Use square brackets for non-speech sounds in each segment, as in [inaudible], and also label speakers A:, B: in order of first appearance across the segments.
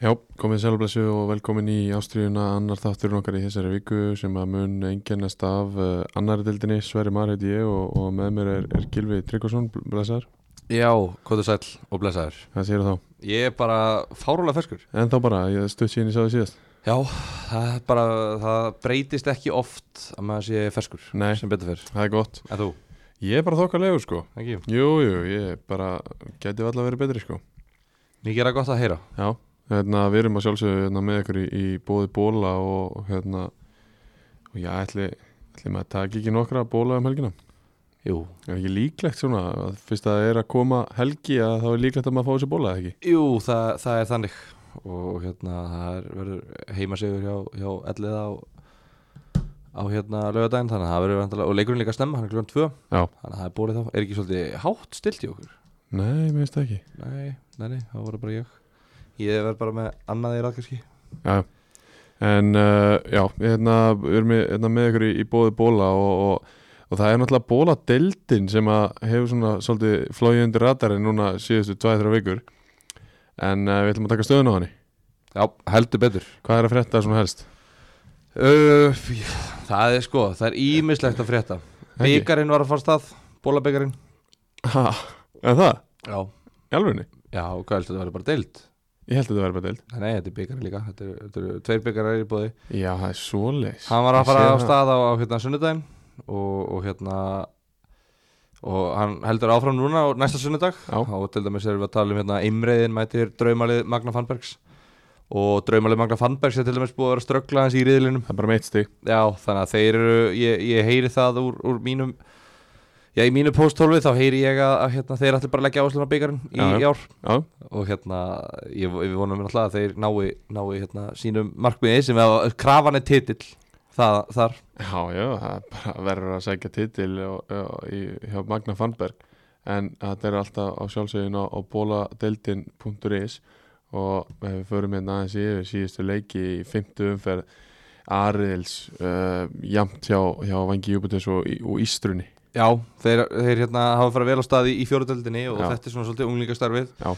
A: Já, komið sjálfblessu og velkomin í Ástriðuna annar þátturinn okkar í þessari viku sem að mun enginnast af uh, annari dildinni, Sverri Mar heiti ég og, og með mér er, er Gilvi Tryggvason, bl- blessaður,
B: Já, kóðu sæll og blessaður
A: hvað segir þá?
B: Ég er bara fárulega ferskur
A: En þá bara, ég stutt síðan ég sá þið síðast
B: Já, það, er bara, það breytist ekki oft að maður sé ferskur
A: Nei.
B: sem betur fer
A: Það er gott
B: En þú,
A: Ég er bara þokkalegu sko
B: ekki?
A: Jú, jú, ég bara gæti alltaf verið betri sko
B: Mikið er að gott að heyra
A: Já, hérna, við erum að sjálfsögðu hérna, með ykkur í, í bóði bóla og hérna og já, ætli, ætli maður taki ekki nokkra bóla um helgina
B: Jú,
A: Er ekki líklegt svona, að fyrst að það er að koma helgi að þá er líklegt að maður fá þessi bóla eða ekki?
B: Jú það, það er þannig og hérna það er, verður heimasigur hjá, hjá ellið á, á hérna laugardaginn þannig að það verður vandalega og leikurinn líka að stemma, hann er kljóðan tvö
A: Já.
B: þannig að það er bórið þá, er ekki svolítið hátt stilt í okkur?
A: Nei, mér finnst það ekki.
B: Nei, nei, nei, það voru bara ég Ég verð bara með annað í ræðkarski
A: Já, já. en uh, já, hérna, við erum með, hérna með ykkur í, í bóði bóla og, og, og það er náttúrulega bóladeldin sem að hefur svona svolítið flóið undir radarinn núna síðustu 2-3 vikur. En uh, við ætlum að taka stöðun á henni.
B: Já, heldur betur
A: Hvað er að frétta svona helst?
B: Uh, já, það er sko, það er ímislegt að frétta
A: Ekki?
B: Byggarinn var að fara af stað, bólabikarinn
A: Ha, en það?
B: Já,
A: Í alvegni?
B: já, og hvað heldur þetta verður bara deild
A: Ég held að þetta væri bara deild.
B: Nei, þetta er byggarinn líka, þetta eru, þetta eru tveir byggarar í bóði
A: Já, það er svoleiðis.
B: Hann var
A: Ég
B: að fara
A: sé
B: af
A: það.
B: stað á, á hérna sunnudaginn og, og hérna og hann heldur áfram núna á næsta sunnudag
A: Já.
B: og til dæmis erum við að tala um hérna Imreiðin mætir draumalið Magna Fannbergs og draumalið Magna Fannbergs er til dæmis búið að vera að ströggla hans í riðlinum
A: Það er bara meitt stig.
B: Já, þannig að þeir eru, ég, ég heyri það úr, úr mínum, já í mínu pósthólfi þá heyri ég að, að hérna, þeir ætli bara að leggja áslun á byggarinn í,
A: Já, já.
B: í ár
A: Já,
B: og hérna, ég, ég vonum alltaf að þeir nái, nái hérna, sínum markmiði sem að krafan er titill það, þar.
A: Já, já, það er bara verður að segja titil og, og, í, hjá Magna Fannberg en þetta er alltaf á sjálfsögin á, á bóladeildin.is og ef við förum hérna aðeins yfir síðustu leiki í fymtu umferð Ariðils uh, jamt hjá, hjá Vangi Júbutins og, í- og Ístrunni
B: Já, þeir, þeir hérna, hafa farið vel á staði í fjóruðöldinni og
A: Já.
B: þetta er svona svolítið unglingastarfið
A: Já.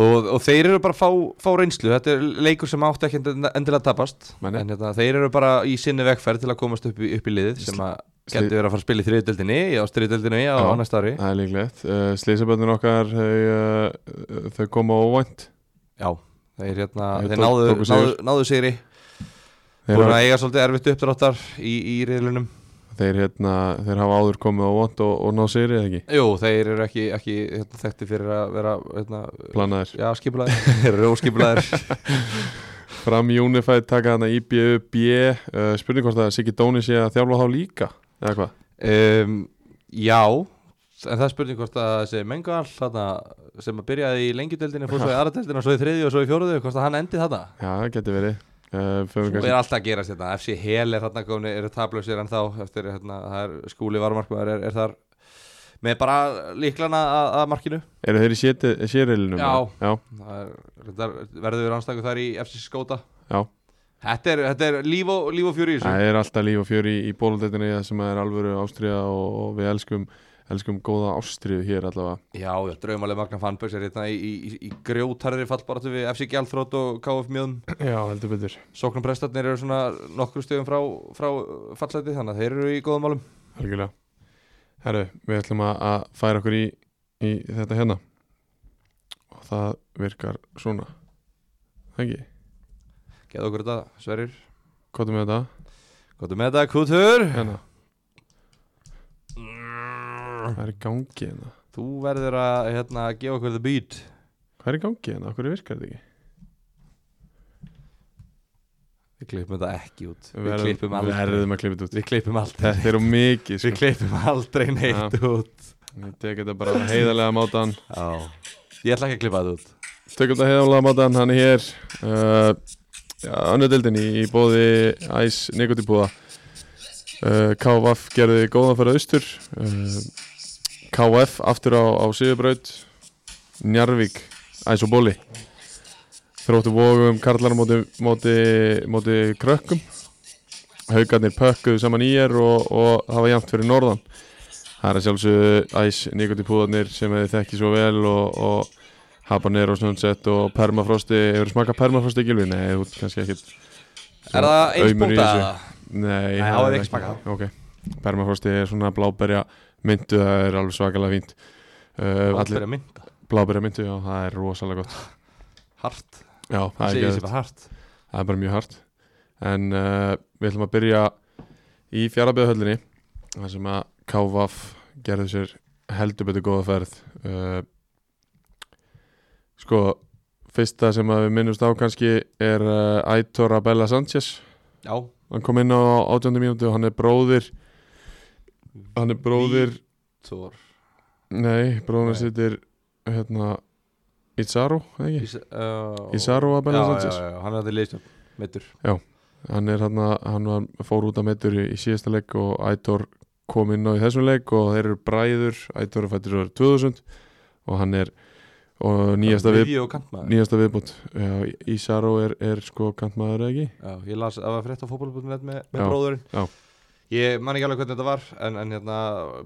B: Og, og þeir eru bara að fá, fá reynslu, þetta er leikur sem átti ekki endilega að tapast
A: Nei, nei.
B: En hérna, þeir eru bara í sinni vegferð til að komast upp í, upp í liðið sem að
A: Sli-
B: Gæti verið að fara að spila í þriðdeldinni á stríðdeldinni á,
A: Já.
B: á næsta ári
A: Það er líklegt uh, Sleisaböndin okkar þau, uh, þau koma óvænt
B: Já, þeir, hérna,
A: Þeir
B: þeir
A: tók-
B: náðu,
A: tóku sigur.
B: náðu, náðu sigri
A: Þeir
B: Búin
A: hafa-
B: að eiga svolítið erfitt uppdráttar í, í riðlunum
A: þeir, hérna, þeir hafa áður komið óvænt og, og ná sér eða ekki
B: Jú, þeir eru ekki, ekki hérna, þekkti fyrir að vera hérna,
A: planaðir
B: Já, skipulaðir, [laughs] þeir eru óskipulaðir
A: Fram Unified taka hana IBUB uh, spurning hvort að Siggi Dóni sé að þjálfa þá líka eða hvað?
B: um, Já, en það er spurning hvort að þessi mengal þarna, sem að byrjaði í lengjudeldinni fór svo í aðradeldinni og svo í þriði og svo í fjóruðu hvort að hann endi þarna
A: Já, það geti verið uh, förum
B: Svo
A: kannski-
B: er alltaf að gerast hérna, FC Hel er þarna komin, eru tablausir en þá eftir hérna, það er skúli varmarkmaður er, er þar með bara líklana að, að markinu
A: Eru þeir í séti- sérilinu?
B: Já.
A: Já,
B: Það er, reyndar, verður rannstakur þar í FC Skóta
A: já.
B: Þetta er, þetta er líf, og, líf og fjör í þessu
A: Það er alltaf líf og fjör í, í bóludetinni sem er alvöru ástriða og, og við elskum, elskum góða ástriðu hér allavega
B: Já, já, draumaleg Magna Fanböks er hérna í, í, í- í grjótarri fallbaratu við FC Gjaldþrótt og KF Mjöðum
A: Já, heldur betur
B: Sóknarprestarnir eru svona nokkru stöðum frá, frá fallseti þannig að þeir eru í góðum málum
A: Algjörlega Herru, við ætlum að, að færa okkur í, í þetta hérna og það virkar svona Ekki,
B: Geða okkur þetta, Sverrir
A: hvað er með þetta?
B: Góttu með þetta, Kutur
A: Hérna Hvað er í gangi hérna?
B: Þú verður að hérna, gefa okkur the beat
A: Hvað er í gangi hérna? Okkur virkar þetta ekki?
B: Við klippum þetta ekki út Við,
A: verðum-
B: klippum aldrei
A: Verðum að klippa þetta út
B: Við klippum aldrei
A: [laughs] Þetta er um mikið
B: Við
A: sko.
B: klippum aldrei neitt út
A: Ég tek þetta bara á heiðarlega mátan
B: Já Ég ætla ekki að klippa þetta út
A: Tökum þetta heiðarlega mátan, hann er hér uh, já, Önnu dildin í, í bóði Æs Nikotipúða uh, KVF gerði góðan fyrir austur uh, KF aftur á, á Sigurbraut Njarvík Æs og Bóli Þróttu vógum karlar á móti, móti, móti krökkum Haukarnir pökkuðu saman í er og, og það var jæmt fyrir norðan Það er að sjálfsögðu Æs Nikotipúðarnir sem þið þekki svo vel og, og Habanero Sunset og Permafrosti Hefur smakað Permafrosti gilvi? Nei, þú ert kannski ekkit
B: Er það eins
A: aumur í
B: bóta
A: þessu.
B: eða?
A: Nei,
B: Nei,
A: það
B: það var
A: er
B: ekki smakað.
A: Ok, Permafrosti er svona bláberja myndu Það er alveg svakalega fínt uh,
B: Það
A: allir-
B: er mynda
A: Bláberja myndu, já, það er rosalega gott
B: Hart
A: Já, það
B: Það
A: er,
B: sé ég
A: geðveikt.
B: sé bara hart
A: það er bara mjög hart En uh, við ætlum að byrja í fjarlabíðahöllinni þar sem að KVF gerði sér heldur betur góða ferð uh, Sko, fyrsta sem að við minnumst á kannski er uh, Aitor Abella Sanchez
B: Já
A: Hann kom inn á 18. mínútu og hann er bróðir Hann er bróðir
B: Vítor
A: Nei, bróðir
B: Nei.
A: sitt er hérna Izaro, eða ekki?
B: Ísar
A: Izaro Abella
B: Já,
A: Sanchez
B: já, já, hann er þetta liðstjórn Mittur
A: hann er hann hann var, fór út að meittur í, í síðasta leik og Ætor kom inn á í þessum leik og þeir eru bræður, Ætor er fættur árið 2000 og hann er og nýjasta, við,
B: Víði og kantmaður
A: nýjasta viðbútt Ísaró er, er sko kantmaður eða ekki
B: Já, ég las að það var frétt á fótbolbúinnet með, með
A: Já,
B: bróðurinn
A: já.
B: Ég man ekki alveg hvernig þetta var En, en hérna,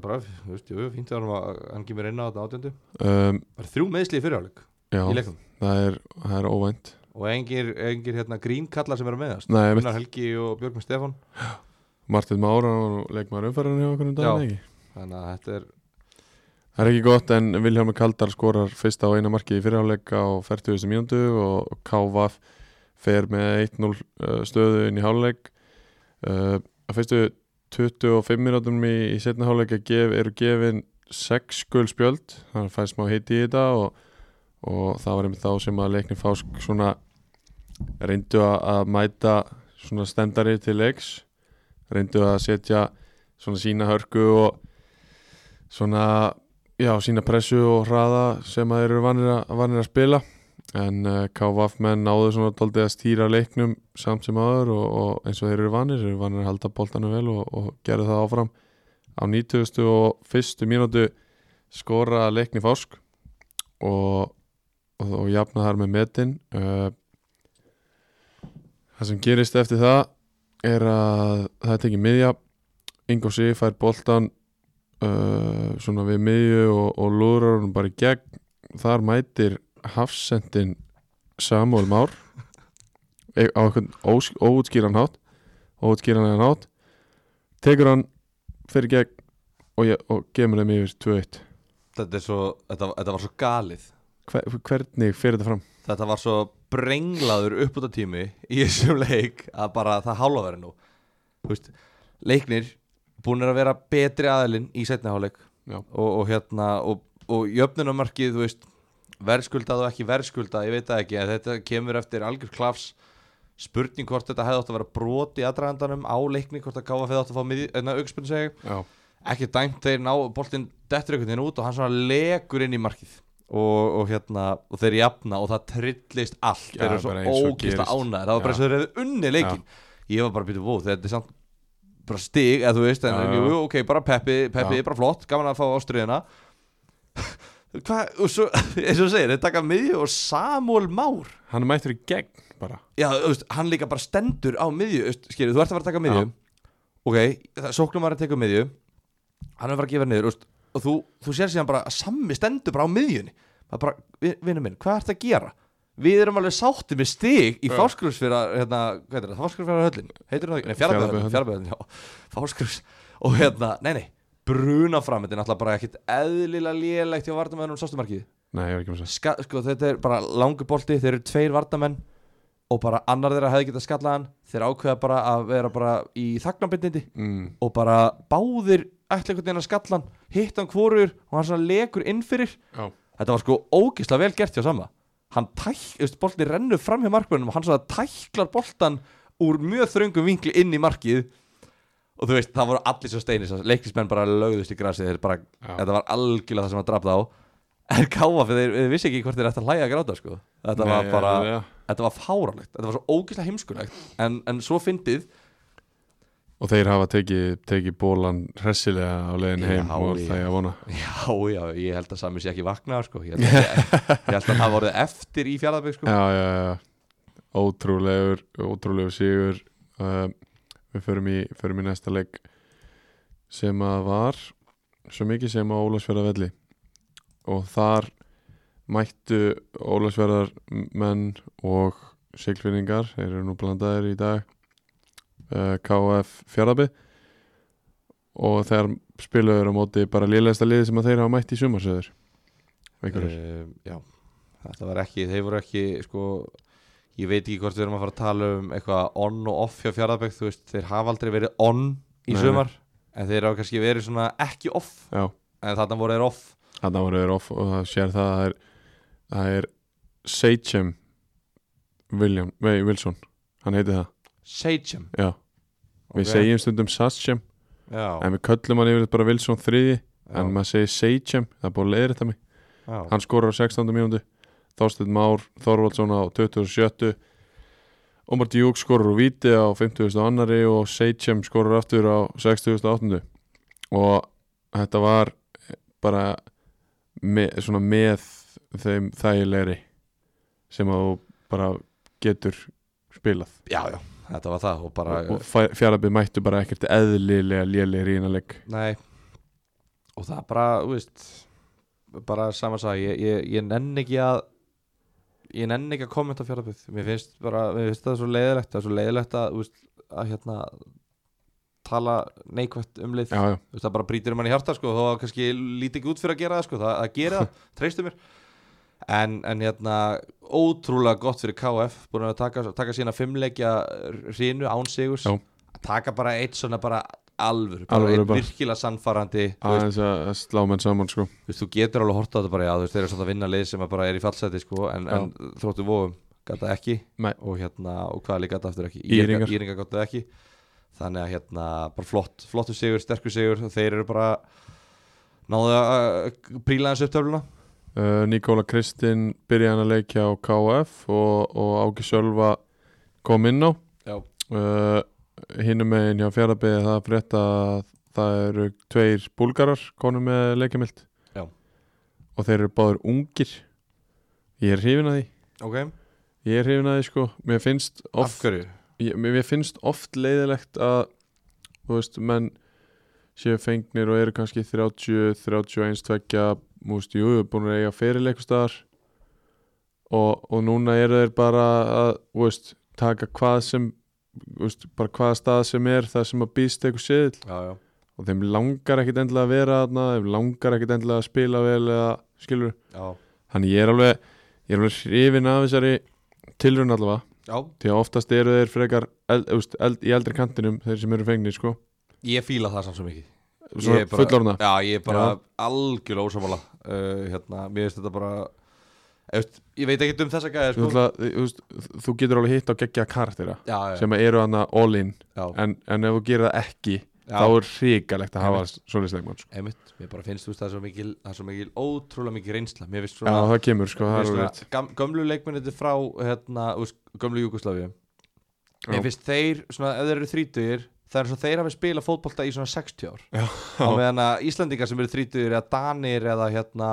B: bara, þú veist, jú, fínt að hann, hann kemur inn á þetta átjöndu
A: um,
B: Bara þrjú meðsli í fyrirháleik
A: já,
B: í leikum
A: það er, það er óvænt
B: Og engir, engir hérna, grínkallar sem eru að meðast
A: Nei, mitt,
B: Gunnar Helgi og Björgum Stefán
A: Martin Mára og leikmaður umfærðinu hjá okkur um
B: Já.
A: daginn ekki
B: Þannig að þetta er
A: Það er ekki gott en Vilhjálmur Kaldar skorar fyrsta og eina markið í fyrirháleika á 40. mínútu og KVaf fer með 1-0 uh, stöðu inn í háleik uh, að fyrstu 25 mínútum í, í setna háleika gef, eru gefin 6 gul spjöld þannig að fæði smá hiti í þetta og, og það var einmitt þá sem að leikni fásk svona reyndu að- að mæta svona stendari til leiks reyndu að setja svona sína hörku og svona já, sína pressu og hraða sem að þeir eru vanir að, vanir að spila en uh, KVF menn náðu svona doldið að stýra leiknum samt sem aður og, og eins og þeir eru vanir þeir eru vanir að halda boltanum vel og, og gera það áfram á 90. og fyrstu mínútu skora leikni fásk og, og, og jafna þar með metin uh, það sem gerist eftir það er að það er tekið miðja Ingósi fær boltan uh, svona við miðju og, og lúrar hún bara í gegn þar mætir hafsendin Samuel Már e- á einhvern ós- óútskýran hátt óútskýranlegan hátt tekur hann fyrir gegn og, ég, og gemur þeim yfir 2-1
B: Þetta, er svo, þetta, þetta var svo galið
A: Hver, hvernig fyrir þetta fram?
B: Þetta var svo brenglaður uppbúta tími í þessum leik að bara það hálfa verið nú Þú veist, Leiknir búinir að vera betri aðilinn í setni hálfleik
A: Já.
B: og, og hérna og, og jöfnunumarkið, þú veist verðskuldað og ekki verðskuldað, ég veit það ekki en þetta kemur eftir algjör klafs spurning hvort þetta hefði átt að vera brot í aðdragandanum á leikni, hvort að káfa fyrir átt að fá mið, enna, aukspunn segja
A: Já,
B: ekki dæmt þeir ná boltinn dettur einhvern veginn út og hann svona legur inn í markið og, og hérna og þeir jafna og það trillist allt
A: Já,
B: þeir
A: bara
B: eru svo
A: eins og
B: ógista
A: gerist.
B: ánæður það var
A: Já.
B: bara eins og þeir hefðu unni leikin ég var bara að býta vóð þetta er samt bara stig eða þú veist en,
A: Já,
B: en
A: já.
B: jú, ok, bara peppi, peppi
A: Já.
B: bara flott gaman að fá ástriðina [laughs] hvað, og svo [laughs] eins og þú segir, þeir taka miðju og Samúl Már
A: hann er mættur í gegn bara
B: Já, þú veist, hann líka bara stendur á miðju Skilju, þú ert að fara að taka miðju Ok, það- sóknum var að taka miðju Hann er bara að gefa niður þú veist, Og þú, þú sér síðan bara að sammi stendur bara á miðjunni Það er bara, vi- vinur minn, hvað ert að gera? Við erum alveg sáttið með stig Í
A: Já.
B: fáskrufs fyrir að, hérna, hvað heitir það? Fáskrufs fyrir að höllin, heitir það ekki? Nei,
A: Fjarðabyggðarhöllin.
B: fjárabæðin, fjárabæðin, já Fáskrufs, og hérna, nei, nei Bruna fram, þetta er náttúrulega bara ekkit eðlilega lélegt hjá vartamöðunum sástumarkið
A: Nei, ég er ekki með þess
B: Ska, sko, þetta er bara langu bolti þeir eru tveir vardamenn og bara annar þeirra hefði getað skallað hann þeir ákveða bara að vera bara í þagnarbindindi
A: mm,
B: og bara báðir ætla einhvern veginn að skalla hann hitt hann hvorur og hann svona lekur inn fyrir
A: Já,
B: þetta var sko ógislega vel gert hjá sama hann tæk, veist, boltin rennur fram hjá markmönnum og hann svona tæklar boltan úr mjög þröngum vinkli inn í markið og þú veist, það voru allir svo steinis leiklismenn bara lögðust í grasið þeir bara,
A: Já.
B: þetta var algjörlega það sem að draf þá en káfa, þeir, þeir vissi ekki hvort þeir ætti að hlæja að gráta sko. þetta var bara,
A: ja.
B: þetta var fáránlegt þetta var svo ógislega heimskulegt en, en svo fyndið
A: Og þeir hafa tekið teki bólan hressilega á leiðin heim
B: Já,
A: og
B: já.
A: það ég að vona
B: já, já, ég held að Sami sé ekki vaknað sko. ég, held að, ég held að það voru eftir í fjallabeg sko.
A: já, já, já. ótrúlegur ótrúlegur sigur uh, við förum í, förum í næsta leik sem að var svo mikið sem á Ólafsfjörða velli og þar mættu Ólafsverðar menn og siglfinningar, þeir eru nú blandaðir í dag uh, KF Fjardabi og þeir spilaður á móti bara lélægsta liði sem að þeir hafa mætt í sumarsöður einhverjur
B: uh, Já, þetta var ekki, þeir voru ekki sko, ég veit ekki hvort við erum að fara að tala um eitthvað on og off hjá Fjarðabæk, þú veist, þeir hafa aldrei verið on í
A: Nei,
B: sumar, en þeir hafa kannski verið svona ekki off,
A: Já,
B: en þarna voru þeir off
A: þarna voru þeir off og það sér það að það er, það er Seichem William, nei, Wilson hann heiti það,
B: Sachem
A: já við segjum stundum Sachem,
B: Já,
A: en við köllum hann yfir bara Wilson þriði,
B: já,
A: en maður segir Seichem, það er búið að leiðir þetta mig
B: já,
A: hann skorar á 16. mínúndu Þorsteinn Már Þorvaldsson á 27. Omar Djúk skorar úr Víti á 50. annari og Seichem skorar aftur á 68. og þetta var bara með, svona með þeim þægilegri sem að þú bara getur spilað
B: já, já, þetta var það og bara,
A: og fjarlabið mættu bara ekkert eðlilega lélegri ínaleg
B: nei og það bara, þú veist bara samans að ég, ég, ég nenn ekki að ég nenn ekki að kommenta fjárðaböð mér finnst bara, mér finnst það svo leiðilegt það er svo leiðilegt að, þú veist, að hérna tala neikvætt um lið
A: já, já,
B: Þú veist, það bara brýtir um hann í hjarta sko, þó að kannski líti ekki út fyrir að gera það sko, það, það
A: [laughs]
B: gera það, treystu mér en, en hérna, ótrúlega gott fyrir KF, búin að taka, taka sína fimmleikja hrínu án sigurs
A: Já.
B: að taka bara eitt svona bara alvöru, bara
A: Alvöru
B: eitt
A: bara.
B: virkilega sannfarandi þú veist,
A: aðeins að að slá menn saman sko
B: þú veist, þú getur alveg horta þetta bara, já, þú veist, þeir eru samt að vinna lið sem að bara er í fallseti sko, en,
A: Já.
B: en þróttu vofum gata ekki
A: Nei.
B: og hérna, og hvað líka gata aftur ekki
A: Íringar.
B: Íringar gata ekki þannig að hérna, bara flott, flottu sigur, sterkur sigur þeir eru bara náðu að uh, príla hans upptöfluna
A: Uh, Nikóla Kristinn byrjaði hann að leikja á KF og, og Áki Sölva kom inn á
B: já,
A: uh, hinnum megin hjá fjaraðbyði það er frétt að það eru tveir búlgarar konum með leikjamilt
B: Já.
A: og þeir eru báður ungir ég er hrifin að því
B: ok,
A: ég er hrifin að því sko mér finnst
B: af
A: oft,
B: hverju
A: ég, mér mér finnst oft leiðilegt að þú veist, menn séu fengnir og eru kannski 30, 31, 2 múst, jú, búin að eiga fyrir leikustadar og, og núna eru þeir bara að þú veist, taka hvað sem þú veist, bara hvaða stað sem er það sem að býst eitthvað séðil
B: já, já,
A: og þeim langar ekkit endilega að vera þarna þeim langar ekkit endilega að spila vel eða skilur,
B: já,
A: þannig ég er alveg ég er alveg hrifin af þessari tilrun allavega
B: já
A: því að oftast eru þeir frekar eld, eld, eld, í eldri kantinum þeir sem eru fengnir sko
B: ég fíla það samt svo mikið Ég
A: svona
B: er bara-
A: fullorna
B: Já, ég er bara algjörlega ósámála uh, hérna, mér finnst þetta bara Eftir, ég veit ekki um þessa gæði
A: þú,
B: sko.
A: ætla, þú, veist, þú getur alveg hitt á geggja karaktera
B: já, já,
A: sem eru hann all in
B: já,
A: en, en ef þú gerir það ekki
B: já.
A: þá er hrikalegt að hafa
B: Einmitt.
A: svoleiðis leikmann sko.
B: Einmitt, mér bara finnst þú veist það er svo mikil, það er svo mikil ótrúlega mikil reynsla Mér finnst
A: já
B: svona,
A: það kemur sko það
B: mér
A: er alveg
B: finnst svona
A: rétt
B: gam, gömlu leikmenniti frá hérna, þú veist, gömlu Júkoslavíu
A: Já.
B: Mér finnst þeir, svona, ef þeir eru þrítugir Það er svo þeir hafi spilað fótbolta í svona 60 ár
A: Já.
B: Á meðan að Íslendingar sem eru þrítugir eða Danir eða hérna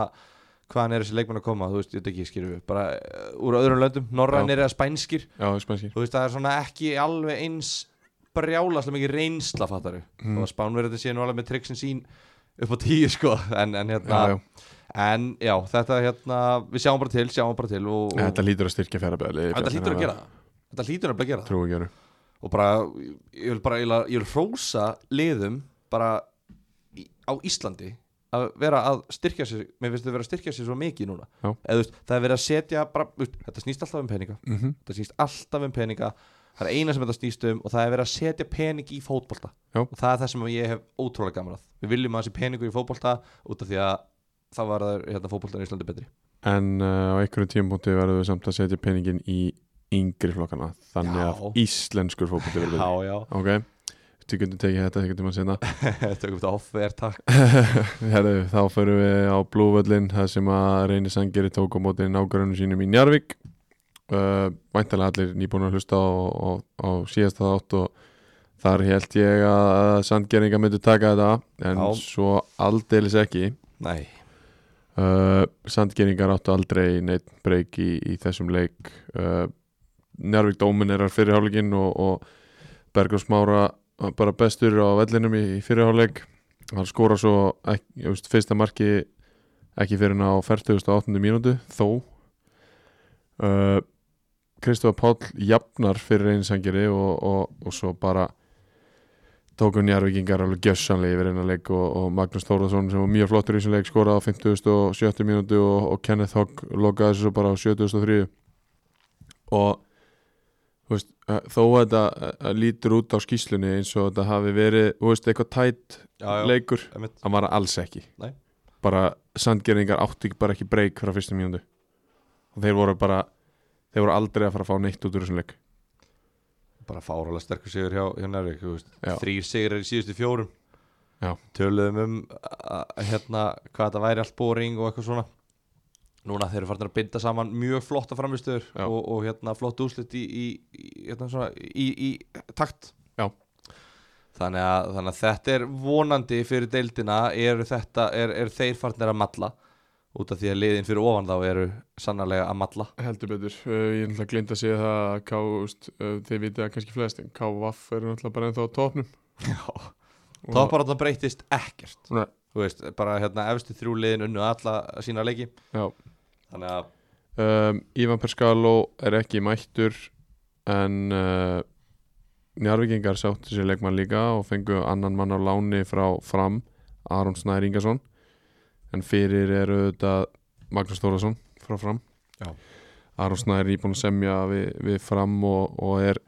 B: Hvaðan eru þessi leikmenn að koma, þú veist, ég veit ekki, skýrðu við Bara uh, úr öðrum löndum, norrænir eða spænskir
A: já það er spænskir
B: Þú veist, það er svona ekki alveg eins brjálaslega mikið reynsla fattari mm. og spánverðin sé nú alveg með triksin sín upp á tíu sko en, en hérna
A: já, já.
B: En já, þetta hérna, við sjáum bara til, sjáum bara til og, og
A: þetta lítur að styrkja fjárabæðli
B: þetta hlýtur að gera það Þetta hlýtur að gera það
A: trúi ekki öru
B: Og bara, ég vil bara, eiginlega- ég vil hrósa liðum bara í, á Íslandi að vera að styrkja sér, mér finnst þau vera að styrkja sér svo mikið núna
A: Já.
B: Eða, þú veist, Það er verið að setja bara, þú veist, þetta snýst alltaf um peninga
A: mm -hmm.
B: þetta snýst alltaf um peninga það er eina sem þetta snýst um og það er verið að setja pening í fótbolta
A: Já.
B: og það er það sem ég hef ótrúlega gaman að við viljum að þessi peningur í fótbolta út af því að það var það hérna, fótboltan í Íslandi betri
A: en uh, á einhverjum tímapunkti verður við samt að setja peningin í yngri flokkana þannig
B: Já.
A: að íslenskur fókbúti verður betri.
B: já, [laughs]
A: ok þið getum tekið þetta þið getum að sinna
B: tökum þetta offer, takk
A: [laughs] Herðu, þá förum við á Blúvöllin það sem að Reyni Sangeri tók á móti nágrunum sínum í Njarvík uh, Væntalega allir nýbúin að hlusta á, á, á síðasta þátt og þar held ég að Sangeringa myndi taka þetta en
B: Já.
A: svo aldeilis ekki
B: nei,
A: uh, Sandgeringar áttu aldrei neitt breyk í, í þessum leik uh, Njárvík dóminerar fyrirháleikin og, og Bergur Smára bara bestur á vellinum í, í fyrirháleik hann skora svo ekki, ég veist, fyrsta marki ekki fyrir en á 48. mínútu þó uh, Kristofa Páll jafnar fyrir einsangeri og, og, og svo bara tóku njárvikingar alveg gjössanlega yfir einan leik og, og Magnús Þórðarsson sem var mjög flottur í þessum leik skoraði á 57. mínútu og, og Kenneth Hogg lokaði þessu svo bara á 73. og þú veist, eh, þó að þetta eh, lítur út á skýslunni eins og þetta hafi verið þú veist, eitthvað tætt leikur
B: einmitt.
A: hann var það alls ekki
B: Nei.
A: bara sandgerðingar áttu ekki, bara ekki breyk frá fyrstu mínútu og þeir voru bara þeir voru aldrei að fara að fá neitt út úr þessum leik
B: bara fárálega sterkur sigur hjá, hjá Njárvík þú veist.
A: Já.
B: þrýr sigrar í síðustu fjórum
A: Já.
B: töluðum um að, að, hérna, hvað þetta væri allt boring og eitthvað svona núna þeir eru farin að binda saman mjög flotta framistöður
A: Já.
B: og, og hérna, flott úslit í, í, í, hérna, svona, í, í takt
A: Já.
B: þannig að, þannig að þetta er vonandi fyrir deildina eru þetta, er, er þeir farnir að malla út af því að liðin fyrir ofan þá eru sannarlega að malla
A: heldur betur, uh, ég er náttúrulega glind að segja það að K, úst, uh, þeir vitið að kannski flest en KVF eru náttúrulega bara ennþá á topnum Og-
B: topparáttan breytist ekkert
A: Nei.
B: þú veist, bara hérna efstu þrjú liðin unnu alla sína leiki
A: Já.
B: þannig að
A: um, Ivan Perskaló er ekki mættur en uh, Njarvíkingar sáttu sér leikmann líka og fengu annan mann á láni frá fram Aron Snær Ingarsson en fyrir eru þetta Magnús Þórðarsson frá fram
B: Já.
A: Aron Snær er íbúin að semja við, við fram og, og er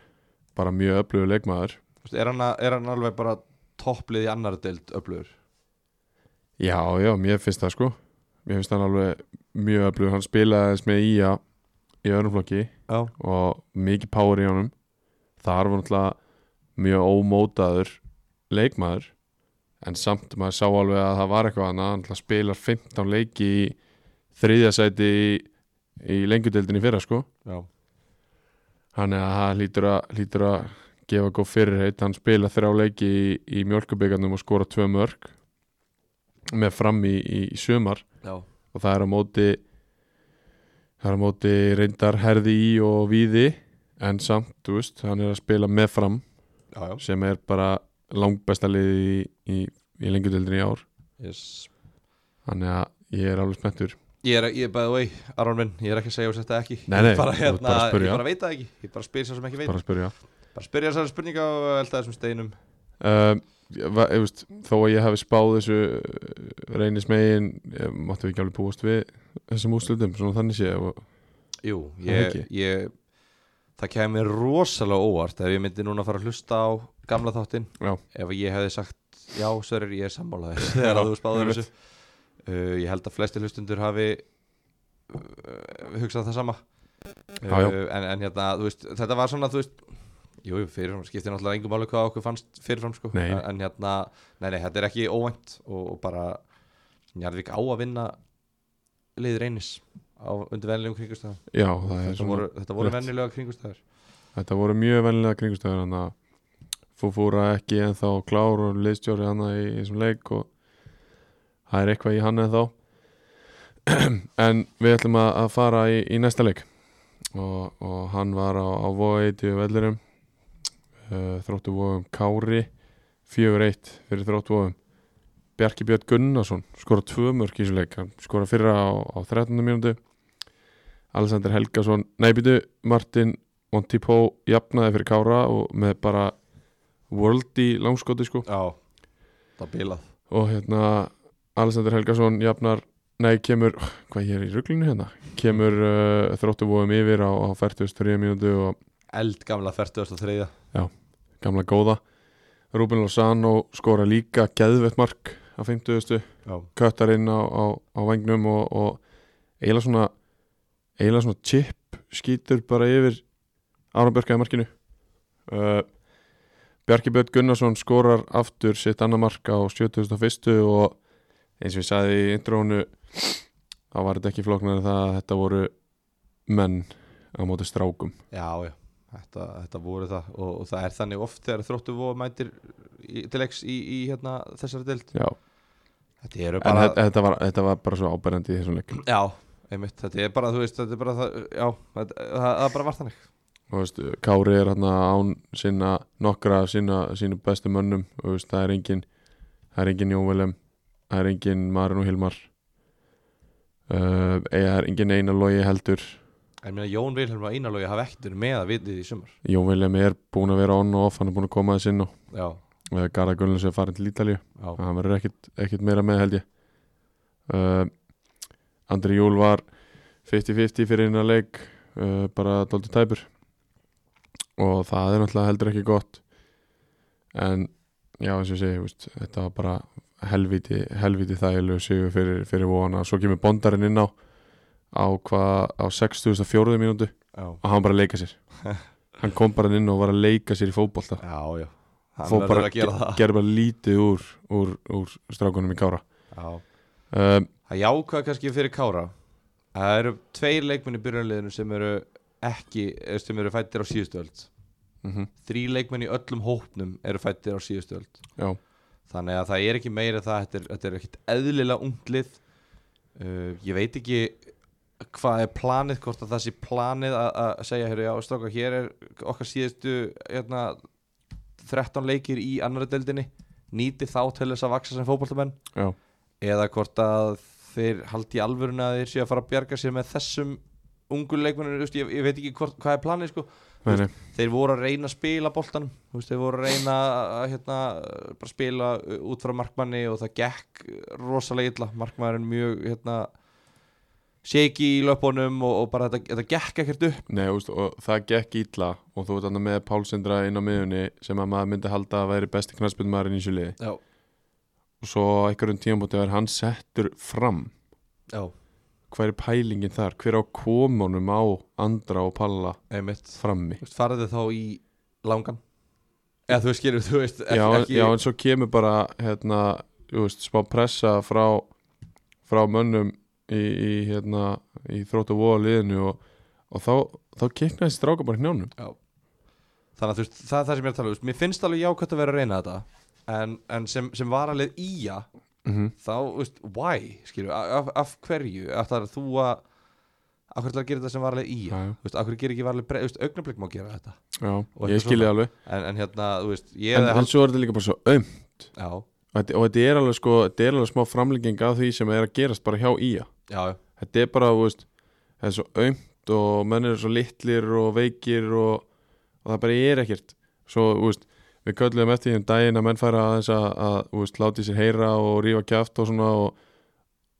A: bara mjög öflugur leikmaður
B: þú veist, er, hann, að- er hann alveg bara topplið í annar deild öflugur
A: Já, já, mér finnst það sko Mér finnst hann alveg mjög öflugur hann spilaði aðeins með Ía í öðrum flokki
B: já,
A: og mikið power í honum þar var náttúrulega mjög ómótaður leikmaður en samt maður sá alveg að það var eitthvað annað, hann náttúrulega spilar 15 leiki í þriðja sæti í, í lengjudeldinni í fyrra sko
B: já.
A: hann er að það lítur að, lítur að gefa góð fyrirheit, hann spila þrjá leiki í, í mjölkubyggarnum og skora tvö mörg með fram í, í, í sumar
B: já.
A: og það er á móti það er á móti reyndar herði í og víði en samt, þú veist, hann er að spila með fram
B: já, já.
A: sem er bara langbesta liði í, í, í lengjudeldinni í ár
B: Yes.
A: þannig að ég er alveg spenntur
B: ég er, ég er by the way, Aron minn ég er ekki að segja þess þetta ekki
A: Nei, nei,
B: ég, bara,
A: þú ert
B: hérna,
A: bara að spyrja.
B: ég bara veit það ekki, ég bara spyr sér sem ekki veit
A: bara að spyrja
B: bara spyrja þessari spurninga og elda þessum steinum
A: um, ég, va- ég veist, þó að ég hafi spáð þessu eh, reynis megin ég máttu ekki alveg búast við þessum úslutum, svona þannig sé og,
B: jú,
A: Það
B: ég,
A: ekki.
B: ég það kemur rosalega óvart ef ég myndi núna fara að hlusta á gamla þáttinn
A: já,
B: ef ég hefði sagt já, Sörir, ég er
A: [laughs]
B: sammála þér þegar að þú spáður þessu uh, ég held að flesti hlustundur hafi uh, hugsað það sama
A: Já, já.
B: Uh, en, en hérna, þú veist, þetta var svona þú veist, jú, jú, fyrirfram skiptir náttúrulega engum máli hvað okkur fannst fyrirfram sko.
A: Nei.
B: en en hérna, nei, nei, þetta er ekki óvænt og, og bara Njarðvík á að vinna liður einis á undir vennilegum kringustæðar
A: já, það er
B: þetta
A: svona
B: voru, þetta voru
A: rétt.
B: vennilega kringustæðar
A: Þetta voru mjög venlega kringustöður hann að Fúfúra ekki ennþá klár og liðstjóri hann í í þessum leik og það er eitthvað í hann ennþá [clears throat] en við ætlum að, að fara í, í næsta leik og, og hann var á, á Vóeiti og Vellurum uh, þróttu Vóum Kári 4-1 fyrir þróttu Vóum Bjarki Björn Gunnarsson skora tvö mörk í þessum leik hann skora fyrra á, á 13. mínútu Alexander Helgason nei býtu Martin Montipó jafnaði fyrir Kára og með bara world í langskoti sko
B: já, það var bilað
A: og hérna Alexander Helgason jafnar nei kemur, hvað ég er í ruglinu hérna kemur uh, þróttu vóðum yfir á, á 43 mínútu og
B: eldgamla 43.
A: gamla góða Ruben Lozano skora líka geðvett mark á 50
B: Já.
A: köttar inn á, á, á vengnum og, og eiginlega svona eiginlega svona chip skýtur bara yfir Aron Björkaði markinu uh, Bjarki Björn Gunnarsson skorar aftur sitt annað mark á 71. og eins og ég sagði í intrónu þá var þetta ekki flóknar en það að þetta voru menn á móti strákum
B: Já, já, þetta, þetta voru það og, og það er þannig oft þegar þróttu og mætir í, til leiks í, í hérna, þessari dild
A: Já.
B: Þetta eru
A: en
B: bara,
A: þetta, þetta, var, þetta var bara svo áberandi í þessum leik
B: já, einmitt, þetta er bara, þú veist, þetta er bara það, já, þetta, það, það bara var þannig
A: og veist, Kári er hérna án sinna nokkra af sinna, sínu bestu mönnum og veist, það er engin það er engin Jón Velem það er engin Marino Hilmar uh, eiga er engin eina logi heldur
B: En meina Jón Vilhelm og Einarlógi hafa ekkert verið með að vitið í sumar
A: Jón William er búin að vera on og off hann er búin að koma þess inn og
B: Já,
A: uh, Garðar Gunnlöfs er farin til Ítalíu
B: já,
A: hann verður ekkit, ekkit meira með held ég uh, Andri Júl var 50-50 fyrir innan leik uh, bara dálítið tæpur og það er náttúrulega heldur ekki gott en já eins og ég segi þú veist, þetta var bara helviti, helviti þægilegu sigur fyrir, fyrir vona svo kemur bondarinn inn á á, hva, á 64. mínútu
B: já
A: og hann var bara að leika sér hann kom bara inn og var að leika sér í fótbolta
B: Já, já Hann
A: fór
B: verður
A: bara
B: að gera það
A: gerði bara lítið úr, úr, úr strákunum í Kára
B: Já
A: um,
B: Það jákvæða kannski fyrir Kára Það eru tveir leikmenn í byrjunarliðinu sem eru ekki, eh, sem eru fættir á síðustu öld
A: mm
B: Þrý leikmenn í öllum hópnum eru fættir á síðustu öld
A: Já,
B: Þannig að það er ekki meira það Þetta er, þetta er ekkit eðlilega unglið uh, Ég veit ekki hvað er planið, hvort að það sé planið að, að segja, heyrðu, já, stráka, hér er okkar síðustu hérna, 13 leikir í annari deildinni nýti þá til þess að vaksa sem fótboltamenn
A: já,
B: eða hvort að þeir haldi í alvöruna að þeir séu að fara að bjarga sér með þessum ungu leikmennir, veist, ég, ég veit ekki hvort, hvað er planið sko.
A: nei, nei,
B: þeir voru að reyna að spila boltanum þú veist, þeir voru að reyna að hérna, bara spila uh, út frá markmanni og það gekk rosalega illa markmannin mjög hérna, shaky í löpunum og, og bara þetta, þetta gekk ekkert upp
A: nei úst, og það gekk ítla og þú ert annað með Pálsindra inn á miðunni sem að maður myndi halda að væri besti knarsbyndmaðurinn í þessu liði
B: já,
A: og svo á einhverjum tímabóti er hann settur fram
B: já,
A: hver er pælingin þar, hver á komunum á Andra og Palla
B: einmitt
A: frammi
B: Þú veist, farið þið þá í langan eða þú skilur, þú veist ekki,
A: já,
B: ekki,
A: já, en svo kemur bara hérna, þú veist, smá pressa frá, frá mönnum í, í, hérna, í þróttu voða liðinu og, og þá, þá kiknaði þessi stráka bara í knjánum
B: þannig að þú veist, það er það sem ég er að tala um Þú veist, mér finnst alveg jákvæmt að vera að reyna þetta en, en sem, sem varalið í ja
A: mm -hmm.
B: þá, þú veist, why, skilju af, af hverju, af það þú að af hverju ætlar að gera þetta sem varalið í ja
A: já,
B: þú veist, af hverju gerir ekki varalið breið, þú veist, augnablik má gera þetta
A: já,
B: Og
A: ég
B: eitthvað
A: skilja alveg
B: en, en hérna, þú veist, ég
A: en,
B: hefði
A: en
B: hald-
A: svo er þetta líka bara svo um
B: já,
A: og þetta, og þetta er alveg sko, þetta er alveg smá framlenging af því sem er að gerast bara hjá ía
B: já, já,
A: þetta er bara, þú veist, þetta er svo aumt og menn eru svo litlir og veikir og, og það bara er ekkert svo, þú veist, við köllum eftir því um daginn að menn færa aðeins að, að þú veist, láti sér heyra og rífa kjaft og svona og,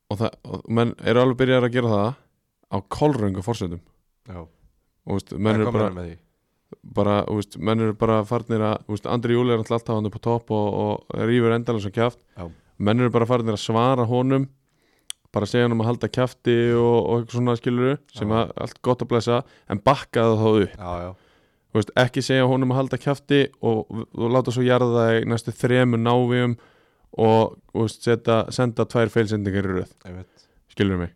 A: og, það, og menn eru alveg byrjar að gera það á kolröngu forsöndum
B: já
A: og, þú veist,
B: En
A: menn eru
B: hvað
A: bara
B: meinarðu með því?
A: bara, þú veist, menn eru bara farnir að, þú veist, Andri Júli er náttúrulega alltaf hann upp á topp og, og rýfur endalega sem kjaft
B: Já.
A: menn eru bara farnir að svara honum bara segja hann um að halda kjafti og, og eitthvað svona skiluru sem
B: Já.
A: að, allt gott að blessa en bakkaðu þá upp,
B: já, já,
A: þú veist, ekki segja honum að halda kjafti og, og láta svo jarða það í næstu þremu návíum og, þú veist, seta, senda tvær feilsendingar í röð,
B: einmitt
A: skilur mig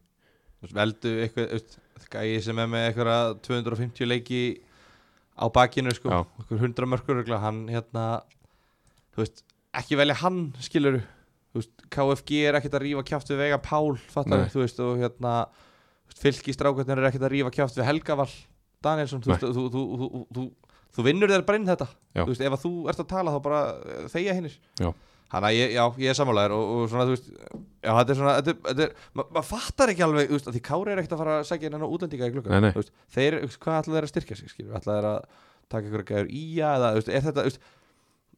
B: þú veist, veldu eitthvað, þú veist, gæi sem er með eitthvað 250 leiki á bakinu, sko,
A: Já.
B: okkur 100 mörkur regla, hann, hérna þú veist, ekki velja hann, skilur þú veist, KFG er ekkert að rífa kjátt við Vega Pál, fattar
A: Nei.
B: þú veist, og hérna þú veist, fylgistrákarnir er ekkert að rífa kjátt við Helgavall Danielsson, þú
A: Nei.
B: veist, þú, þú, þú, þú, þú, þú vinnur þér bara inn þetta
A: Já.
B: þú veist, ef að þú ert að tala þá bara eh, þegja hinnir
A: Já.
B: Hanna, ég, já, ég er sammálaður og, og svona, þú veist, já, þetta er svona, þetta er, þetta er ma- maður fattar ekki alveg, þú veist, að því Kári er ekkert að fara að segja hennar útlendinga í gluggan,
A: Nei, nei.
B: þú veist, þeir, þú veist, hvað ætla þeir að styrkja sig, skilur, ætla þeir að taka ykkur að gæður í að, eða, þú veist, er þetta, þú veist,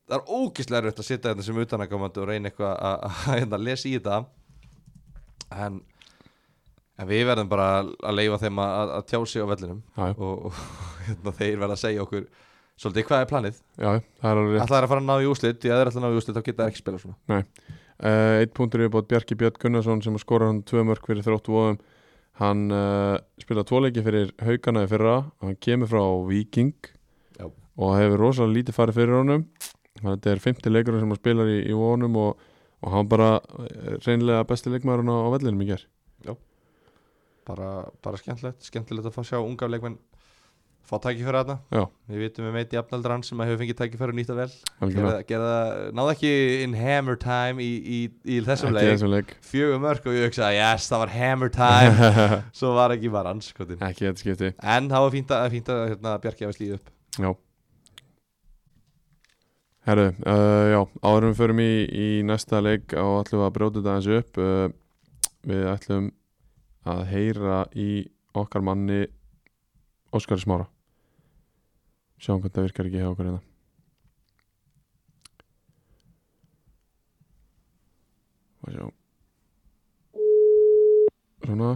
B: það er ógislega erfitt að sitja þetta sem utanakomandi og reyna eitthvað að, að, að, [laughs] hérna, lesa í þetta, en, en við verðum bara að leifa þeim að, að- að tjá sig á vellinum
A: já, já,
B: og, [laughs] og hérna, þeir verða að segja okkur, svolítið, hvað er planið,
A: já, já, það er alveg rétt
B: ætla þeir að fara að ná í úslit, því að þeir ætla að ná í úslit, þá geta þeir ekki spila svona,
A: Uh, eitt punktur er bótt Bjarki Björn Gunnarsson sem skora hann tvö mörg fyrir þróttu vóðum hann uh, spila tvoleiki fyrir haugana í fyrra hann kemur frá Viking
B: Já.
A: og hefur rosalega lítið farið fyrir honum þannig að þetta er 50 leikurinn sem hann spilar í, í vonum og, og hann bara eh, reynilega besti leikmaðurinn á, á vellinum í ger
B: bara, bara skemmtilegt skemmtilegt að fá að sjá unga leikmenn fá tækifæra þarna
A: Já.
B: við vitum við meiti jafnaldran sem að hefur fengið tækifæra og nýtt það vel gerða, gerða, náðu ekki in hammer time í, í, í þessum
A: ekki í
B: leik
A: þessum leik
B: fjögur mörg og ég hugsaði yes það var hammer
A: [laughs]
B: time svo var ekki var anskotin
A: ekki í þetta skipti
B: en það var fínt að, fínt að hérna, Bjarki hafi slíð upp
A: Já Herru, uh, já, áðurum við förum í, í næsta leik og ætlum við að brjóta þetta aðeins upp uh, Við ætlum að heyra í okkar manni Óskari Smára sjáum hvernig það virkar ekki hjá okkur hérna og sjá svona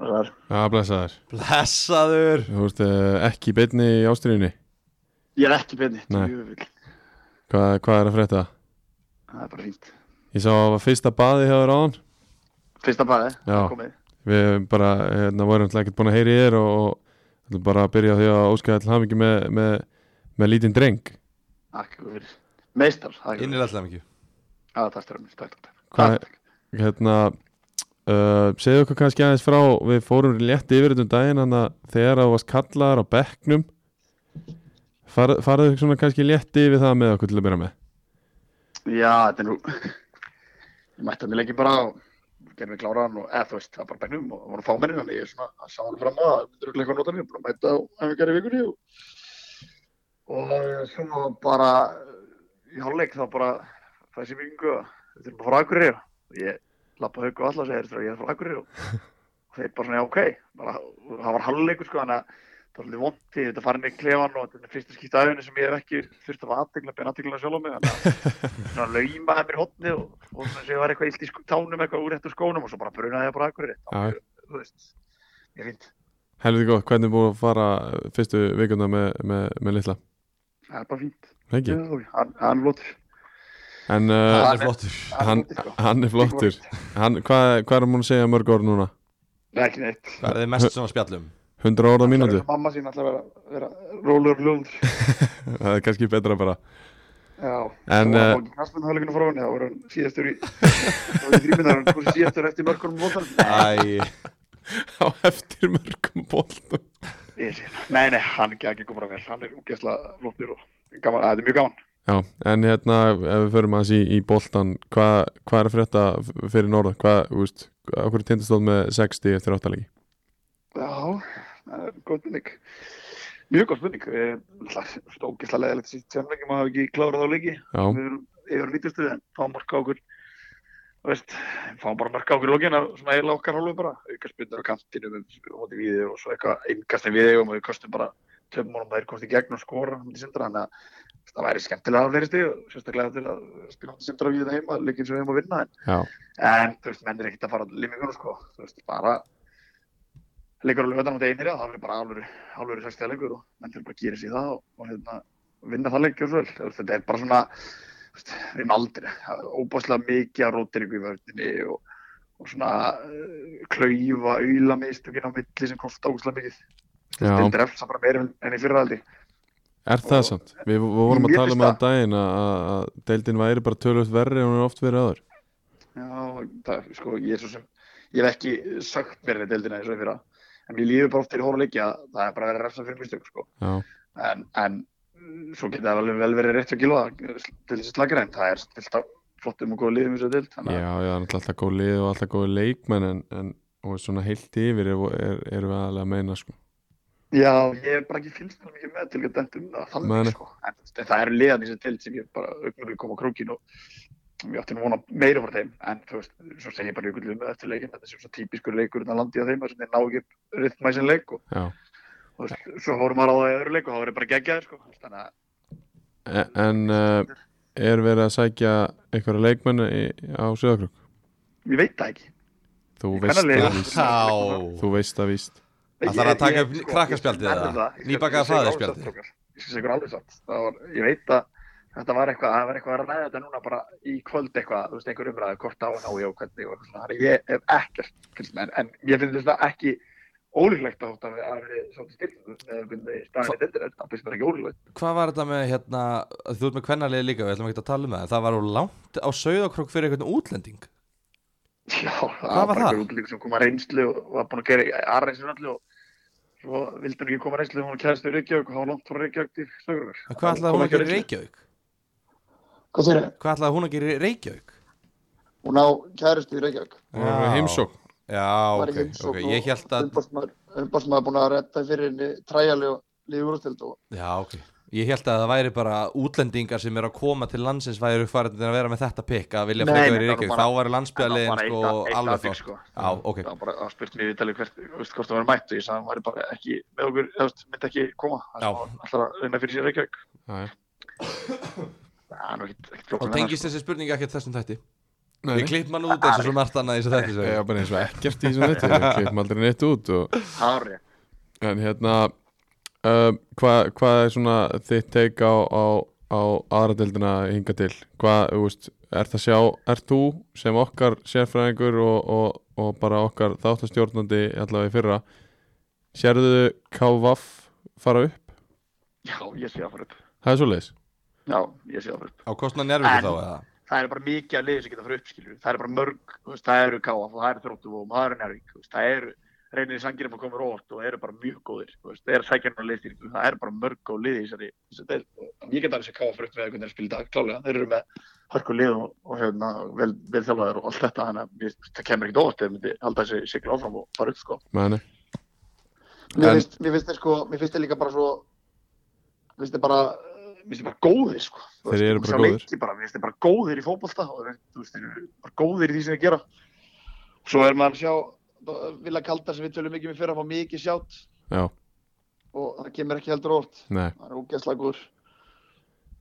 C: Þar.
A: Já, blessaður.
B: Blessaður
A: Þú veist ekki í beinni í ástriðinni.
C: Ég er ekki benni,
A: Nei.
C: djúvill.
A: Hvað, hvað er að frétta?
C: Það er bara fínt.
A: Ég sá að það var fyrsta baði hjá þér áðan.
C: Fyrsta baði,
A: Já.
C: komið.
A: Við höfum bara, hérna, vorum alltaf ekkert búin að heyri þér og, og ætlum bara að byrja á því að óska alltaf hamingi með, með, með lítinn dreng.
C: Akkur. Meistar, það er
B: Innilega alltaf mikið
C: Já, það styrir mér, takk, takk, takk.
A: Hvað-
C: Takk, takk.
A: Hérna, uh, segðu okkur kannski aðeins frá, við fórum létt yfir þetta um daginn, þannig að þegar þú varst kallaðar á bekknum, far, farðu svona kannski létt yfir það með okkur til að byrja með.
C: Já, þetta er nú... Ég mætti að mér leikið bara og gerði mig kláran og eða þú veist, það var bara bennum og það voru fámennir þannig ég svona að sá hann fram að það myndur eitthvað að nota mér, bara mæta og hefum gerði vikunni og, og eh, svo bara eh, í hálfleik þá bara fæði sér vikingu og við þurfum bara frá Akureyri og ég lappa haug og allar og segir þér ég er frá Akureyri og, og þeir bara svona já ok, bara, og það var hálfleikur sko þannig að það var svolítið vont því þetta farin í klefan og þetta er fyrsta skipt aðeins sem ég hef ekki þurft að fá aðtegla, beina aðtegla sjálf á mig þannig að svona laumaði mér hotni og, og svona sem var eitthvað illt í sko- tánum eitthvað úr réttu skónum og svo bara brunaði ég bara akkurir
A: Já.
C: þú veist, ég finn
A: Helviti gott, hvernig er búin að fara fyrstu vikuna með, með, með litla?
C: það er bara fínt,
A: Hengi,
C: Já, hann, hann lótur
A: en uh,
B: Hann er flottur
A: hann,
C: sko.
A: hann er flottur. Hann, hvað, hvað er hann búin að segja mörg orð núna?
C: Nei, ekki neitt
B: Hvað er þið mest svona spjallum?
A: 100 orð á mínútu?
C: Ætlar að mamma sín alltaf vera, vera rólur ljóður
A: Það er kannski betra bara.
C: já,
A: En,
C: það
A: eh,
C: var ekki knastmennháluginu frá henni þá var hann síðastur í þá var þrýminnar, hann fór síðastur eftir mörgunum mótan
A: Ah.
B: Æ,
A: [laughs] Á eftir mörgum bóltum.
C: nei, nei, hann ekki ekki komur að vel hann er úgesla lótur og gaman, það er mjög gaman
A: Já, en hérna, ef við förum aðeins í, í bóltan, hvað hva er að frétta f- fyrir norða? Hvað, þú veist, okkur tindastóð með 60 eftir áttalegi?
C: Já, það er góð spurning. Mjög góð spurning. Eh, náttúrulega Stókislega leðilegt sítt semlengi, maður hafi ekki klárað á leiki.
A: Já,
C: Við erum yfir lítustu en fáum marka á okkur. Þú veist, fáum bara marka á okkur í lokin af svona eiginlega okkar hálfu bara. Auka spurningar á kantinum um móti við og svo eitthvað innkast sem við eigum og við kostum bara töfum honum að þeir komst í gegn og skora hann til sindra. Þannig að það væri skemmtilega að fleiri stig og sérstaklega til að spila hann til sindra við þetta heima, leikin sem við heim að vinna. En
A: já,
C: en þú veist, menn er ekkert að fara limmingunum sko, þú veist, bara leikur alveg öðan á deginir að það er bara alveg, alveg sextið leikur og menn þurfa bara að gera sér það og, og hérna, vinna það leikjum svo vel, Þú veist, þetta er bara svona þú veist, við erum aldrei, það er óbáslega mikið að rótir ykkur í vördinni og, og svona uh, klaufa, auðla mistökin á milli sem kostar óbáslega mikið
A: já.
C: þetta er eftir bara meira en í fyrraðaldi
A: Er það
C: Og-
A: samt? Við, við vorum að
C: Mér
A: tala
C: finnst
A: um það
C: það-
A: daginn að, að- að deildin væri bara tölvöld verri en hún er oft verið aður.
C: Já, það, sko, ég er svo sem, ég hef ekki sagt mér þetta deildina eins og í fyrra, en mér líður bara oft til hóra leikja að það er bara að vera að refsa fyrir mistök, sko,
A: Já,
C: en, en uh, svo geta það alveg vel verið rétt að gilva til þessi slagir, en það er stilt af flottum og góða liðum í þessu deild,
A: já,
C: þannig að,
A: já, það er náttúrulega alltaf góð lið og alltaf góð leikmenn en, en og svona heilt yfir er, er, er við aðalega að meina sko.
C: já, ég hef bara ekki fylgst það mikið með til að dæmt um það, þannig,
A: Nei, nei.
C: sko, en, en það eru liðan í þessu deild sem ég bara augnablik kom á krókin og ég átti nú vona meira frá þeim, en þú veist, svo segir ég bara ykkur liðum með eftir leikin, þetta er svona típiskur leikur utan landi á þeim, þar sem þeir ná ekki rytma í sinn leik og
A: Já.
C: og þú veist, svo fórum maður á það í öðru leik og þá var ég bara geggjaður sko. þannig að
A: En, en uh, er verið að sækja einhverja leikmenn í, á Suðakrúk?
C: ég veit það ekki
A: Þú
C: Í
A: veist
C: kvennaliðið.
A: það víst.
B: þá
A: Þú veist það víst.
C: Ég-
B: þarf að taka
C: ég-
B: upp
C: sko,
B: krakkaspjaldið
C: ég- ég-
B: eða?
C: það. Ég skal-
B: Nýbakaða
C: ég skal segja
B: faðirspjaldið?
C: alveg satt, strákar. ég skal segja ykkur alveg satt Það var, ég veit að þetta var eitthvað það var eitthvað að ræða þetta núna bara í kvöld eitthvað þú veist einhver umræðu hvort á hann á ég og hvernig og svona, þannig að ég hef ekkert fylgst með en, en ég finn þetta ekki ólíklegt að þetta hafi verið svolítið stilt með einhvern staðan í þetta það finnst mér ekki ólíklegt
B: Hvað var þetta með hérna Þú ert með kvennarlega líka, við ætlum ekki að tala um það en Það var úr langt á sauðakrok fyrir einhvern útlending
C: Já,
B: Hvað
C: það
B: var
C: var bara
B: það?
C: einhver útlík sem kom að reynslu og var búinn að gera aðreynslu öllu og svo vildi hann ekki koma að reynslu hún kæðist í Reykjavík og hann var langt frá Reykjavík til Sögurverð.
B: En Hvað ætlaði hún að gera í Reykjavík?
C: Hvað segir það?
B: Hvað ætlaði hún að gera í Reykjavík?
C: Hún á kæðist í Reykjavík.
A: Það var bara heimsókn.
B: Já,
C: Var í
B: ok,
C: heimsókn
B: ok, ég held
C: og
B: að
C: Umbásmaður, umbásmaður búinn að retta fyrir henni træjali og liður úrstöld og
B: Já, ok Ég held að það væri bara útlendingar sem er að koma til landsins væri farin að vera með þetta pikk að vilja
C: Nei,
B: frekar
C: nei,
B: vera í
C: það
B: Reykjavík,
C: var bara-
B: þá væri landsbyrðarlegin
C: bara
B: sko,
C: eitt- eitt
B: alveg
C: atvik,
B: þá
C: sko.
B: Já, ok,
C: það var bara, það spurt mér í tali hvert, þú veist, hvort það var mætt og ég sagði að hann væri bara ekki með okkur, þú veist, myndi ekki koma
B: Já.
C: þannig að hann ætlar að vinna fyrir sér Reykjavík
A: Já, já.
C: það sko. er nú ekkit, ekkit
B: þá
C: flóknara,
B: tengist þessi spurning ekkert þessum þætti
A: Nei,
B: Við klippum hann út þessu svo margt annað í þessu þætti
A: Ég
B: sagði ég.
A: er bara eins og ekkert í þessum þetta Ég klippum aldrei neitt út og,
C: sko. það er rétt.
A: En hérna uh, Hvað hva er svona þitt teik á, á, á aðradeldina hinga til? Hvað, þú veist, ert að sjá Ert þú sem okkar sérfræðingur og, og, og bara okkar þáttastjórnandi allavega í fyrra Sérðu KVF fara upp?
C: já, ég sé það fyrir upp
A: Það er svoleiðis
C: já, ég sé það fyrir upp
B: Á kostna njárvíku
C: En-
B: þá eða
C: það er bara mikið að liði sem geta fyrir upp, skilur það er bara mörg, þú veist, það eru káaf það eru þróttuvóum, það eru nærvík, þú veist, það eru reynir sangirum að koma rótt og eru bara mjög góðir þú veist, það eru sækjarnar liðstýringu, það eru bara mörg góð liði í þessari, þessari deild. Og ég get alveg sér káaf fyrir upp með hvernig þeir spila í dag, klálega þeir eru með hörku lið og, og hérna, vel, vel þjálfaðar og allt þetta þannig að mér- það kemur ekkert óvart ef þeir myndi halda þessi sigla áfram og fara upp sko.
A: Meni.
C: Mér
A: En-
C: finnst, mér finnst þeir sko, mér finnst þeir líka bara svo, mér finnst þeir bara, mér finnst þeir bara góðir sko. Þú
A: Þeir
C: veist,
A: eru
C: þú
A: bara
C: sjá
A: góðir.
C: leiki Bara, mér finnst þeir bara góðir í fótbolta og þeir, þú veist, þeir eru bara góðir í því sem þeir gera. Svo er maður að sjá, vilja kalda sem við tölum mikið með fyrir að fá mikið sjátt
A: Já,
C: og það kemur ekki heldur óvart.
A: nei
C: Það er ógeðslega góður.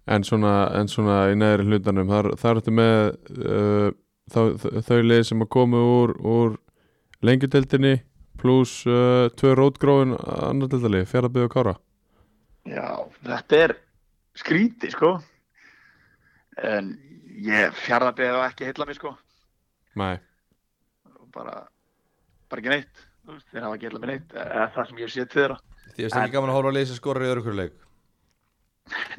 A: En svona, en svona í neðri hlutanum þar, þar ertu með uh, þá, þ- þau lið sem að koma úr, úr lengjudeldinni pluss uh, tvö rótgróin annar deldali, fjaraðbyð og kára
C: Já, þetta er skríti sko. En ég fjarrðabæði ekki heilla mig sko.
A: Nei,
C: Bara, bara ekki neitt. Þú veist, Þeir hafa ekki heilla mig neitt. eða Það sem ég sé til þeirra.
B: Því ég ekki gaman að horfa að leysa skorur í öðru hverju leik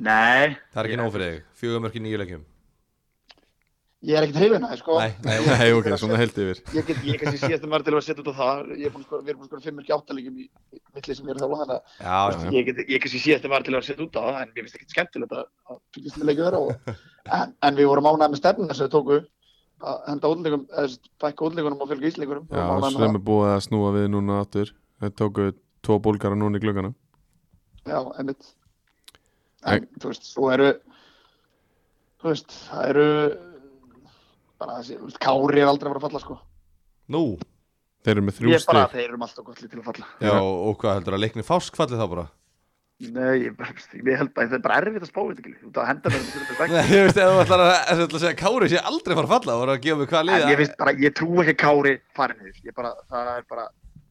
C: Nei,
B: Það er ekki nóg fyrir þig, fjögumörk í nýju leikjum
C: ég er ekkert hrifin að það sko
B: Nei,
C: [laughs]
B: nei,
A: Nei ok, svona held yfir
C: Ég get, ég kannski síðast að maður til að setja út á það Ég er búin að skora, við erum búin sko að skora fimm ekki áttalegum í milli sem ég er að þála þannig
B: já, já,
C: að ég, get, ég kannski síðast að maður til að setja út á það en mér finnst ekkert skemmtilegt að að fylgjast með leikið þeirra og, en, en við vorum ánægð með stefnuna sem þau tóku að henda útleikum, eða fækka útleikunum og fjölga ísleikunum
A: Já, sem er búið að snúa við núna aftur Þeir tóku tvo bólgara núna í glöggana
C: Já, einmitt En, þú veist, svo eru þú veist, það eru bara þessi, þú veist, Kári er aldrei að fara að falla sko
B: nú
A: Þeir eru með
C: Ég
A: þrjú
C: er bara
A: stig
C: að þeir eru alltaf gott lið til að falla
B: Já, og hvað heldur að leikni fásk fallið þá bara? [laughs]
C: Nei, ég, bara- ég held bara, það er bara erfitt að spá þetta ekki, þú veist að henda mér um þetta fyrir
B: Nei, ég veist, ef þú ætlar að, ef þú ætlar að segja Kári sé aldrei fara að falla, þú voru að gefa mig hvað
C: En
B: liða
C: ég finnst bara, ég trú ekki að Kári farin yfir, ég bara, það er bara,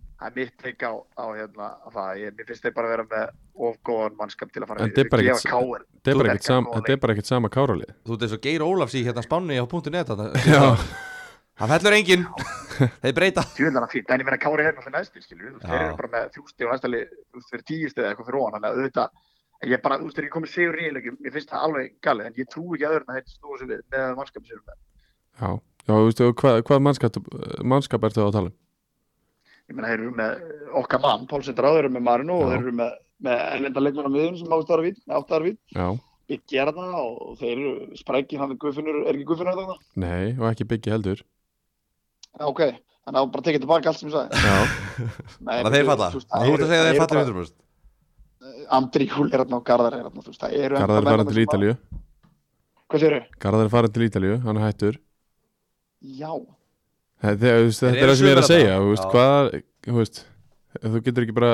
C: það er mitt teik á, á hérna, á það, ég, mér finnst þeir bara vera með ofgóðan mannskap til að fara
A: En þetta er bara
C: gefa
A: ekkert-
C: Kári.
A: Þetta er bara ekkert
C: Þú verkar
A: sam-
C: góða
A: þetta er bara ekkert sama káralið
B: Þú ert eins og Geir Ólafs í hérna spánni á .net þarna.
A: Já.
B: Það fellur enginn Þeir breyta
C: Tjúðan að fýta, en ég meina Kári er náttúrulega næstir, skilju,
B: Já.
C: þeir eru bara með þjústi og næstali, þú veist, fyrir tíusti eða eitthvað fyrir ofan, þannig að auðvitað, en ég bara, þú veist, þeir eru komið sigur í eiginleikum, mér finnst það alveg galið, en ég trú ekki að öðrum að þeir snúa sér við með mannskapin sér með.
A: Já, já, þú veistu, og hvað, hvað mannskap, mannskap ertu að tala um?
C: ég meina þeir eru með okkar mann, Pálsson Drá, þeir eru með Marino og
A: Já.
C: þeir eru með, með erlenda leikmenn á miðun sem áttar við, áttar við,
A: Já,
C: byggja er það og þeir eru sprækið hann við Guðfinnur, er ekki Guðfinnur þarna?
A: nei, og ekki byggja heldur
C: Já, ok, þannig að bara tekið tilbaka allt sem ég sagði.
A: Já,
C: [laughs] Nei,
B: Þannig að þeir falla
C: þú veist,
B: Þú ert að segja að þeir
C: eru
B: falla
C: bara-
B: 100%
C: Andri Júl er þarna og Garðar er þarna, þú veist, það eru ennþá
A: Garðar er
C: menn
A: farin
C: þarna
A: til
C: sem bara-
A: Ítalju
C: Hvað séru?
A: Garðar er farin til Ítalju, hann er hættur
C: Já,
A: Þetta, þú veist,
B: Þeir
A: þetta er
B: eru
A: það sem ég er að
B: sumir
A: segja
B: þarna.
A: þú veist,
B: Já.
A: hvað, þú veist, þú getur ekki bara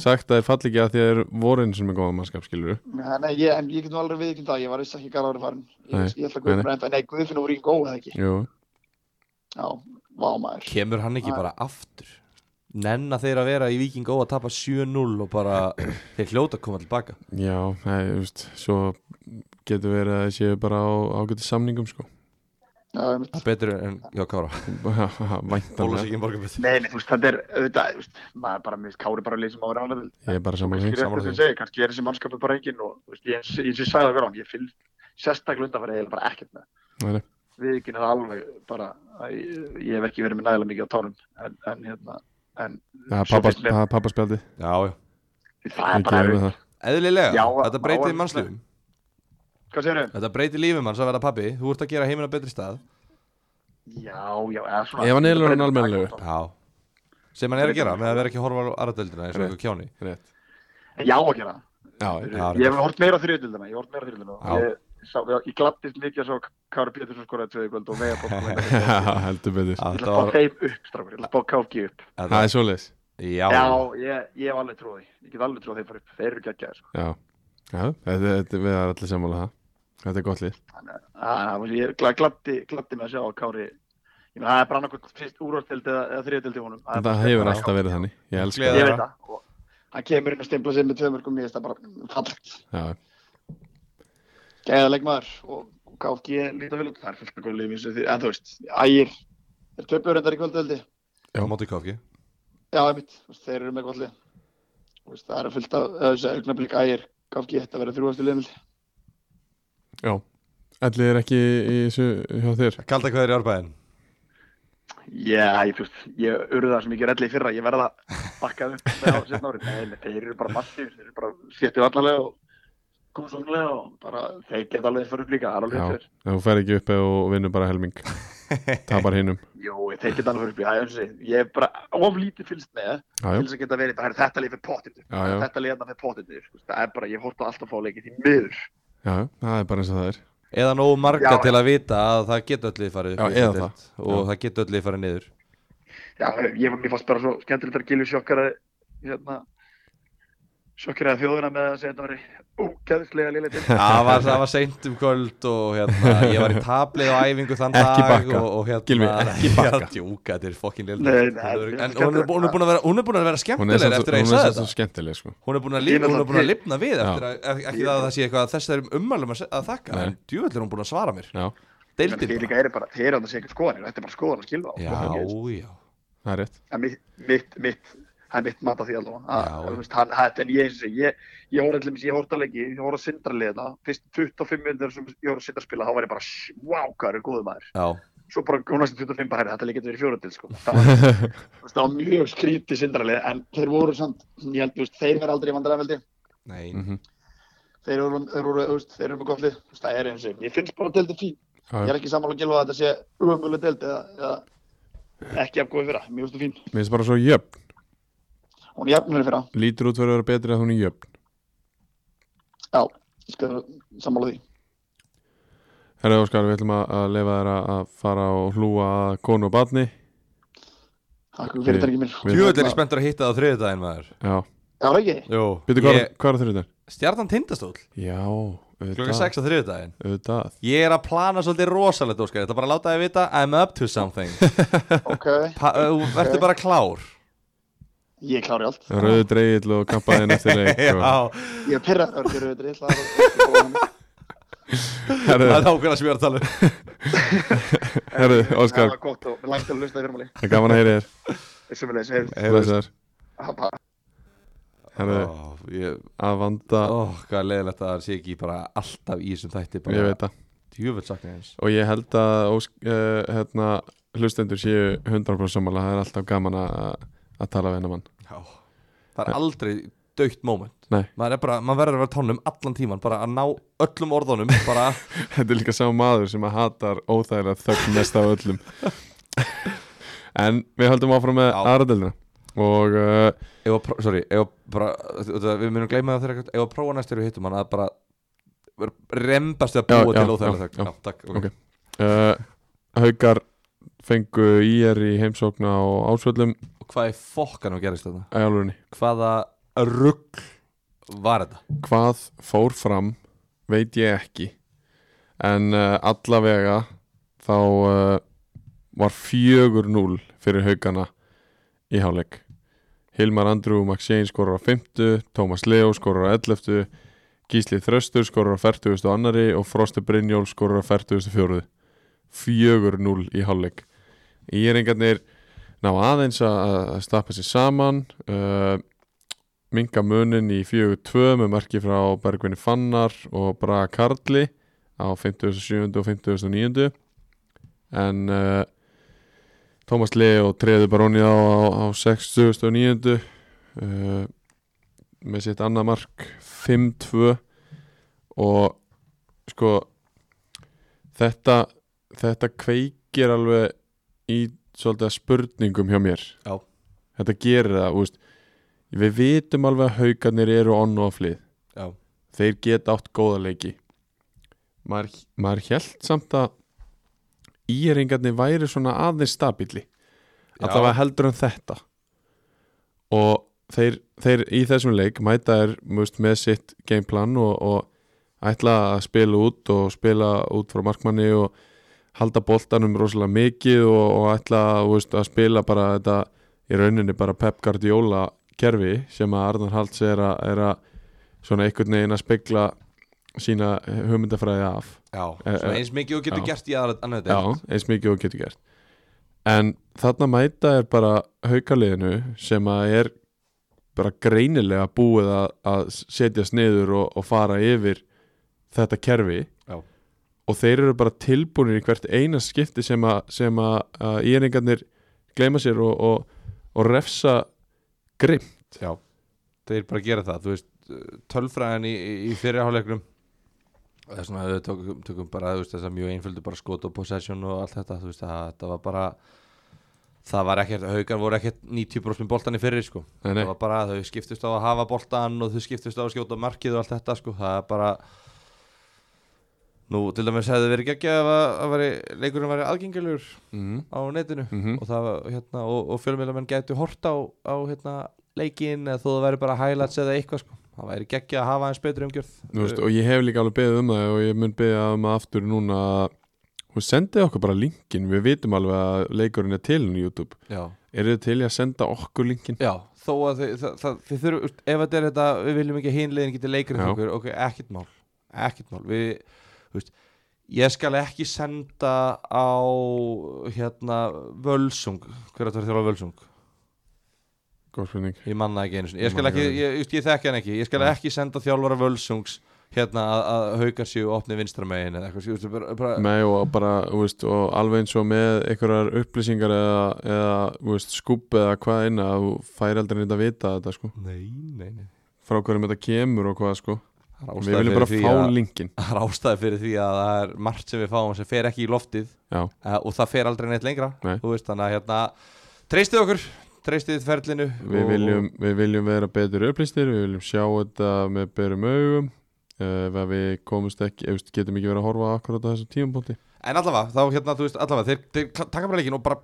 A: sagt að þeir falli ekki að því að þeir voru eins og með góða mannskap skilur
C: nei, ég, en ég get nú alveg viðkynnt það, ég var viss ekki að Garðar er farin.
A: Nei,
C: Ég, ég ætla að
A: nei, nei.
C: Guðfinnur, nei, Guðfinnur voru ekki góð eða ekki.
A: Jú,
C: Já, vá maður.
B: Kemur hann ekki bara aftur Nenna þeir að vera í Víking Ó að tapa 7-0 og bara Þeir hljóta að koma tilbaka
A: já, nei, þú veist, svo getur verið að þeir séu bara á ágæti samningum sko
C: Já, ég mynd.
B: Betur en, já Kára
A: Væntanlega,
B: Ólasíkin borgarbyrð
C: Nei, nei, þú veist, þetta er, auðvitað, þú veist, maður bara, mér finnst Kári bara um leysum ára ánæðil.
A: ég er bara saman
C: Kannski
A: því
C: er þetta sem segi, kannski er þessi mannskapu bara enginn og þú veist, ég, ég, ég, ég sagði það verðan, ég fylg sérstaklega undanfæri eiginlega bara ekkert með.
A: Nei, nei.
C: Við ekki það alveg bara, að ég, ég hef ekki verið með nægilega mikið á tánum, en, en hérna, en
A: Það
C: svo finnst mér-
A: er pappaspjaldi,
B: Já, já
A: ég
C: það er bara,
A: gefur með það
B: Eðlilega,
C: Já,
B: þetta
C: á-
B: breytir
C: á-
B: mannslífum
C: hvað segir þau?
B: Þetta breytir lífum hans að vera pabbi Þú ert að gera heiminn á betri stað
C: Já, já, eða svona.
A: Ef hann er alveg almennilegur.
B: Já Sem hann er að gera með að vera ekki að horfa á aðradeldina eins og
A: Rétt.
B: eitthvað kjáni
A: Rétt.
C: Já, ekki það.
B: já,
A: [laughs]
B: já,
C: Ég hef hort meira þriðdildina, ég hef hort meira þriðdildina
B: Já.
C: ég, sá- ég, ég gladdist mikið að sjá Kári Pétursson skoraði tvöði kvöld og vega
A: [laughs]
C: bótt Ég
A: heldur betur
C: ætla
B: þetta
C: að fá
B: var
C: þeim upp, strafur, ég ætla að fá KFG upp
A: það er svoleiðis
B: já,
C: Já,
B: já,
C: ég, ég hef alveg trúið, ég get alveg trúið að þeir fara upp, þeir eru geggjaðir sko.
A: já, já þetta, þetta, við erum allir sammála um það þetta er gott lið
C: Þannig að- að að- ég gla- gladdi, gladdi mig að sjá Kári Ég meina, það er bara annarkvæmt fyrst úrvartild eða, eða þriðdildi honum
A: En það hefur alltaf verið þannig ég elska
C: Ég
A: það
C: veit það og Hann kemur inn og stimpla sér með tvö mörgum, ég veist það bara fallegt
A: já,
C: Gæða leikmaður og, og KFG líta vel út Það er fullt af góðlið mín sem því, en þú veist, ægir Þeir töpuður endar í kvöldveldi
A: Já.
B: móti KFG
C: Já, einmitt, Þú veist, þeir eru með gott lið Þú veist, Það eru fullt af eða þessi augnablík ægir KFG, þetta verður þrjúastu liðmild
A: já. allir er ekki í þessu hjá þér
B: kalda hverjir í árbæðin
C: Já, ég, þú veist, ég urða það sem ég gerði í fyrra Ég verða að bakka upp með á setna ári Nei, nei, þeir eru bara massíf, þeir eru bara séttið varnalega og komsumlega og bara þeir geta alveg fyrir upp líka, það er alveg
A: Já.
C: fyrir
A: En þú fer ekki upp og vinnur bara helming
B: [laughs]
A: tapar hinnum
C: Jó, ég tekið alveg fyrir upp í æfnsi. Ég er bara oflítið fylgst með
A: já, já.
C: til þess að geta verið bara, "Herru, þetta lið fyrir pottinu.
A: Já, já.
C: Þetta lið fyrir pottinu. sko. Það er bara, ég horta alltaf að fá leikið því miður.
A: Já, já, það er bara eins og það er
B: eða nógu marga
C: Já.
B: til að vita að það geta öll lið farið upp
A: Já,
B: í
A: eða
B: þessa
A: það.
B: deild og það geta öll lið farið niður
C: Já, ég var mér fannst bara svo skemmtilegt að Gilvi sjokkaraði, hérna, sjokkaraði þjóðuna með að segja þetta veri ógæðislega liðlega til.
B: það var, það var seint um kvöld og hérna, ég var í tablið og æfingu þann
A: Ekki
B: dag
A: bakka.
B: og, og hérna,
A: Gylfi, ekki bakka.
B: ég er að djúka, þetta er fokkin lill
C: Nei,
B: en
C: nei, þetta er
B: hún er, hún, er búin að vera, hún er búin að vera
A: Hún er
B: skemmtileg
A: samt-
B: eftir að ég
A: hún er
B: sagði
A: samt svo
B: þetta
A: skemmtileg sko.
B: hún er búin að, lif,
C: Ég er
B: hún er búin að
C: náttúrulega-
B: lifna við eftir að, ekki- ekki það að það sé eitthvað að þess er um ummælum að, se- að þakka
A: Nei.
B: en djúvöld er hún búin að svara mér
A: Já,
B: deildin
C: Þeir
B: bara.
C: líka eru bara, þeir eru að það sé eitthvað skoðanir, þetta er bara skoðan að skilfa á.
B: já, já
A: það er rétt
C: En mitt, mitt, mitt, það er mitt mat að því allavega.
B: Já.
C: Að- þú veist, hann- Þetta er ég eins og ég, ég horfði allir, ég horfði alveg ekki, ég horfði að sindralið þetta, fyrst 25 minnir sem ég horfði að sindra spila, þá var ég bara, wow, hvað eru góðu maður.
B: Já,
C: Svo bara góðnast 25 bara, herri, þetta líka verið fjóratil,
B: [laughs]
C: sko. Það var, þú veist, það var mjög skrítið sindralið, en þeir voru samt, ég held, þú veist, þeir verða aldrei í vandræðaveldi,
B: nei,
A: mm
C: þeir eru, þeir eru, þú veist, þeir eru með gott lið, Þú veist, það er eins og, ég finnst bara deildi fín,
A: já,
C: ég
A: já.
C: er ekki sammála að gilfa að þetta sé umöguleg deild eða, eða ekki af góði fyrra, mjög stu fín,
A: Mér finnst bara svo jöfn
C: hún er jafnir fyrra,
A: Lítur út fyrir að vera betri að hún er jöfn
C: já, ég skal sammála því.
A: Herra Óskar, við ætlum að, að leifa þér að- að fara og hlúa að konu og batni
C: Takk fyrir þetta ekki mér.
A: Við-
B: djúvöld er ég spenntur að hitta það á þriðudaginn maður
A: Já,
C: Já, það ekki.
B: Jú,
A: byrju hvað,
B: ég,
A: ég... hvað er þurrið þér?
B: stjarnan tindastól
A: Já,
B: klokka
A: auðvitað,
B: 6 á þriðudaginn
A: auðvitað
B: Ég er að plana svolítið rosalegt, Óskar. Þetta bara að láta þið vita, I'm up to something.
C: Ok,
B: Pa, uh, vertu bara klár.
C: ég klári allt.
A: Rauðu dreigill og kampaðin eftir
B: [laughs]
A: leik sko. og...
B: Já,
C: Ég er pyrraður að gera þetta illa. það var-
A: Herru,
B: það er ákveðna sem ég var að tala um.
A: herru,
C: Það
A: Óskar,
C: var gott og langt til að hlusta í fyrrmáli.
A: það er gaman að heyri þér
C: Sumulegis, heyrðu.
A: Blessaður.
C: Hapa.
A: Herru,
B: Ó, ég-
A: að vanda
B: Ó, hvað leðilegt að það sé ekki bara alltaf í þessum þætti.
A: Ég
B: Bara
A: veit það
B: djúvöld sakna eins.
A: Og ég held að ósk, uh, hérna, hlustendur séu 100% sammála Það er alltaf gaman að, að tala við hennar mann [laughs]
B: Já. Það er aldrei dögt moment.
A: Nei.
B: Maður, er bara, maður verður að vera á tánum allan tíman, bara að ná öllum orðunum, bara...
A: Þetta er líka sá maður sem að hatar óþægilega þögn mest af öllum
B: [laughs]
A: En við höldum áfram með
B: Já.
A: aðradeldina Og uh,
B: [laughs] Ef að, pró- sorry, ef að bara, þetta- við munum gleyma það þegar, ef að prófa næst þegar við hittum hann að bara rembast við að
A: Já,
B: búa
A: já,
B: til óþægilega
A: já,
B: þögn.
A: já.
B: Já, takk,
A: Ok. uh, Haukar fengu ír í heimsókna og ásvöllum
B: og hvað er fokkanum gerist þetta?
A: Ægjálurinni
B: Hvaða rugg var þetta?
A: Hvað fór fram veit ég ekki En uh, allavega þá uh, var 4-0 fyrir haukana í hálfleik Hilmar Andrú Maxein skorur á 50 Tómas Leo skorur á 11 Gísli Þröstur skorur á 40 og annari og Frosti Brynjól skorur á 44 4-0 í hálfleik Íringarnir ná aðeins að að stappa sér saman uh, minga munin í 4-2 með merki frá Bergvinni Fannar og Braga Karli á 57. og 59. En uh, Tómas Lee og Treður Baróni á, á, á 69. Uh, með sitt annað mark 5-2 og sko þetta, þetta kveikir alveg í svolítið að spurningum hjá mér
B: Já.
A: þetta gerir það, þú veist við vitum alveg að haugarnir eru onn og flið
B: Já,
A: þeir geta átt góða leiki maður, maður held samt að íringarnir væri svona aðeins stabíli allavega heldur en þetta og þeir, þeir í þessum leik mæta er must, með sitt gameplan og, og ætla að spila út og spila út frá markmanni og halda boltanum rosalega mikið og, og ætla þú veist, að spila bara þetta í rauninni bara Pep Guardiola kerfi sem að Arnar Halds er að, er að svona einhvern veginn að spegla sína hugmyndafræði af
B: Já,
A: Eh,
B: svona
A: eh,
B: eins mikið og getur
A: já.
B: gert í aðra annað
A: Já, eins mikið og getur gert En þarna mæta er bara haukaliðinu sem að er bara greinilega búið að, að setjast niður og, og fara yfir þetta kerfi
B: Já.
A: og þeir eru bara tilbúinir í hvert eina skipti sem að, sem að, að íringarnir gleyma sér og, og, og refsa grimm
B: Já, þeir bara gera það Þú veist, eh, tölfræðin í, í- í fyrirháleiknum Það er svona að við tökum, tökum bara þú veist, þess að mjög einföldu bara skot og possession og allt þetta þú veist, það, það var bara það var ekkert, haugar voru ekkert 90% með boltan í fyrir sko.
A: Nei, nei.
B: það var bara að þau skiptust á að hafa boltan og þau skiptust á að skjóta á markið og allt þetta sko. það er bara nú til dæmis hefði verið geggja að, að veri, leikurinn væri aðgengilegur
A: mm.
B: á netinu
A: Mhm.
B: og, það, var, hérna, og, og fjölmiðlamenn gætu hort á, á hérna, leikin eða þó það væri bara highlights eða eitthvað sko. það væri geggja að hafa eins betri umgjörð
A: veist, Og ég hef líka alveg beðið um það og ég mun beðið um það aftur núna Hún sendið okkur bara linkin, við vitum alveg að leikurinn er til á YouTube
B: já.
A: Eru þið til í að senda okkur linkin?
B: Eh, já, þó að þið, það, það, þið þurfum úst, ef þetta er þetta, við viljum ekki hinlegin getið leikrið
A: Já.
B: okkur, ok, ekkert mál ekkert mál, við þú veist, ég skal ekki senda á hérna Völsung, hver að það er þjóla Völsung
A: Góð spurning
B: ég manna ekki einu sinni ég,
A: Ég
B: skal
A: man
B: ekki,
A: ekki
B: ég, ég, ég þekki hann ekki ég skal
A: Nei.
B: ekki senda þjálfara völsungs hérna að, að haukar séu opni vinstramegin eða eitthvað, skilurðu, bara, bara,
A: Nei og bara, þú veist, og alveg eins og með einhverjar upplýsingar eða, eða þú veist, skúb eða hvað eina þú fær aldrei neitt að vita þetta sko
B: nei, nei, nei
A: frá hverjum þetta kemur og hvað sko
B: það er
A: Við
B: ástæði
A: viljum
B: fyrir,
A: bara
B: því
A: fá
B: að-
A: linkin
B: það er ástæða fyrir því að það er margt sem við fáum sem fer ekki í loftið
A: Já,
B: uh, og það fer aldrei neitt lengra
A: Nei.
B: þú veist, þannig að hérna treystið okkur, treystið ferlinu
A: við
B: og-
A: viljum, við viljum vera betur upplýstir, við viljum sjá þetta með berum augum eh, ef að við komumst ekki, ef við getum ekki verið að horfa akkurat á þessum tímapunkti
B: en allavega, þá hérna, þú veist, allavega þeir, þeir taka bara leikin og bara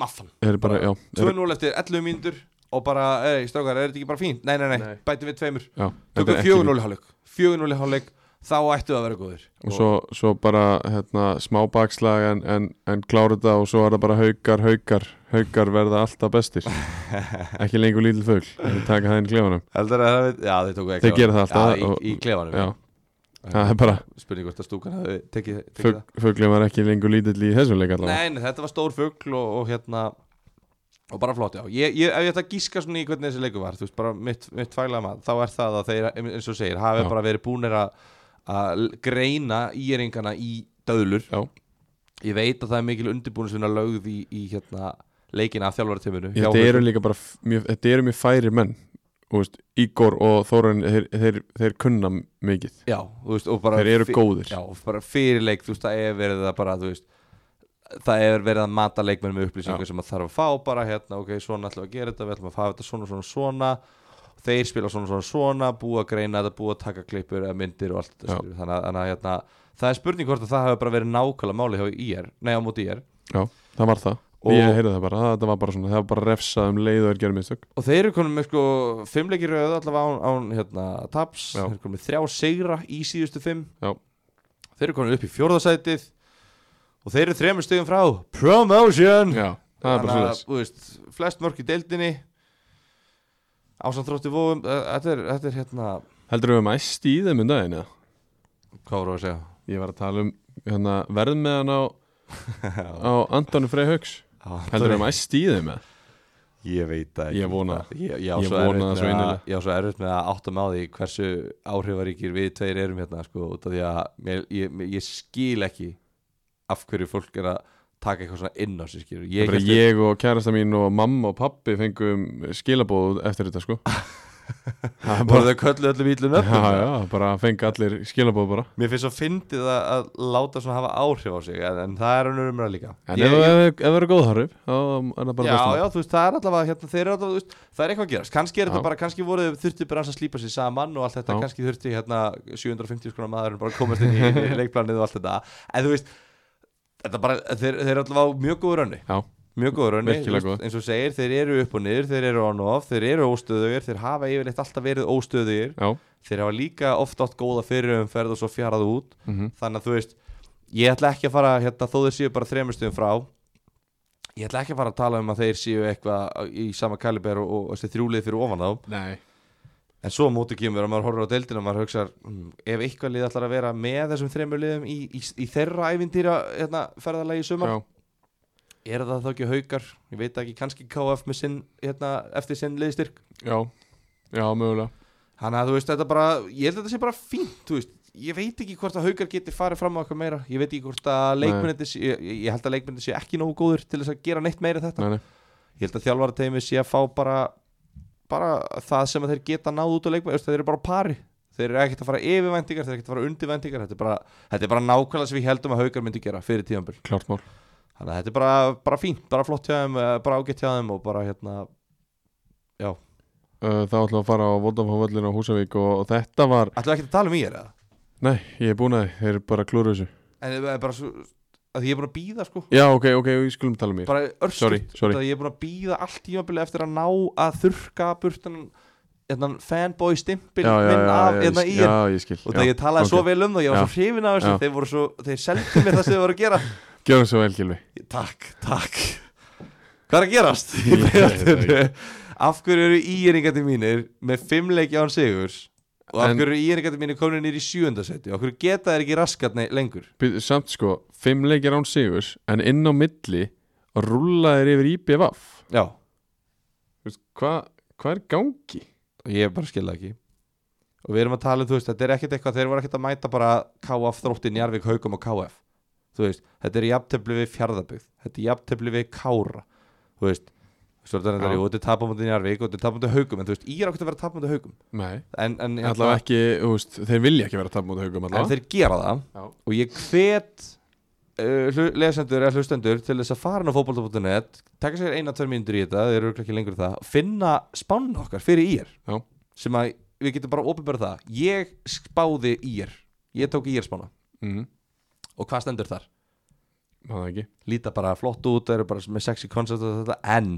B: maffan
A: Er bara,
B: Bara
A: já, er,
B: 2-0 eftir 11 mínútur og bara, ei, strákar, er þetta ekki bara fínt? Nei, nei, nei,
A: Nei.
B: bætum við tveimur
A: já þetta
B: Tökum
A: er ekki-
B: 4-0 í hálfleik 4-0 í hálfleik Þá ættu að vera góðir
A: og svo, svo bara hérna, smá bakslag en, en, en klára þetta og svo er það bara haukar, haukar haukar verða alltaf
B: [laughs]
A: bestir ekki lengur lítil fugl en taka það inn í klefanum
B: Heldur að það Já, þeir tóku
A: Þeir gera það alltaf
B: Já,
A: og-
B: í, í klefanum
A: já, það er bara
B: Spurning hvort að stúkan hafi tekið, tekið
A: fugl, fuglum var ekki lengur lítill í þessum leik
B: það
A: allavega
B: Nei, nei, þetta var stór fugl og, og hérna Og bara flott, já ég, ég, Ef ég ætla að gíska svona í hvernig þessi leiku var Þú veist, bara mitt, mitt faglega maður Þá er það að þeir, eins og þú segir Hafi
A: Já.
B: bara verið búnir að- að greina íringana í döðlur
A: Já.
B: Ég veit að það er mikil undirbúinusvinna lögð í, í hérna leikina að þjálfara tíminu
A: þetta eru líka bara f- mjög, þetta eru mjög færi menn þú veist, Ígor og Þórun þeir, þeir, þeir kunna mikið
B: Já, þú veist, og bara
A: þeir eru
B: fi-
A: góðir
B: Já, og bara fyrirleik, þú veist, það er verið að bara, þú veist Það er verið að mata leikmenn með upplýsingar
A: Já.
B: sem að þarf að fá bara hérna, ok, svona ætlum við að gera þetta, við ætlum að fá þetta svona, svona, svona Þeir spila svona, svona, svona, búa að greina þetta, búa að taka klippur eða myndir og allt þetta
A: Já.
B: skilur. Þannig að, þannig að hérna, það er spurning hvort að það hefur bara verið nákvæmlega máli hjá IR, nei á móti IR
A: já, það var það
B: Og-
A: ég heyrði það bara, það, það var bara svona það var bara refsað um leið og er gerð mistök
B: Og þeir eru konum með sko fimmleikir rauð allavega án, án hérna, taps
A: Já.
B: Þeir eru konum með þrjá sigra í síðustu fimm
A: Já.
B: Þeir eru konum upp í fjórðasætið Og þeir eru þremur stegum frá Promotion
A: já, það er bara
B: Þannig
A: svona
B: að, þú veist, Flest mörg í deildinni Ásamt þrótti vóum eh, Þetta er, þetta er hérna
A: heldur við um æst í þeim um daginn eða?
B: Hvað voru að segja?
A: Ég var að tala um hérna, verð með hann á,
B: [laughs]
A: á Antoni Frey Hauks Heldur það mæst í þeim með?
B: Ah, Ég veit það
A: Ég vona það.
B: Ég, ég, á
A: Ég vona
B: svo erfitt
A: það
B: með
A: svo
B: að-
A: innilega.
B: Ég á svo erfitt með að átta með á því hversu áhrifaríkir við tveir erum hérna sko, út af því að mér, ég, mér, ég skil ekki af hverju fólk er að taka eitthvað svona inn á sig skilur
A: Ég,
B: hélt- [laughs]
A: ég og kærasta mín og mamma og pappi fengum skilabóð eftir þetta sko Það er
B: voru
A: bara-
B: þau köllu öllum ílum
A: Já,
B: öllum
A: já, bara fengi allir skilabóð bara
B: mér finnst svo fyndið að, að láta svona hafa áhrif á sig en, en það er önnur umræða líka
A: En
B: Ég-
A: ef,
B: ég-
A: ef, ef það eru góð horf þá er það bara
B: já,
A: besta.
B: já, þú veist, það er allavega hérna, þeir eru allavega, þú veist, það er eitthvað að gerast kannski er
A: Já.
B: þetta bara, kannski voru þau þurftu bara aðeins að slípa sér saman og allt þetta,
A: Já.
B: kannski þurfti hérna 750 skona maðurinn bara að komast inn í,
A: [laughs]
B: inn í leikplanið og allt þetta, en þú veist þetta bara, þeir, þeir eru allavega á mjög góður önni
A: Já,
B: mjög góður raunni,
A: Virkilega góð.
B: eins og þú segir þeir eru upp og niður, þeir eru on og off þeir eru óstöðugir, þeir hafa yfirleitt alltaf verið óstöðugir
A: já,
B: þeir hafa líka oft átt góða fyrirumferð og svo fjarað út
A: Mhm.
B: þannig að þú veist, ég ætla ekki að fara hérna, þó þeir séu bara þremustuðum frá ég ætla ekki að fara að tala um að þeir séu eitthvað í sama kaliber og, og þessi þrjúlið fyrir ofan þá
A: nei
B: en svo á móti kemur að maður horfir á deildina og maður hugsar, mm, ef eitthvað lið ætlar að vera með þessum þremur liðum í, í, í þeirra ævindýra hérna, ferðalagi í sumar
A: já,
B: er það þá ekki haukar ég veit ekki, kannski KF með sinn hérna, eftir sinn liðstyrk
A: já, já, mögulega
B: þannig að þú veist, þetta bara, ég held að þetta sé bara fínt þú veist, ég veit ekki hvort að haukar geti farið fram á eitthvað meira, ég veit ekki hvort að
A: Nei.
B: leikmennandi, ég, ég held að leikmennandi sé ekki nógu góður til þess að gera neitt meira en þetta
A: nei, nei.
B: ég held að þjálfara sé að fá bara bara það sem að þeir geta náð út á leikmenn, þeir eru bara á pari þeir eru ekkert að fara yfirvæntingar, þeir eru ekkert að fara undirvæntingar þetta er bara, þetta er bara nákvæmlega sem við heldum að haukar myndi gera fyrir tíðanböl
A: klart mál
B: Þannig að þetta er bara, bara fínt, bara flott hjá þeim, eh, bara ágætt hjá þeim og bara hérna
A: Uh, Þá ætlum við að fara á Vodafóvöllin á Húsavík og, og þetta var,
B: Ætlum við ekki að tala um ég eða?
A: nei, ég er búin að því, þeir eru bara klúru þessu
B: En eh, bara svo, að því ég er búin að býða sko
A: Já, ok, ok, við skulum tala um mér
B: Bara örstuð
A: Sorry, sorry.
B: Að ég er búin að býða allt tímabili eftir að ná að þurrka burt þennan- Þennan fanboy stimpil
A: já, já,
B: minn
A: já,
B: af
A: já,
B: hérna
A: ég,
B: í
A: skil-
B: er
A: já, ég skil
B: Og það ég talaði svo vel um það, ég var
A: Já.
B: svo hrifin af þessu
A: Já.
B: Þeir voru svo, þeir seldu mér það sem þeir voru að gera
A: Gjörum svo vel, Gilvi
B: Takk, takk Hvað er að
A: [laughs]
B: gerast?
A: Ég veit það ekki.
B: af hverju eru íringandi mínir með fimm leiki án sigurs og af
A: En-
B: hverju eru íringandi mínir komin nýr í sjöundasetti og af hverju geta þeir ekki raskat nei, lengur
A: Býtu, Samt sko, fimm leikir án sigurs en inn á milli rúlaðir yfir IBVF
B: Já,
A: Þú veist, Hvað hva er í gangi?
B: og ég bara skilða ekki og við erum að tala um, þú veist, þetta er ekkert eitthvað þeir voru ekkert að mæta bara KF þróttin Jarvik, Haugum og KF þú veist, þetta er jafntefli við Fjarðabyggð þetta er jafntefli við Kára þú veist, svo er þetta reyndar,
A: Já.
B: jú, þetta er tapamöndin Jarvik og þetta er tapamöndin Haugum en þú veist, ég er okkur að vera tapamöndin Haugum
A: Nei,
B: en, en,
A: allavega ekki, þú veist, þeir vilja ekki vera að tapa mútið haugum
B: en
A: allavega
B: þeir gera það
A: Já.
B: og ég hvet uh, hlu- lesendur eða hlustendur til þess að fara inn á fótbolta.net taka sér eina tvær mínútur í þetta, þeir eru örugglega ekki lengur en það finna spánna okkar fyrir ír
A: Já.
B: sem að við getum bara opinbæra það ég spáði ír ég tók ír spána
A: Mhm,
B: og hvað stendur þar?
A: Það er ekki
B: líta bara flott út, þeir eru bara með sexy concept og þetta, en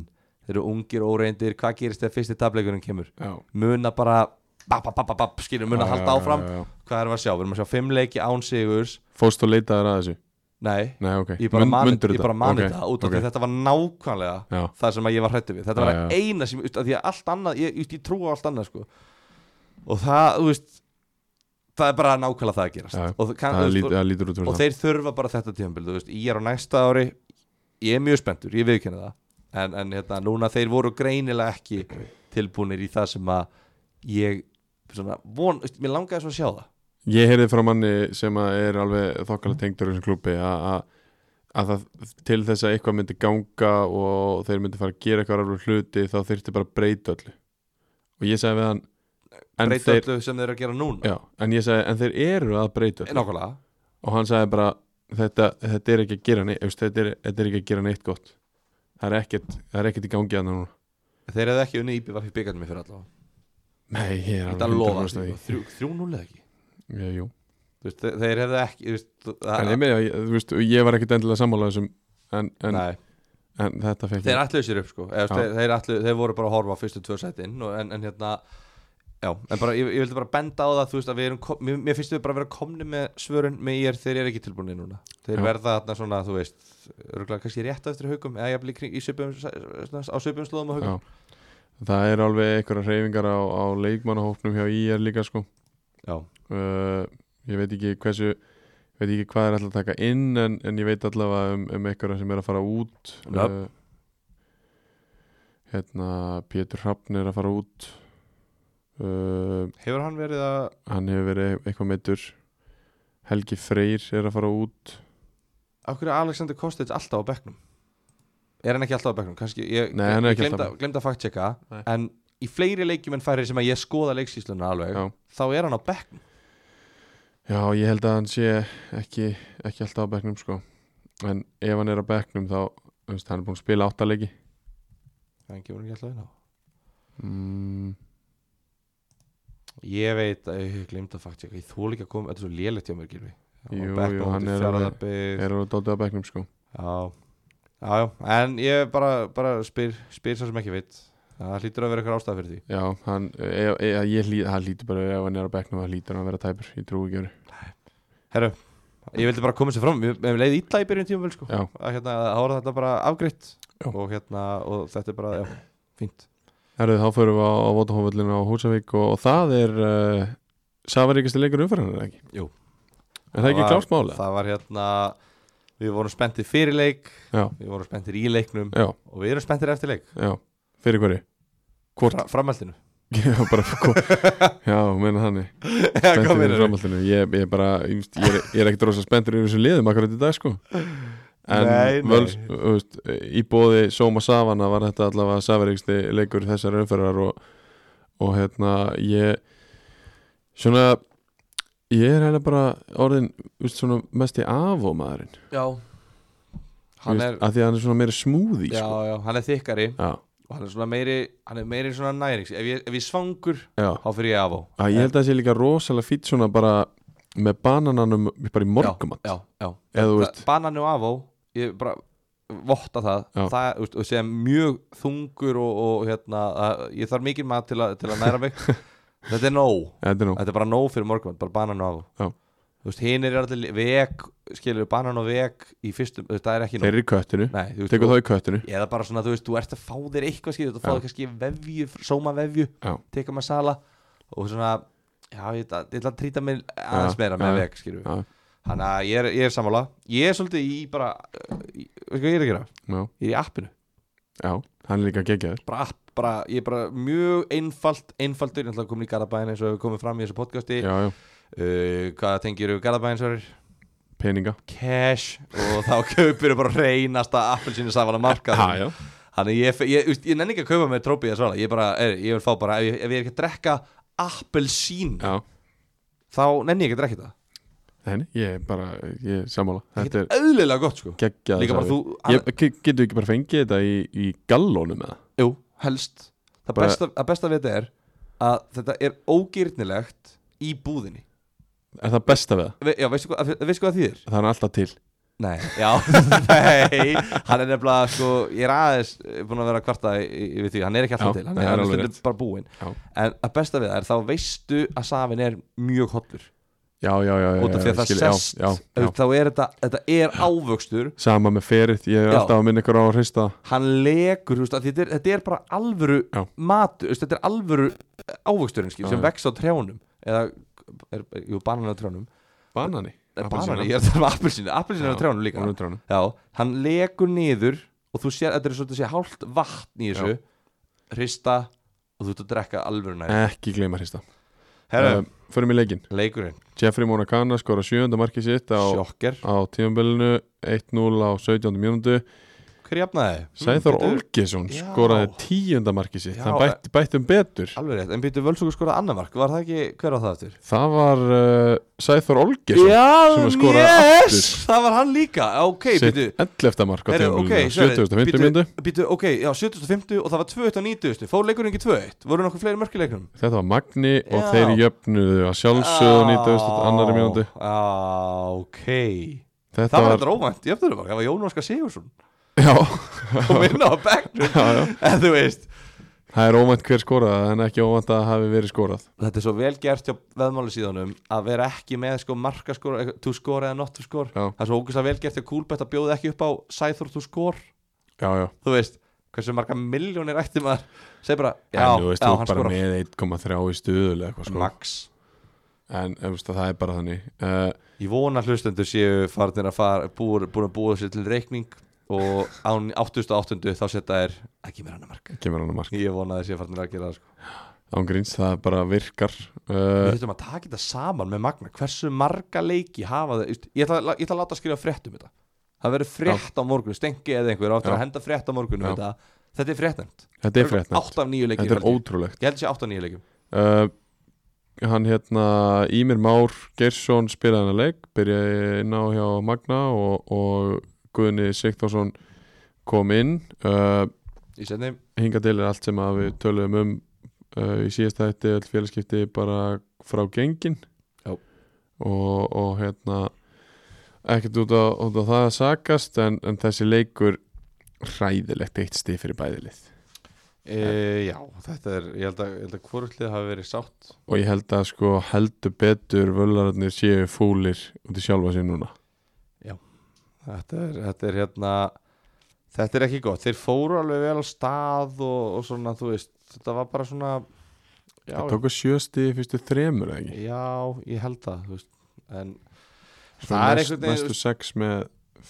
B: þeir eru ungir óreindir, hvað gerist þegar fyrsti tableikurinn kemur?
A: Já
B: muna bara bap, bap, bap, bap, bap, skilur, muna
A: Já,
B: halda
A: já,
B: áfram
A: já, já.
B: hvað erum við að sjá? Við erum að sjá fimm leiki án sigurs
A: Fóst og leitaðir að þessu?
B: Nei,
A: Nei, ok
B: ég bara
A: Mun-
B: mani,
A: mundirðu
B: ég
A: þetta?
B: bara mani
A: Ok,
B: þetta út af
A: ok.
B: því að þetta var nákvæmlega
A: Já.
B: það sem að ég var hrættu við þetta
A: Já,
B: var
A: já, já.
B: eina sem, út af því að allt annað ég, ég, ég trú á allt annað sko og það, þú veist það er bara nákvæmlega það að gerast
A: Já, já.
B: og, það kann,
A: Það
B: þú
A: lít-
B: veist,
A: það lítur út
B: og,
A: fyrir
B: og þeir þurfa bara þetta tíðanbild, þú veist, ég er á næsta ári ég er mjög spenntur, ég viðkynna það en, en hérna, núna þeir voru greinilega ekki tilbúinir í það sem að ég, svona, von, þú veist, mér langaði svo að sjá það
A: Ég heyrði frá manni sem að er alveg þokkala tengdur í þessum klubbi að að- að það til þess að eitthvað myndi ganga og þeir myndi fara að gera eitthvað alveg hluti þá þyrfti bara að breyta öllu og ég sagði við hann en,
B: breyta
A: þeir,
B: öllu sem þeir eru að gera núna
A: já, en ég sagði en þeir eru að breyta öllu
B: nákvæmlega
A: og hann sagði bara þetta, þetta er ekki að gera neitt efst, þetta, er, þetta er ekki að gera neitt gott það er ekkert, það er ekkert í gangi að núna
B: Þeir hefðu ekki unni IBVF í byggarnum fyrir allavega
A: Nei, ég er
B: Þetta lofa
A: 100% í því.
B: Þrjú núlega ekki
A: Já, jú.
B: Þú veist, þe- Þeir hefðu ekki þú veist, það-
A: En ég meina, ég- þú veist, ég var ekkert endilega sammála þessum en, en,
B: Nei,
A: en þetta fekk
B: Þeir
A: ég
B: ætluðu sér upp sko Eða, þú veist,
A: Já.
B: þeir, þeir, ætluðu, þeir voru bara að horfa á fyrstu tvö sætin og, en, en hérna Já, en bara, ég, ég vildi bara benda á það þú veist, að við erum, kom- mér, mér finnst við bara að vera komni með svörun með ég er, þeir eru ekki tilbúinir núna þeir
A: Já.
B: verða þarna svona, þú veist örgulega kannski rétt á eftir haugum eða jafnvel í kring- í svipum, svona, á svipum slóðum á haugum
A: Já. Það er alveg einhverja reyfingar á, á leikmannahóknum hjá IR líka sko.
B: Já.
A: uh, Ég veit ekki hversu veit ekki hvað er alltaf að taka inn en, en ég veit allavega um, um einhverja sem er að fara út
B: Nöfn?
A: Hérna Pétur Hrafn er að fara út uh,
B: Hefur hann verið að
A: Hann hefur verið e-, eitthvað meittur Helgi Freyr er að fara út
B: Af hverju er Alexander Kostec alltaf á bekknum? Er hann ekki alltaf á bekknum? Kannski, ég
A: Nei, hann er ekki
B: glemd
A: alltaf á
B: að, gleymd að fact checka
A: Nei.
B: En í fleiri leikjum en færri sem að ég skoða leiksísluna alveg
A: Já.
B: þá er hann á bekkn
A: Já, ég held að hann sé ekki, ekki alltaf á bekknum sko En ef hann er á bekknum þá þú veist, Hann er búin að spila áttaleiki
B: hann kemur ekki alltaf inn á
A: mm,
B: ég veit að ég glemt að fakti ég þól ekki að koma, þetta er svo lélegt hjá mér gilvi
A: Jú, jú, hann er alveg- Er hann dótið á bekknum sko
B: Já, já, já, en ég bara, bara spyr, spyr sá sem ekki veit Það hlýtur að vera eitthvað ástæða fyrir því
A: Já, hann, e, e, ég lít, hann lítur bara Ef hann er á bekknum þá lítur hann að vera tæpur Ég trúi ekki verið
B: Herru, ég vildi bara koma sér fram Ég ég leið illa í byrjun tíma sko.
A: Já.
B: að hérna, þá var þetta bara afgreitt
A: Já.
B: og, hérna, og þetta er bara, já, fínt
A: Herðu, þá förum við á, á Votahófvöllinu á Húsavík og, og það er uh, Safaríkasti leikur umfæran er það ekki?
B: Jú.
A: Er það ekki
B: var-
A: klárt mála?
B: Það var hérna, við vorum spenntir fyrir leik
A: Já,
B: Við vorum spenntir í leiknum
A: já,
B: Og við erum spenntir eftir leik
A: já, fyrir hverju? Hvort?
B: Fra, Framhaldinu
A: Já, bara, sko, já, meina þannig
B: Hvað
A: spenntur
B: meinarðu?
A: fyrir framhaldinu ég, ég, bara, ég, veist, ég, er, ég er ekkert rosa spenntur yfir þessum liðum akkurat í dag sko en
B: Nei, nei.
A: Völs, þú veist, í bóði Soma Savana var þetta allavega safaríksti leikur þessar umferðar og, og hérna ég svona ég er hérna bara orðin þú veist, svona, mest í afómaðurinn
B: Já, hann er,
A: að því að hann er svona meira smúði
B: já,
A: sko.
B: já, hann er þykkari
A: já,
B: og hann er svona meiri hann er meiri svona nærings ef ég, ef ég er svangur
A: já.
B: þá fyrir ég af á
A: Að ég held að það sé líka rosalega fýtt svona bara með banananum bara í morgumat
B: já, já,
A: eða þú veist,
B: bananu af á ég bara votta það,
A: Já.
B: það þú veist, og sé mjög þungur og, og hérna að, ég þarf mikið mat til, að til að
A: [laughs]
B: næra mig þetta er nóg,
A: þetta er nú
B: þetta er bara nóg fyrir morgun bara bananu af á
A: Já.
B: þú veist, hinn er allir li- vek, skilur bananu vek í fyrstum, þú veist, það er ekki nóg
A: þeir eru í köttinu,
B: Nei, þú veist,
A: tekur
B: þú-
A: þá í köttinu
B: eða bara svona, þú veist, þú ert að fá þér eitthvað skilur, þú
A: Já.
B: fáðu kannski vefju, sóma vefju
A: Já.
B: teka maður sala og svona, já, ég ætla ég ætla að trýta mig aðeins
A: Já,
B: meira
A: já,
B: með
A: já.
B: veg, skilur
A: Já.
B: þannig að ég er, ég er sammála ég er svolítið í bara, uh, í- veistu hvað ég er að gera
A: já,
B: ég er í appinu,
A: já, hann er líka geggjaður
B: bara app bara, ég er bara mjög einfalt, einfaldur ég ætla að koma í Garabæin eins og við komum fram í þessu podcasti
A: já, já,
B: uh, hvað tengir við Garabæin svo er
A: peninga
B: cash og þá [laughs] kaupir bara reynasta appelsinu saman að marka
A: Ha, já.
B: Þannig ég, ég, ég, veist, ég nenni ekki að kaupa með trópið að svala Ég bara, er, ég vil fá bara Ef ég, ef ég er ekki að drekka appelsín
A: já,
B: Þá nenni ég ekki að drekka þetta
A: henni, ég er bara ég er sammála, þetta er
B: Þetta er auðlega gott sko
A: geggjað
B: Líka bara
A: safi.
B: þú-
A: Ég- ge- getur við ekki bara fengið þetta í, í gallónum eða,
B: Jú, helst Það
A: Bara-
B: besta, að besta við þetta er Að þetta er ógirnilegt í búðinni
A: er það besta við það?
B: Ve, Já, veistu hvað, veistu hvað það þýðir?
A: Það er alltaf til
B: Nei,
A: [laughs]
B: já, nei Hann er nefnilega, sko, ég er aðeins eh, búinn að vera að kvarta y- yfir því Hann er ekki alltaf
A: Já,
B: til, hann
A: það
B: er,
A: er
B: hann er
A: alveg
B: stundum
A: rétt.
B: bara búinn
A: Já.
B: En að besta við það er, þá veistu að safin er mjög hollur
A: Já, já, já, já,
B: út af því
A: já,
B: að það
A: skil-
B: sest
A: já, já, já.
B: þá er þetta, þetta er ávöxtur
A: Sama með ferið, ég er
B: Já.
A: alltaf að minna ykkur á að hrista það.
B: hann legur, þú veist, af því þetta er, þetta er bara alvöru
A: Já.
B: matur, þú veist, þetta er alvöru ávöxturinn skil,
A: Já,
B: sem
A: já.
B: vex á trjánum eða, er, jú, banan á trjánum
A: Banani
B: Eh, banani, ég er það með appelsinu, appelsinu á trjánum líka
A: Ónutránu
B: já, hann legur niður og þú sér, þetta er svolítið að sé hálft vatn í þessu, hrista og þú ert að drekka alvöru næri
A: Ekki gleyma að hrista
B: herra,
A: Eh, Förum í leikinn
B: leikurinn,
A: Jeffrey Monacana skora sjönda markið sitt á,
B: sjokker
A: á tímabilinu 1-0 á 17. mínúndu
B: hver jafnaði?
A: Sæþór
B: Bíddu,
A: Olgesson
B: Hmm, Já.
A: skoraði tíunda markið sitt
B: Já, eh.
A: hann bætt, bættum betur
B: alveg rétt, en býttu völsugur skoraði annar mark var það ekki, hver á það eftir?
A: það var uh, Sæþór Olgesson
B: Já,
A: sem að skoraði
B: yes,
A: aftur.
B: það var hann líka Ok, býtu
A: sitt 11. mark á
B: Heyrðu, ok,
A: tímabilinu
B: sorry,
A: 75.
B: bíddu,
A: mínúndu
B: Býtu, ok, já, 750 og það var 290 Fór leikurinn ekki 21, voru nokkuð fleiri mörkileikunum
A: þetta var Magni og
B: Já.
A: þeir jöfnuðu að sjálfsögðu 92. mínúndu
B: Já, ok
A: þetta
B: Það var
A: var,
B: þetta óvænt, ég eftir um það var Jón Óskar Sigursson
A: já,
B: Kom inn á
A: [laughs]
B: bekknum
A: já, já.
B: En þú veist,
A: það er óvænt hver skoraði en ekki óvænt að það hafi verið skorað
B: þetta er svo vel gert hjá veðmáli síðanum Að vera ekki með sko markaskor To score eða not to score
A: Já.
B: Það er svo ógæslega vel gert hjá Kúlbett að bjóða ekki upp á Sæþór to score
A: já, já,
B: þú veist hversu marga miljónir ætti maður segi bara, já,
A: en þú veist
B: já,
A: þú
B: hann
A: ert bara
B: skorar
A: með 1,3 í stuðulega eitthvað sko
B: max,
A: en eh, þú veist að það er bara þannig uh,
B: ég vona hlustendur séu farnir að fara, búin, búin að búa sér til reikning og án 8.8. þá setja þær ekki meira annar mark
A: kemur hann að mark
B: ég vona að þeir séu farnir að gera það sko.
A: ángríns, það bara virkar
B: við
A: uh,
B: þurfum að taka þetta saman með Magna hversu marga leiki hafa þau ég ætla, að- ég ætla að láta að skrifa frétt um þetta það verður frétt á morgun, stengi eða einhver á eftir
A: Já.
B: að henda frétt á morgun um
A: Já.
B: þetta Þetta er fréttnæmt
A: Þetta er fréttnæmt
B: Átt af nýju leikjum
A: Þetta er
B: held ég.
A: ótrúlegt
B: Ég held að sé átt af nýju leikjum
A: uh, Hann hérna Ímir Már Geirsson spilaði hennar leik byrjaði inn á hjá Magna og, og Guðni Sigthorsson kom inn uh,
B: Í setni
A: hinga til er allt sem að
B: Mm.
A: við töluðum um uh, í síðasta hætti all félagskipti bara frá gengin
B: Já.
A: og, og hérna ekkert út á, út á það að sakast en, en þessi leikur hræðilegt eitt stið fyrir bæðilið
B: e, Já, þetta er Ég held að, ég held að hvorutlið hafi verið sátt
A: og ég held að sko heldur betur völararnir séu fúlir út í sjálfa sér núna
B: Þetta er, þetta er hérna Þetta er ekki gott Þeir fóru alveg vel á stað og, og svona, þú veist Þetta var bara svona Já,
A: það tóku sjösti fyrstu þremur eða ekki
B: já ég held það þú veist. En
A: Svo
B: það
A: næst,
B: er einhvern veginn, þú
A: næstu sex með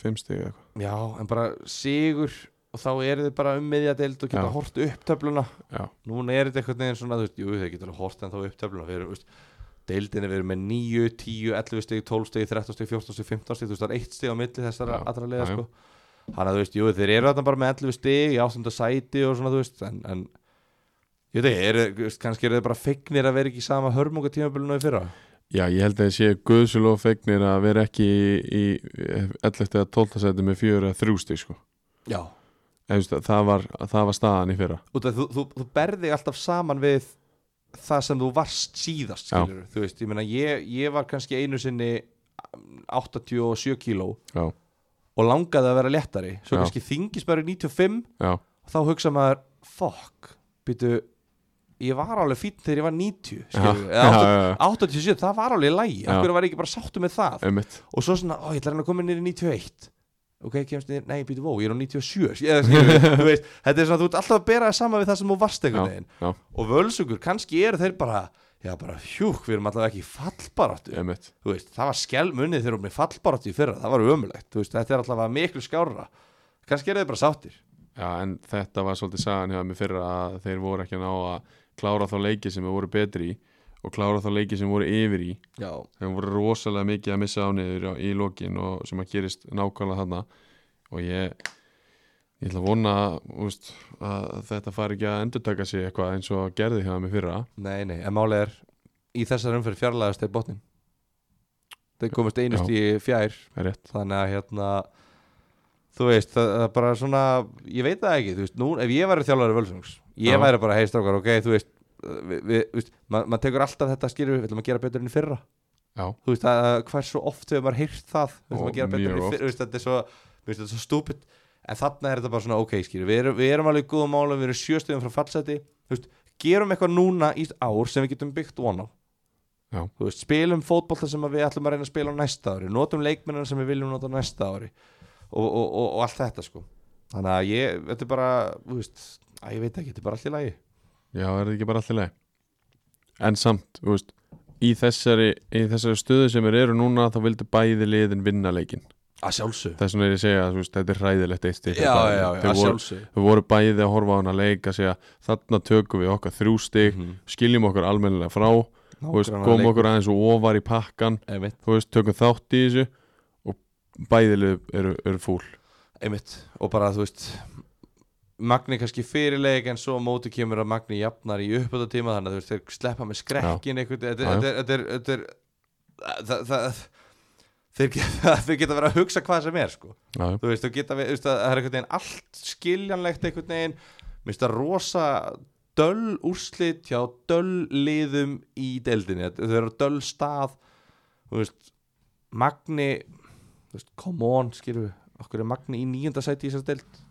A: fimm stig eða eitthvað
B: Já, en bara sigur og þá eru þið bara um miðjadeild og geta
A: Já.
B: hort upp töfluna
A: Já.
B: Núna er þetta einhvern veginn svona, þú veist, jú, þið geta alveg hort en þá upp töfluna Við erum, þú veist, deildinni við erum með 9, 10, 11 stig, 12 stig, 13 stig, 14 stig, 15 stig Þú veist, það er eitt stig á milli þessara
A: Já,
B: allra liða,
A: já, já.
B: sko Þannig að þú veist, jú, þeir eru þarna bara með 11 stig í ástunda sæti og svona, þú veist En, en ég veit ekki, er, veist, kannski eru þið bara fegnir að vera ekki í sama hörmunga tímabilinu í fyrra
A: Já, ég held að það séu guðsulof fegnir að vera ekki í, í 11. eða 12. seti með fjögur eða þrjú stig sko.
B: Já
A: Eða, þú veist, það, var, það var staðan í fyrra
B: út af þú, þú, þú berði alltaf saman við það sem þú varst síðast
A: Já.
B: skilur, þú veist, ég meina ég, ég var kannski einu sinni um, 87 kíló
A: Já,
B: og langaði að vera léttari svo
A: Já.
B: kannski þingis maður í 95
A: já,
B: og þá hugsa maður, fuck býtu, ég var alveg fín þegar ég var 90
A: [laughs]
B: skilur,
A: Já,
B: eða
A: já,
B: 80,
A: já, já.
B: 87, það var alveg í lagi af
A: Já.
B: hverju var ég ekki bara sáttu með það
A: einmitt
B: og svo svona, ó, ég ætla að reyna að koma niður í 91 ok, kemst niður, nei, býtu, vó, ég er á 97
A: [laughs]
B: ég, skilur, þú veist, þetta er svona, þú ert alltaf að bera það sama við það sem þú varst
A: Já,
B: einhvern veginn
A: já,
B: og völsungur, kannski eru þeir bara já, bara hjúk, við erum allavega ekki fallbaráttu
A: einmitt
B: þú veist, það var skelmunnið þegar við erum fallbaráttu í fyrra, það var ömulegt, þú veist, þetta er allavega miklu skárra, kannski eru þeir bara sáttir
A: Já, en þetta var svolítið sagan hjá mig fyrra að þeir voru ekki að ná að klára þá leiki sem þeir voru betri í og klára þá leiki sem voru yfir í
B: já,
A: þeir voru rosalega mikið að missa á niður á- í lokin og sem að gerist nákvæmlega þarna og ég ég ætla að vona úst, að þetta fari ekki að endurtaka sig eitthvað eins og gerði hjá mig fyrra
B: nei, nei, en máli er í þessar umferð fjarlæðast þeir botnin þeir komast einust í fjær
A: Það er rétt
B: þannig að hérna þú veist, það, það er bara svona ég veit það ekki, þú veist, nú, ef ég væri þjálfari völsungs, ég
A: Já.
B: væri bara heistrákar ok, þú veist, við, við, þú veist ma- maður tekur alltaf þetta skilur, við ætlum að gera betur enn í fyrra
A: Já,
B: þú veist, að, hversu oft hefur maður heyrt það, við ætlum
A: Og
B: að gera betur enn
A: mjög
B: í fyrra þú veist, þetta er svo, þú veist, þetta er svo stúpid en þarna er þetta bara svona, ok, skilur við erum, við erum alveg í góðum málum, við erum sjöstöðum frá fallseti þú veist, gerum eitthvað núna í ár sem við getum byggt von á
A: Já.
B: þú veist, spilum fótbolta sem að við ætlum að reyna að spila á næsta ári notum leikmennina sem við viljum nota á næsta ári og, og, og, og allt þetta sko þannig að ég, þetta er bara þú veist, að ég veit ekki, þetta er bara allt í lagi
A: Já, er það ekki bara allir leið En samt, þú veist í þessari, í þessari stöðu sem þeir eru núna þá vildu bæði liðin vinna leikin
B: að sjálfsög
A: þess vegna er ég að segja að þú veist, þetta er hræðilegt eitt stig
B: já, já, já,
A: Þeir
B: að
A: voru-
B: sjálfsög
A: Við vorum bæði að horfa á hana leik að segja þarna tökum við okkar þrjú stig skiljum okkur almennilega frá þú veist, komum okkur aðeins og ofar í pakkan
B: einmitt,
A: þú veist, tökum þátt í þessu og bæðilið eru, eru fúl
B: einmitt og bara þú veist Magni kannski fyrirleik en svo á móti kemur að Magni jafnar í uppöta tíma þannig að þú veist, þeir sleppa með skrekkin einhvern þetta
A: Já, já.
B: er- þetta er- þetta er- þetta er það- það- þeir geta [laughs] þeir geta verið að hugsa hvað sem er sko
A: Já, já.
B: þú veist, þú geta, við- þú veist, að það er einhvern veginn allt skiljanlegt einhvern veginn mér finnst það rosa döll úrslit hjá döll liðum í deildinni, Þetta- þau eru á döll stað þú veist Magni, þú veist, come on skilur við, okkur er Magni í nýjunda sæti í þessar deild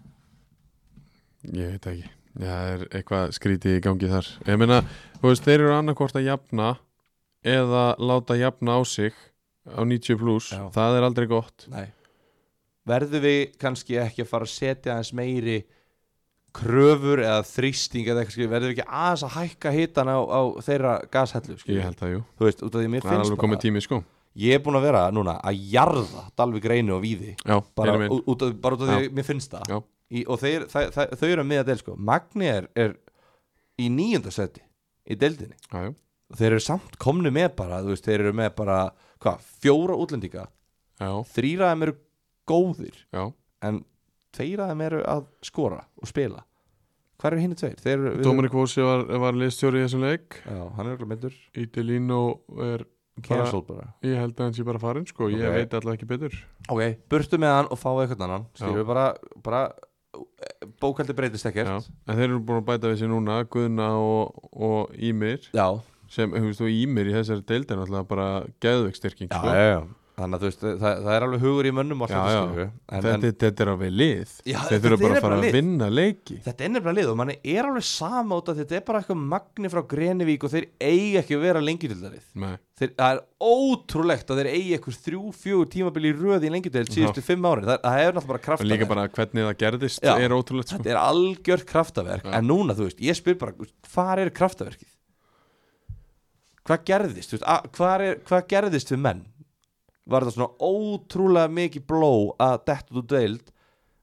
A: ég veit það ekki Já, það er eitthvað skrítið í gangi þar ég meina, þú veist, þeir eru annarkvort að jafna eða láta jafna á sig á 90 pluss
B: Já.
A: það er aldrei gott
B: Nei. verðum við kannski ekki að fara að setja aðeins meiri kröfur eða þrýsting eða eitthvað skilur, verðum við ekki aðeins að hækka hitan á, á þeirra gashellu
A: ég
B: skilur,
A: held það, jú,
B: þú veist, út af því að mér
A: það er
B: finnst
A: alveg komið tími sko
B: ég er búin að vera núna að jarða Dalvi Greinu og Víði
A: já,
B: bara
A: erum við.
B: ú- út, af- bara út af því að mér finnst það
A: Já.
B: í, og þeir, þa, þa, þau eru að miða del sko. Magni er, er í níunda seti í deildinni
A: Já, já.
B: og þeir eru samt komnu með bara þú veist, þeir eru með bara hva, fjóra útlendinga
A: já,
B: þrýra þeim eru góðir
A: já
B: en tveira þeim eru að skora og spila Hvar eru hinn tveir? Þeir, eru- við-
A: Dominic Vosi var, var liðstjóri í þessum leik
B: Já, hann er okkur myndur
A: Ídelino er bara,
B: Cancel bara
A: ég held að hans ég bara farin sko, ég
B: Ok.
A: veit alltaf ekki betur
B: Ok, burtu með hann og fáið eitthvað annan Skilur
A: Já.
B: við bara, bara eh, Bókaldi breytist ekkert
A: Já. en þeir eru búin að bæta við sér núna Guðna og, og Ímir
B: já,
A: sem, þú veist, og Ímir í þessari deildi er náttúrulega bara geðveikstyrking
B: já,
A: sko.
B: já, já. Þannig að þú veist, það, það er alveg hugur í mönnum og allt
A: Já, já.
B: þetta skilur við. en,
A: þetta,
B: en,
A: þetta er alveg lið
B: Já,
A: þeir
B: þetta
A: þurfa bara að
B: er
A: fara
B: bara
A: að
B: lið.
A: vinna leiki
B: Þetta er nefnilega lið og manni er alveg sama út af því Þetta er bara eitthvað magni frá Grenivík og þeir eiga ekki að vera lengi til þarrið
A: Nei.
B: þeir, það er ótrúlegt að þeir eigi eitthvað þrjú, fjögur tímabili í röð í lengjudeild síðustu fimm ári, það, það er náttúrulega bara
A: og líka
B: kraftaverk
A: bara hvernig það gerðist
B: Já.
A: er ótrúlegt sko.
B: þetta er algjört kraftaverk en núna, þú veist, ég spyr bara þú veist, hvar er kraftaverkið? hvað gerðist? Þú Veist, að, hvar, er, hvað gerðist við menn? var þetta svona ótrúlega mikið bló að detta út úr deild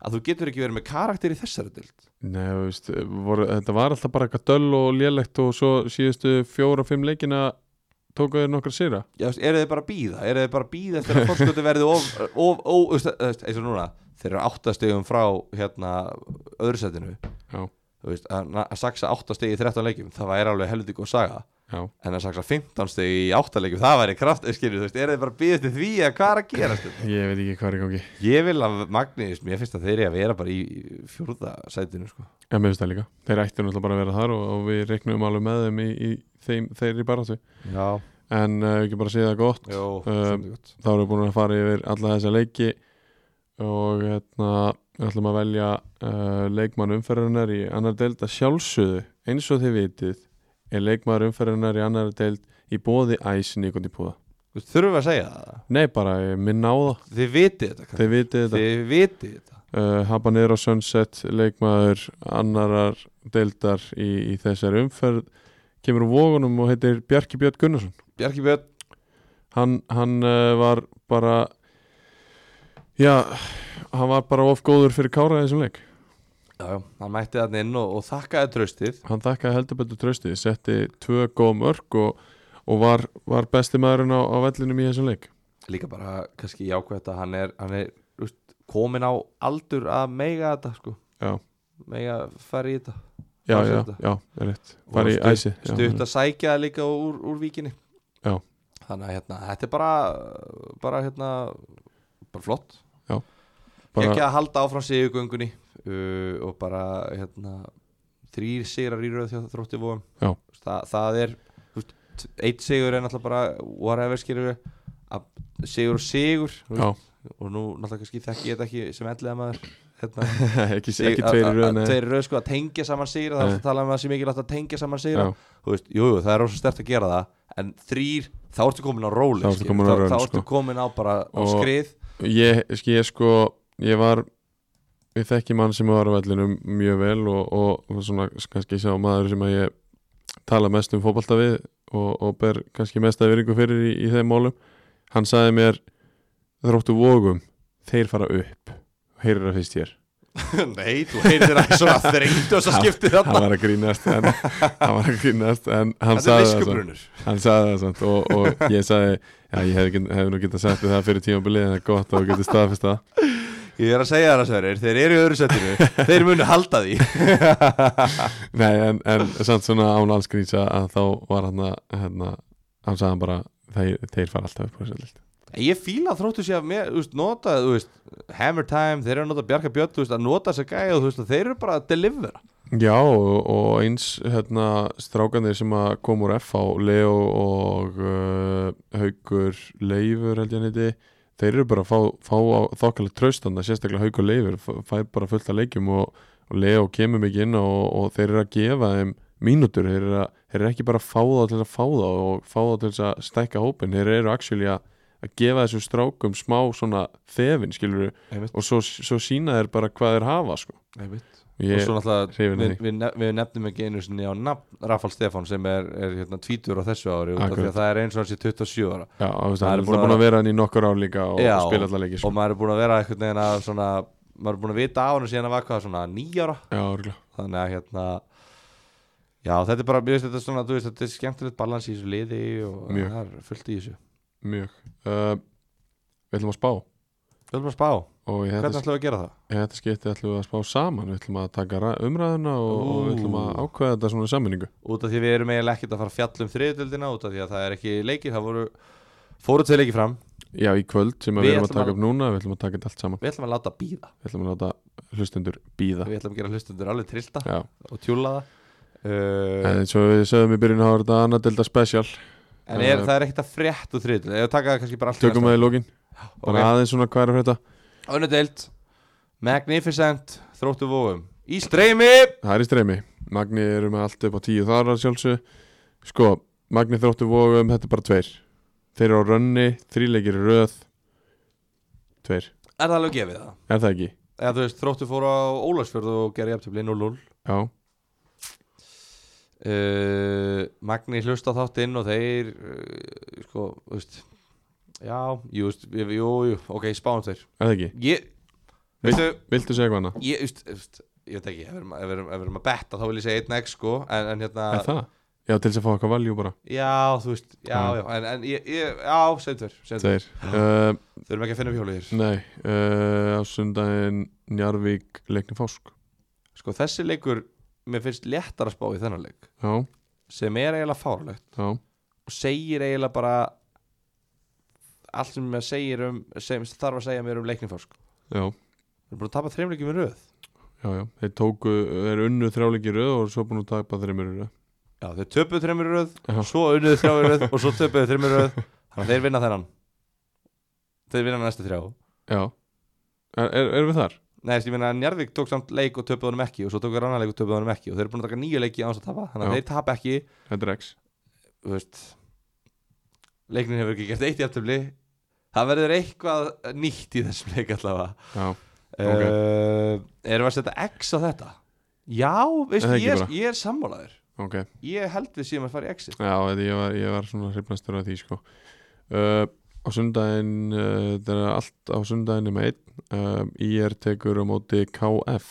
B: að þú getur ekki verið með karakter í þessari deild
A: Nei, þú veist, voru, þetta var alltaf bara eitthvað döll og lélegt og svo síðustu fjóra-fimm leikina tóku þeir nokkra sýra
B: Já, þú veist, eru þið bara að býða? eru þið bara að býða eftir að fórsköldu verði of, of, of, þú veist, þú veist, eins og núna þeir eru áttastegum frá hérna öðru setinu
A: Já,
B: þú veist, að, na- að saksa 8 stegi í 13 leikjum það væri alveg helviti góð saga
A: já,
B: en að saksa 15 stegi í 8 leikjum það væri kraft, skilju, þú veist, er þið bara að býða til því að hvað er að gera, skilju
A: ég veit ekki hvað er í gangi
B: ég vil að Magnís, mér finnst að þeir eru að vera bara í í fjórða sætinu, sko
A: Já, mér finnst það líka, þeir ættu náttúrulega bara að vera þar og, og við reiknum alveg með þeim í, í þeim, þeir í baráttu
B: já,
A: en uh, ekki bara að segja það gott
B: Jó,
A: Um,
B: um, gott.
A: þá erum við búin að fara yfir alla þessa leiki og hérna ætlum að velja uh, leikmann umferðarinnar í annar deild að sjálfsögðu eins og þið vitið er leikmann umferðarinnar í annar deild í bóði æs nýkundi púða
B: Þú veist, þurfum við að segja það
A: nei bara ég minna á það,
B: þið vitið þetta, krakkar.
A: þið vitið þetta
B: þið vitið þetta
A: uh, Habanero Sunset leikmaður annarar deildar í, í þessari umferð kemur úr vógunum og heitir Bjarki Björn Gunnarsson
B: Bjarki Björn,
A: hann, hann uh, var bara já hann var bara of góður fyrir Kára í þessum leik
B: já, já, hann mætti þarna inn og, og þakkaði tröstið
A: hann þakkaði heldur betur trösti setti tvö góð mörg og, og var, var besti maðurinn á, á vellinum í þessum leik
B: líka bara, kannski jákvæmt að hann er, hann er þú veist, komin á aldur að meiga þetta, sko
A: já,
B: mega fara í þetta
A: já,
B: Fara í
A: já,
B: þetta.
A: já, er rétt bara í
B: Og stutt-
A: æsi já,
B: stutt að sækja það líka úr, úr víkinni
A: Já.
B: þannig að hérna, þetta er bara bara hérna bara flott, bara... ekki
A: bara,
B: að halda áfram sigugöngunni uh, og bara hérna þrýr sigrar í röð hjá þrótti vóum
A: Já.
B: það, það er þú veist, t- einn sigur er náttúrulega bara whatever skilur við að sigur og sigur þú
A: já, [laughs]
B: veist, og nú náttúrulega kannski þekki ég þetta ekki sem ellega maður hérna,
A: [laughs] ekki,
B: sig-
A: ekki
B: að-
A: tveir í
B: að-
A: röðin
B: að tveir í röð sko að tengja saman sigra það
A: Nei.
B: er alltaf að tala um að það sé mikilvægt að tengja saman sigra
A: já,
B: þú veist, jú, jú, það er rosa stert að gera það en þrýr, þá ertu komin á róli
A: Þá ertu
B: skilur.
A: komin á rólinn,
B: þá, þá ertu
A: sko.
B: komin á bara á
A: Og-
B: skrið
A: ég, sk- ég sko ég var ég þekki mann sem var á vellinum mjög vel og, og, og svona kannski sá maður sem að ég tala mest um fótbolta við og, og ber kannski mest að veringu fyrir í, í þeim málum hann sagði mér þróttu vógum, þeir fara upp heyrir það fyrst hér
B: [laughs] nei, þú heyrðir að svona þrengt og svo skipti
A: hann
B: þarna
A: var að grínast en, hann var að grínast en hann
B: þetta
A: sagði
B: er
A: það svo
B: viskubrunur
A: hann sagði það samt og, og ég sagði já, ég hef, hef nú getað sagt þér það fyrir tímabilið en það er gott að þú getur staðfest það
B: ég er að segja það að sverir, þeir eru í öðru
A: [laughs]
B: setinu þeir munu halda því
A: Nei, en, en samt svona án alls gríns að- að þá var hann að hérna, hann sagði hann bara þeir, þeir fara alltaf upp á þessu lild
B: ég fíla að þróttu sér að mér, þú veist, nota þú veist, Hammer Time, þeir eru að nota Bjarka Björn þú veist, að nota þessa gæja og þú veist, að þeir eru bara að delivera
A: Já, og, og eins hérna, strákanir sem að kom úr FH Leo og uh, Haugur Leifur held ég hann heiti þeir eru bara að fá, fá á þokkalega traustanda sérstaklega Haugur Leifur f- fær bara fullt af leikjum og, og Leo kemur mikið inn og, og þeir eru að gefa þeim mínútur, þeir eru, að, þeir eru ekki bara að fá þá til að fá þá og fá þá til þess að stækka hópin, þeir eru actually að að gefa þessum strákum smá svona þefin, skilur
B: Einmitt.
A: og svo, svo sína þeir bara hvað þeir hafa sko.
B: Einmitt. og
A: ég,
B: svo náttúrulega
A: hrifinn af
B: við, við, nef- við nefnum ekki einu sinni á nafn Rafal Stefán sem er, er hérna tvítur á þessu ári út af því
A: Akkurat.
B: að það er eins og hans í 27 ára
A: Já, þú veist, hann
B: Maður er
A: er
B: búinn að-
A: búin að vera hann í nokkur ár líka og
B: Já,
A: spila allar leiki
B: og
A: sko.
B: maður er búin að vera eitthvað neina svona maður er búin að vita á hann síðan að var hvað svona nýjára
A: Já, örugglega.
B: þannig að hérna já þetta er bara mér finnst þetta svona þú veist þetta er skemmtilegt balans í þessu liði og
A: Mjög.
B: það er fullt í þessu
A: mjög uh, Við ætlum að spá
B: Við höfum að spá,
A: og í
B: hvernig
A: þetta,
B: ætlum við að gera það?
A: í þetta skipti ætlum við að spá saman við ætlum að taka ra- umræðuna og, og við ætlum að
B: Ú.
A: ákveða þetta svona í sammenningu
B: Út af því við erum eiginlega ekkert að fara að fjalla um þriðutöldina Út af því að það er ekki leikir, það voru Fóru tvei leikir fram,
A: já, í kvöld sem
B: Við
A: við, erum að
B: ætlum
A: taka
B: að-
A: upp núna við ætlum að taka þetta allt saman
B: við ætlum að láta býða
A: við ætlum að láta hlustendur býða
B: Við ætlum að gera hlustundur alveg trillta
A: já,
B: og tjúla það uh,
A: en eins og við sögum í byrjun þá er þetta annað delta special
B: En er,
A: eh,
B: það er ekkert að frétt úr þriðutöldina Ég taka það kannski bara allt í
A: tökum
B: næsta.
A: það í lókin bara
B: Ok.
A: aðeins svona hvað er að frétta
B: Önnur deild Magnificent Þróttu vóum Í streymi
A: það er í streymi Magni eru með allt upp á tíu þar að sjálfsög sko, Magni þróttu vóðum þetta er bara tveir þeir eru á rönni, þríleikir í röð tveir,
B: Er það alveg gefið það?
A: er það ekki?
B: Eða þú veist, þróttu fór á Ólafsfjörð og gerði jafntöfli 0-0
A: já,
B: uh, Magni hlusta á þáttinn og þeir uh, sko, þú veist Já, jú, veist, jú, jú, jú, ok, spáum þeir
A: er það ekki?
B: Ég, veistu,
A: viltu segja hvað hana?
B: ég, veist, veist, ég veit ekki, ef við erum- ef við erum- ef við erum að betta þá vil ég segja 1x sko, en, en hérna
A: er það? já, til þess að fá eitthvað valjú bara
B: Já, þú veist, já,
A: Ah.
B: já, en, en ég, ég, já, segjum þeir, segjum
A: tveir
B: þeir
A: uh,
B: Þau erum ekki að finna upp hjólið hér
A: nei, uh, á sundaginn Njarvík leikni fásk
B: Sko, þessi leikur, mér finnst léttar að spá í þennan leik
A: já,
B: sem er eiginlega fárlegt
A: já,
B: og segir eiginlega bara allt sem maður segir um sem þarf að segja mér um leikningforsk
A: já
B: Við erum búin að tapa þreimleikum í röð
A: Já, já, þeir tóku, þeir unnu þrjáleiki í röð og svo búin að tapa þreymur í röð
B: Já, þau töpuðu þreimur í röð,
A: Já.
B: svo unnuðu þrjá í röð og svo töpuðu þreimur í röð Þannig að þeir vinna þennan Þeir vinna næstu þrjá
A: Já, er, er, erum við þar?
B: Nei, þessi, ég meina að Njarðvík tók samt leik og töpuðu honum ekki og svo tók rannar leik og töpuðu honum ekki og þeir eru búin að taka nýju leiki án þess að tapa þannig að
A: Já.
B: þeir tapa ekki
A: Þetta er X
B: þú veist leiknin hefur ekki gert eitt jafntöfli það verður eitthvað nýtt í þessum leik allavega
A: Já,
B: okay. erum við að setja X á þetta? Já, veist,
A: Það er ekki
B: ég, er-
A: bara.
B: ég er sammálaður
A: ok
B: ég held við síðan að fara í X-ið
A: Já, þetta- ég var, ég var svona hreifnastur af því sko. uh, Á sundaginn uh, Það er allt á sundaginn um einn uh, IR tekur á móti KF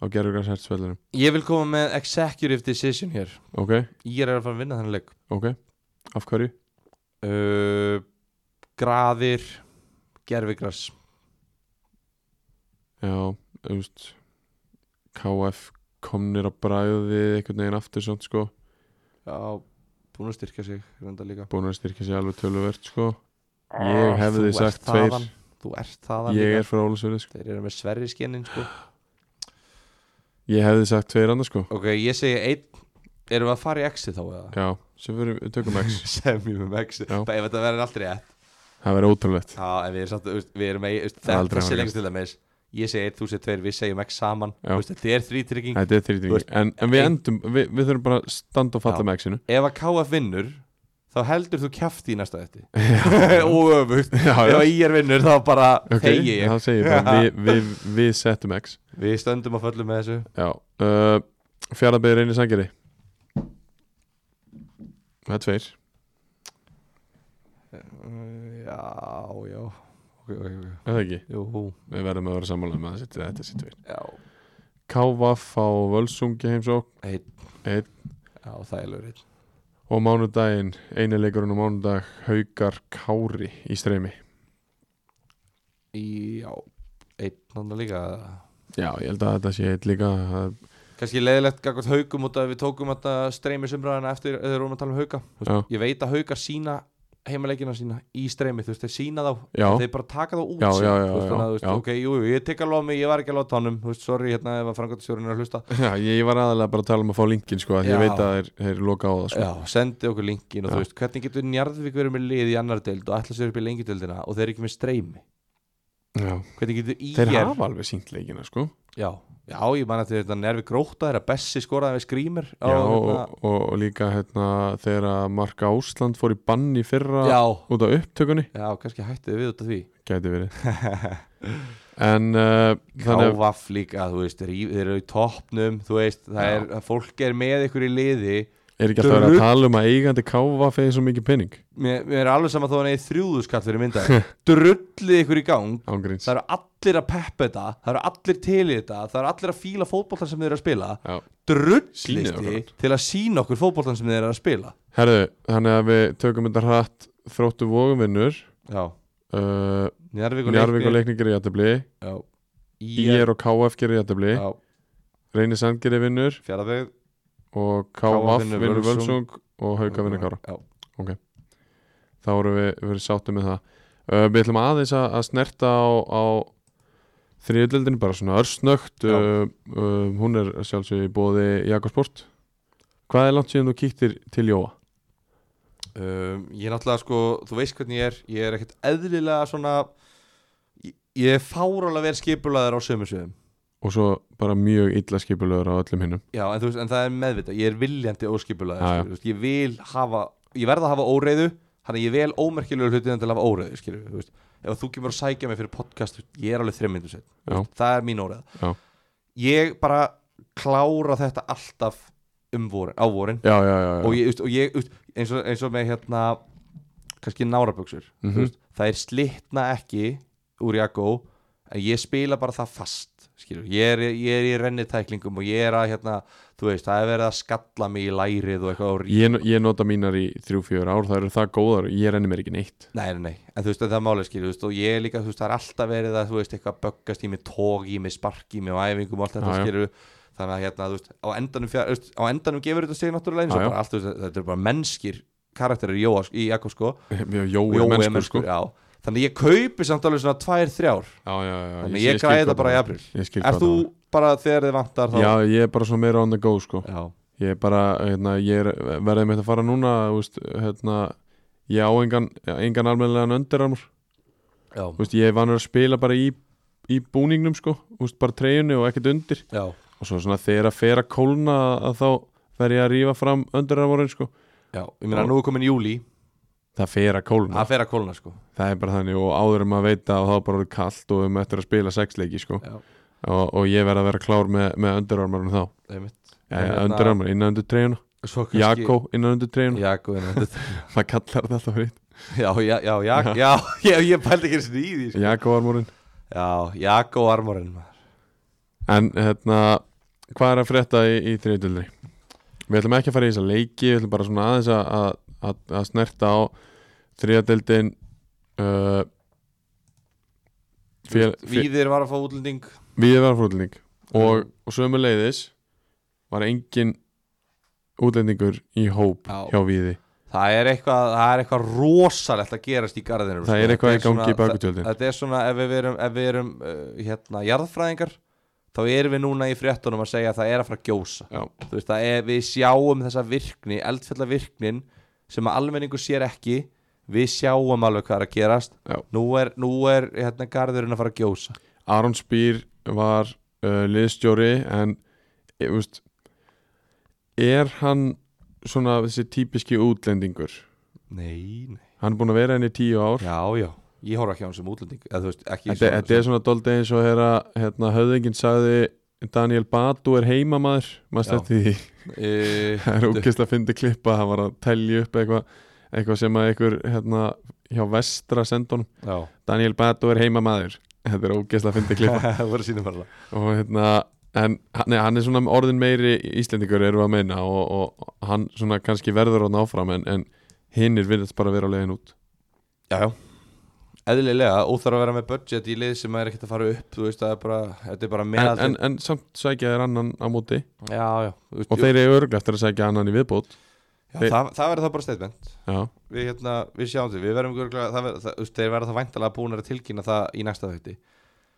A: á Gerðurgars hertsveldinu
B: ég vil koma með executive decision hér
A: Ok,
B: ég er að fara að vinna þennan leik
A: ok, af hverju?
B: uh, graðir gerfigras
A: Já, þú veist KF komnir á bræðið einhvern veginn aftur samt sko
B: já, búin að styrkja sig reynda líka
A: búin að styrkja sér alveg töluvert sko Ég hefði sagt tveir.
B: þaðan, þú ert þaðan
A: Ég
B: líka.
A: er frá Ólusverði sko
B: þeir eru með sverri skinnin sko
A: Ég hefði sagt tveir annars sko
B: Ok, ég segi einn Erum við að fara í exit þá eða?
A: Já, sem fyrir, við tökum X
B: [laughs] Semjum um exit
A: Já.
B: Bara ef þetta verður aldrei rétt
A: Það verður ótrúlegt
B: Já, en við erum samt, þú veist, við erum með
A: Það er aldrei að
B: Þessi
A: fara í
B: lengst til dæmis Ég segi einn, þú segir tveir, við segjum x saman
A: Já.
B: Þú veist, Þetta er þrítrygging
A: Þetta er
B: Þú
A: þrýtingi
B: veist,
A: en, en við
B: ein-
A: endum, við, við þurfum bara að standa og
B: Já.
A: falla með [laughs] X-inu
B: Ef að KF vinnur Þá heldur þú kjæft í næsta þetta [laughs] Og öfugt
A: Já,
B: Ef
A: já.
B: að ég er vinnur, þá bara okay. þegi ég
A: það segir bara [laughs] við, við, við settum X
B: Við stöndum að föllum með þessu
A: Já uh, Fjaraðbyður einnig sangeri Það er tveir
B: Mm, Já, já Ok, ok, ok
A: Er það ekki?
B: Jú,
A: Við verðum að vera sammála um að þetta sé- þetta sé tveir
B: já
A: Kávaf á Völsungi heimsók
B: Einn
A: Einn.
B: Já, það er lögur einn
A: og mánudaginn eini leikurinn á mánudag Haukar Kári í streymi
B: Í- Já, einn andan líka eða?
A: Já, ég held að þetta sé eitt líka það-
B: kannski leiðilegt gagvart haugum út af að við tókum þetta streymi sumraðina eftir eða vorum að tala um hauka Þú veist, ég veit að haukar sína heimaleikina sína í streymi, þú veist, þeir sína þá
A: Já.
B: þeir bara taka þá út
A: Já,
B: síðan,
A: já, já,
B: þú
A: já,
B: veist, þannig að, þú veist,
A: já.
B: ok, jú, jú, ég tek alveg á mig, ég var ekki alveg á tánum þú veist, sorry, hérna, ef að frangatastjórinn er að hlusta
A: Já, ég var aðalega bara að tala um að fá linkin sko, að ég
B: Já.
A: veit að þeir, þeir loka á það sko.
B: já, sendi okkur linkin og
A: Já.
B: þú veist, hvernig getur Njarðvík verið með lið í annar deild og ætla sér upp í lengjudeildina og þeir eru ekki með streymi
A: Já.
B: hvernig getur IR
A: Þeir hafa alveg sínt leikina sko
B: já, já, ég man eftir þetta nervi gróta þeirra Bessi skoraði við skrýmir á,
A: Já,
B: hérna,
A: og, og, og líka hérna þegar að Mark Ásland fór í bann í fyrra
B: já,
A: út af upptökunni
B: já, kannski hættu við út af því
A: Gæti
B: [laughs]
A: verið En uh, þannig að
B: Kávaf líka, þú veist, ríf, þeir eru í toppnum, þú veist, það
A: Já.
B: er, að fólk er með ykkur í liði,
A: er ekki alltaf verið að tala um að eigandi káfa fyrir svo mikið penning
B: mér, mér er alveg sama þó hann eigi þrjúðuskall fyrir mynda,
A: [laughs]
B: drullið ykkur í gang,
A: ángríns
B: það eru allir að peppa þetta, það eru allir til í þetta, það eru allir að fíla fótboltan sem þeir eru að spila,
A: Já. Sýnið
B: drullið
A: okkur
B: þið til að sína okkur fótboltan sem þeir eru að spila.
A: Herðu, þannig að við tökum þetta hratt þróttu voguvinnur
B: Já,
A: uh,
B: Njarvík og
A: Njarvík og
B: Leikni
A: Leikni gerir jættabli
B: Já.
A: IR og KF gerir jættabli
B: Já,
A: Reyni Sand gerir vinnur
B: Fjarðabyggð
A: og
B: KF
A: KF
B: vinnur
A: vinnur
B: Völsung.
A: Völsung og Hauka vinnur Kára
B: Já,
A: þá erum við, við erum sáttum með það uh, við ætlum aðeins að, að snerta á, á þriðdeldinu bara svona örsnögt
B: Já.
A: uh, uh, hún er sjálfsög í bóði Jakobsport hvað er langt síðan þú kíktir til Jóa?
B: um, ég er náttúrulega sko, þú veist hvernig ég er ég er ekkert eðlilega svona ég, ég er fárálega vel skipulaður á sömu sviðum
A: og svo bara mjög illa skipulöður á öllum hinnum
B: já, en, þú veist, en það er meðvitað, ég er viljandi óskipulaður,
A: Já, já.
B: skilur, þú veist, ég vil hafa ég verð að hafa óreiðu, þannig að ég vel ómerkilegur hlutin til að hafa óreiðu, skilur þú veist, ef þú kemur að sækja mig fyrir podcast ég er alveg þremmindu set,
A: Já.
B: það er mín óreiða
A: Já.
B: ég bara klára þetta alltaf um vorin, á vorin
A: já, já, já, já.
B: og ég, veist, og ég veist, eins, og, eins og með hérna kannski náraböksur mm
A: Mhm.
B: veist, það er slitna ekki úr Jakko en ég spila bara það fast skilur, ég er, ég er í rennitæklingum og ég er að hérna, þú veist, það er verið að skalla mig í lærið og eitthvað og rí-
A: Ég, ég nota mínar í 3-4 ár, það eru það góðar ég renni mér ekki neitt [laughs]
B: Nei, nei, nei, en þú veist, en það er málið skilur, þú veist, og ég er líka, þú veist, það er alltaf verið að, þú veist, eitthvað böggast í mig, tók í mig, spark í mig og æfingum og allt þetta
A: Já, já.
B: skilur, þannig að hérna, þú veist, á endanum, fjár, þú veist, á endanum gefur þetta sig náttúrulega eins
A: Já,
B: og
A: já.
B: bara allt, þú veist, þetta er bara mennskir karakterir í Jóa, í Jakko, sko,
A: Jói
B: Jói
A: er
B: mennskur,
A: mennskur sko já,
B: já. þannig ég kaupi samt alveg svona tvær, þrjár
A: já, já,
B: þannig
A: sé-
B: ég, græði
A: skil
B: þetta
A: hvað
B: bara í
A: það er.
B: april
A: Ég skil
B: er
A: hvað
B: þú
A: það
B: bara þegar þið vantar þá
A: er. Já, ég er bara svo meira on the go sko
B: já,
A: Ég er bara, hérna, ég er, verðið mitt að fara núna þú veist, hérna ég á engan, engan almennilegan öndirarmur
B: já,
A: Þú veist, ég er vanur að spila bara í, í búningnum sko, Þú veist, bara treyjunni og ekkert undir
B: já,
A: og svo svona þegar að fer að kólna að þá fer ég að rífa fram öndirarmurinn sko,
B: já ég meina nú er komin júli,
A: það fer að kólna
B: það fer að kólna sko
A: það er bara þannig og áður um að veita og þá er bara orðið kallt og við erum eftir að spila sexleiki sko.
B: já,
A: og, og ég verð að vera klár með, með underarmarinn þá
B: einmitt
A: ja,
B: En hérna-
A: underarmar innan undir treyjuna
B: svo
A: Jakko innan undir treyjuna
B: Jakko, en þetta-
A: maður kallar þetta alltaf fyrir
B: já, já, já, já, já, já, ég pældi ekki einu sinni í því sko.
A: Jakko armurinn
B: Já, Jakko armorinn maður.
A: en hérna hvað er að frétta í, í treyjutildri við ætlum ekki að fara í þessa leiki við ætlum bara svona aðeins að, að, að, að snerta á þriðatildin uh, fél- fél-
B: Víðir var að fá útlending
A: Við varum fróðlending og, og sömu leiðis var engin útlendingur í hóp
B: Já.
A: hjá Viði
B: Það er eitthvað, það er eitthvað rosalegt að gerast í garðinum sko.
A: Það er eitthvað í gangi í
B: svona-
A: bakutjöldin.
B: þa- Þetta er svona, ef við erum, ef við erum uh, hérna, jarðfræðingar þá erum við núna í fréttunum að segja að það er að fara að gjósa
A: Já,
B: Þú veist, það er, við sjáum þessa virkni, eldfjalla virknin sem að almenningur sér ekki við sjáum alveg hvað er að gerast
A: Já.
B: Nú er, nú er hérna, garðurinn að fara að gjósa
A: Aron Spýr var uh, liðstjóri en e, veist, er hann svona þessi típiski útlendingur
B: Nei, nei
A: hann er búin að vera henni í tíu ár
B: Já, já, ég horf ekki á hann sem útlending eða, þú veist, ekki
A: Þetta þetta er svona doldið eins og hérna, hérna höfðingin sagði Daniel Batu er heimamaður maður
B: Já.
A: stætti því
B: uh,
A: [laughs] það er ógist að fyndi klippa hann var að telja upp eitthvað eitthvað sem að einhver hérna hjá vestra sendunum
B: [laughs] Já, [laughs]
A: Daniel Bato er heimamaður þetta er ógist að fyndi klippa
B: það voru sínum bara
A: og hérna en hann- nei, hann er svona orðin meiri íslendingur eru að meina og, og hann svona kannski verður hann áfram en, en hinnir virðast bara vera á leiðin út
B: Já, já Eðlilega, óþarf að vera með budget í lið sem er ekkert að fara upp Þú veist, það er bara, þetta er bara
A: en,
B: meðal
A: en, en samt sækja þeir annan á móti
B: Já, já þú veist,
A: og
B: jú,
A: þeir eru örglega eftir að sækja annan í viðbót
B: já,
A: þeir-
B: Það, það verður þá bara statement
A: já,
B: Við, hérna, við sjáum því, við verðum örugglega- það verður- það- þú veist, Þeir verða það væntalega búin að tilkynna það í næsta þætti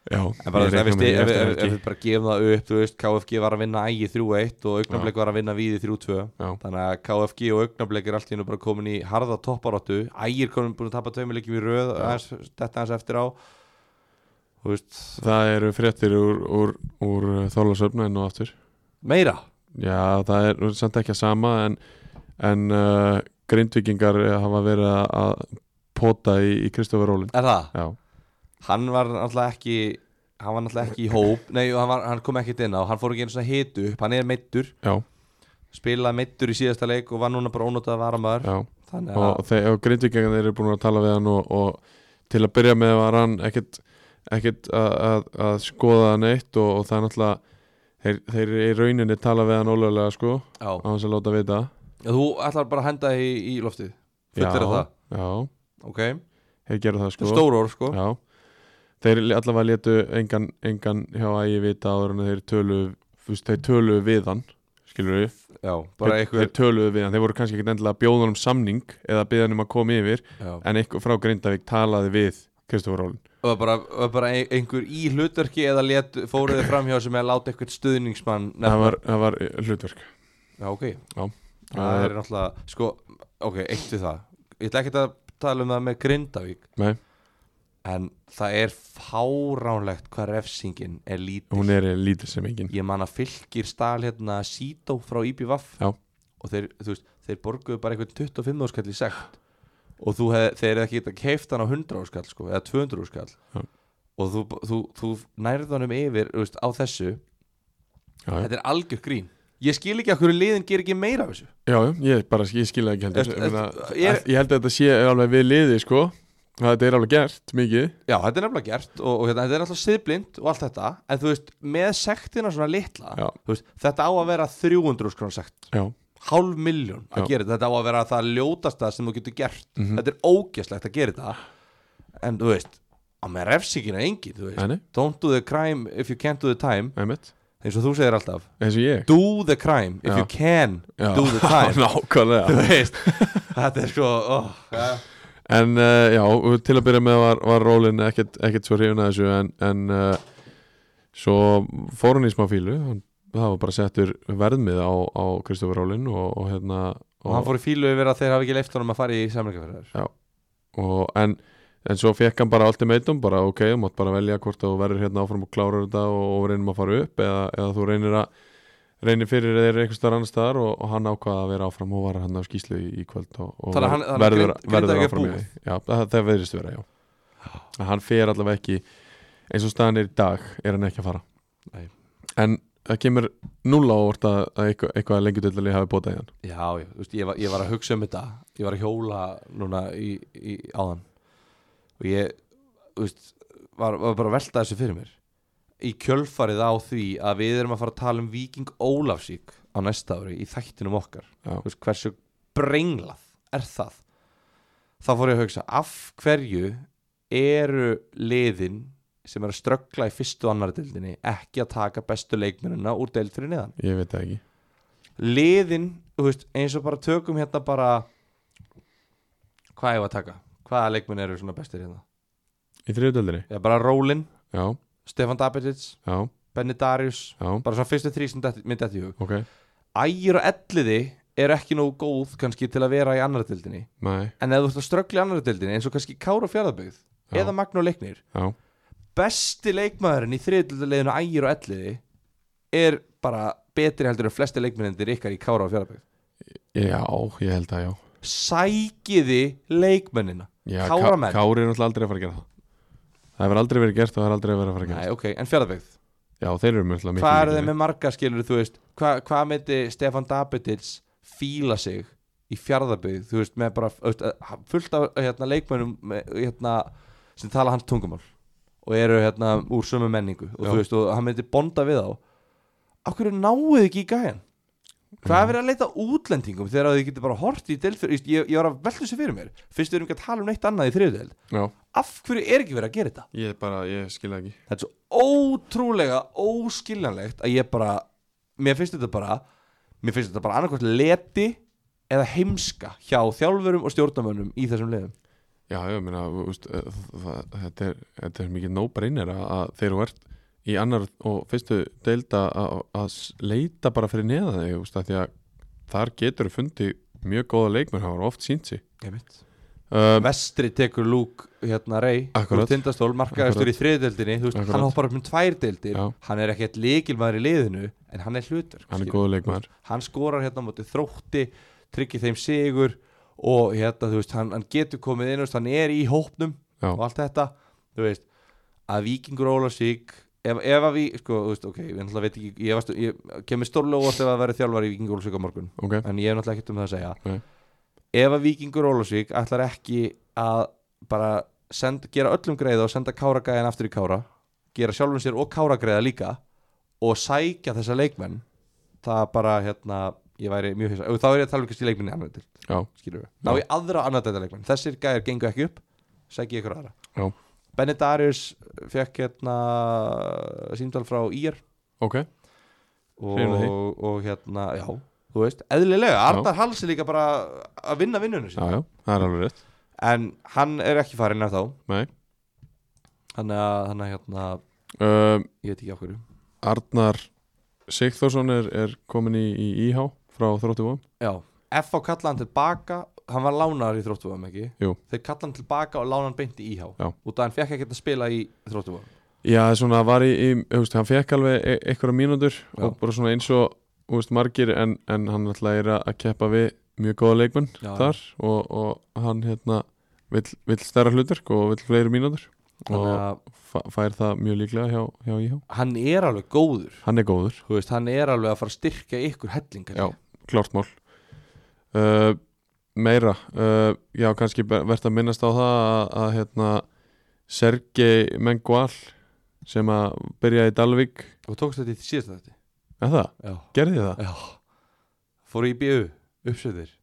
A: já
B: En bara,
A: ég
B: þú veist, ef við
A: reikna með
B: sti-
A: því
B: ef við-
A: eftir
B: ef- ef
A: helgi.
B: við bara gefum það upp Þú veist, KFG var að vinna ægi 3-1 og Augnablik var að vinna Víði 3-2
A: Já.
B: Þannig að KFG og Augnablik er allt í nú bara komin í harða topparóttu Ægir komin búin að tapa tveimilegjum í röð aðeins, Þetta aðeins eftir á Þú veist,
A: það eru fréttir úr, úr, úr Þorlarsöfna enn og aftur
B: Meira
A: Já, það er nú samt ekki að sama en, en uh, grindvikingar hafa verið að- að pota í, í Kristofur Rólin
B: Er það?
A: Já,
B: hann var náttúrulega ekki hann var náttúrulega ekki í hóp nei, hann, var, hann kom ekkert inn á, hann fór ekki einu svona hitu upp hann er meittur,
A: já,
B: spilaði meittur í síðasta leik og var núna bara ónótað varamaður
A: já
B: þannig að,
A: og, þeir, og grindvikingar eru búin að tala við hann og, og til að byrja með var hann ekkit, ekkit að, að, að skoða hann eitt og, og það er náttúrulega þeir, þeir í rauninni tala við hann ólega sko, á
B: já,
A: hans að láta vita
B: þú ætlar bara að henda í, í loftið fullir
A: Já,
B: það,
A: Já,
B: ok
A: hefur gerð það sko
B: Þetta er stór orð sko
A: Já, þeir allavega letu engan, engan hjá ægi vita áður en að þeir tölu veist, þeir tölu við hann skilur við,
B: Já, bara
A: þeir,
B: eitthvað
A: þeir tölu við hann þeir voru kannski ekkert endilega að bjóða hann um samning eða byrða hann um að koma yfir
B: Já.
A: en einhver frá Grindavík talaði við Kristofur Rólin
B: Það var bara, var bara ein- einhver í hlutverki eða let, fóruð þið framhjá sem að láta eitthvað stuðningsmann
A: það
B: nefna-
A: var, það var eh, hlutverk
B: Já, ok
A: Já.
B: Það er náttúrulega, sko, ok, eitt við það Ég ætla ekkert að tala um það með Grindavík
A: Nei,
B: En það er fáránlegt hvað refsingin er lítil
A: hún er eh, lítið sem engin
B: Ég man að fylgir stal hérna Sító frá IBVF
A: Já.
B: Og þeir, þú veist, þeir borguðu bara einhvern 25 áskall í sekt Og þú hef, þeir hefði ekki getað keift hann á 100 áskall, sko, eða 200 áskall
A: Já.
B: Og þú, þú, þú nærði honum yfir, þú veist, á þessu
A: já, já.
B: Þetta er algjör grín Ég skil ekki að hverju liðin ger ekki meira af þessu
A: já, já, ég bara ég skil það ekki heldur
B: Ertu-
A: ég, meina,
B: ertu- ég er-
A: ég held að þetta sé alveg við liðið sko að þetta er alveg gert mikið
B: Já, þetta er nefnilega gert og, og hérna, þetta er alltaf siðblind og allt þetta en þú veist, með sektina svona litla
A: Já.
B: þú veist, þetta á að vera 300 krón sekt
A: já,
B: hálf miljón að
A: Já. Mhm.
B: gera þetta þetta á að vera það ljótasta sem þú getur gert þetta er ógeslegt að gera þetta en þú veist, á með refsingina engin, þú veist,
A: Nei, nei.
B: don't do the crime if you can't do the time,
A: einmitt
B: eins og þú segir alltaf
A: eins og ég
B: do the crime if
A: Já.
B: you can
A: [laughs] Já.
B: do the time
A: nákvæmlega
B: þú veist, þetta er sko oh,
A: En uh, já, og til að byrja með var, var rólinn ekkert, ekkert svo hrifin að þessu en, en uh, svo fór hann í smá fílu hann, það var bara settur verðmið á, á Kristofur Rólinn og, og hérna
B: og hann fór í fílu yfir að þeir hafi ekki leift honum að fara í samlingafærar
A: og, en, en svo fekk hann bara ultimatum bara ok, þú mátt bara velja hvort að þú verður hérna áfram og klárar þetta og, og reynum að fara upp eða, eða þú reynir að reynir fyrir þeir einhvers staðar annars staðar og, og hann ákvaða að vera áfram og var hann á skýslu í, í kvöld og, og
B: Þannig að
A: ver-
B: hann- þannig að
A: verður, verður
B: Grind- Grindavík er
A: áfram í
B: búið.
A: því. já, það, það verðist vera, já að hann fer allavega ekki eins og staðan er í dag er hann ekki að fara
B: Nei.
A: en það kemur núla ávort að, að eitthvað, eitthvað lengjudöldali hafi bótað í hann
B: Já, já, þú veist, ég, var, ég var að hugsa um þetta Ég var að hjóla núna í, í áðan Og ég, þú veist, var, var bara að velta þessu fyrir mér Í kjölfarið á því að við erum að fara að tala um Víking Ólafsík á næsta ári í þættinum okkar
A: Já.
B: Þú veist, Hversu brenglað er það? Þá fór ég að hugsa, af hverju eru liðin sem er að ströggla í fyrstu og annar deildinni ekki að taka bestu leikmennina úr deild fyrir neðan?
A: ég veit það ekki
B: liðin þú veist, eins og bara tökum hérna bara hvað ég var að taka hvaða leikmenn eru svona bestir hérna
A: í þriðutöldali,
B: ég bara Rólin,
A: já,
B: Stefan Dabitic,
A: já,
B: Benny Darius
A: já
B: bara svona fyrstu þrý sem detti- mér dætti í hug
A: ok,
B: ægir og elliði eru ekki nógu góð kannski til að vera í annara dildinni
A: nei,
B: en ef þú ert að ströggla í annara dildinni eins og kannski Kára Fjörðabögð
A: Já.
B: eða Magnó Leiknir
A: já
B: besti leikmaðurinn í þriðdildileginu ægir og elliði er bara betri heldur en flesti leikmennendir ykkar í Kára og Fjörðabögð
A: Já, ég held að já,
B: sækiði leikmennina
A: já Ká-
B: Káramenn
A: Kári er náttúrulega aldrei að fara að gera það Það hefur aldrei verið gert og það er aldrei að vera að fara að gera
B: Nei, ok, en fjörðarbyggð
A: Já, þeir eru mjög miklu
B: Hvað eru
A: líklegri.
B: þeir með marga skilur, þú veist Hvað, hvað myndi Stefan Dabitils fíla sig í fjörðarbyggð Þú veist, með bara þú veist, að- fullt af hérna, leikmennum með, hérna, sem tala hans tungumál og eru hérna úr sömu menningu og
A: Já.
B: þú veist, og hann myndi bonda við þá Af hverju náuðu ekki í gæjan? Hvað
A: Mm.
B: er verið að leita að útlendingum þegar þið getur bara hort í delfyrir ég, ég var að velta þessu fyrir mér Fyrst við erum ekki að tala um neitt annað í þriðdel
A: Já,
B: af hverju er ekki verið að gera þetta
A: ég bara, ég skil það ekki
B: þetta er svo ótrúlega óskiljanlegt að ég bara mér finnst þetta bara mér finnst þetta bara annarkvæmt leti eða heimska hjá þjálfurum og stjórnamönnum í þessum liðum
A: Já, ég meina, þú veist, eh, það- það- þetta er, þetta er mikið nóbreynir að, að þeir eru ert í annar og fyrstu deilda að, að s- leita bara fyrir neðan þig, þú veist, að því að þar getur fundið mjög góða leikmenn, það var oft sínt sig um,
B: vestri tekur lúk hérna rey
A: Akkurat.
B: tindastól markaðastur í þriðdeldinni þú veist,
A: Akkurat.
B: hann hoppar upp um tvær deildir
A: Já.
B: hann er ekkert leikilmaður í liðinu en hann er hlutur
A: Hann er góða leikmenn
B: hann skorar hérna á móti þrótti tryggir þeim sigur og hérna þú veist, hann, hann getur komið inn þú veist, hann er í hópnum
A: Já.
B: og allt þetta þú veist, að vikingur Ólafsvík ef, ef að við, sko, þú veist, ok ég náttúrulega veit ekki, ég, varst, ég kemur stórlega óvart ef að vera þjálfar í vikingur Ólafsvík á morgun
A: Ok,
B: en ég hef náttúrulega ekkert um það að segja
A: Nei.
B: ef að vikingur Ólafsvík ætlar ekki að bara send, gera öllum greiða og senda Kára gæðan aftur í Kára gera sjálfum sér og Kára greiða líka og sækja þessa leikmenn það bara hérna ég væri mjög hissa, og þá er ég að tala um kannski leikmenn í annar til
A: já,
B: skilur við, ná í aðra annar dæta leikmenn þessir gæðar gengu ekki upp segi ykkur aðra
A: Já.
B: Benny Darius fekk hérna símtal frá IR
A: ok,
B: og,
A: Hrifin af því.
B: og hérna, já, þú veist eðlilega, Arnar Hals er líka bara að vinna vinnunum
A: já
B: sín
A: já, það er alveg rétt
B: en hann er ekki farinn ennþá
A: nei,
B: þannig að, þannig að hérna,
A: um,
B: ég veit ekki á hverju
A: Arnar Sigþórsson er, er komin í, í IH frá Þróttu Vóum
B: já, FH kallaði hann tilbaka hann var lánaður í þróttuvöðum ekki
A: Jú.
B: þeir kallaði hann tilbaka og lánaði hann beint í IH
A: Já.
B: út af hann fekk ekki að spila í þróttuvöðum
A: Já, svona var í, í þú veist, hann fekk alveg e- einhverja mínútur
B: Já.
A: og bara svona eins og þú veist, margir en, en hann alltaf er að að keppa við mjög góða leikmenn
B: Já, já.
A: þar og, og hann hérna vill, vill stærra hlutverk og vill fleiri mínútur
B: þannig
A: og
B: að
A: fa- fær það mjög líklega hjá, hjá IH
B: hann er alveg góður
A: Hann er góður,
B: þú veist, hann er alveg að fara að styrka ykkur hellingar
A: Já. klárt mál uh, Meira uh, Já, kannski be- vert að minnast á það að, að hérna Sergei Mengual sem að byrjaði í Dalvík
B: og tókst þetta í síðast þetta
A: Er það?
B: já.
A: Gerði ég það?
B: já, fóru í BU uppsöðir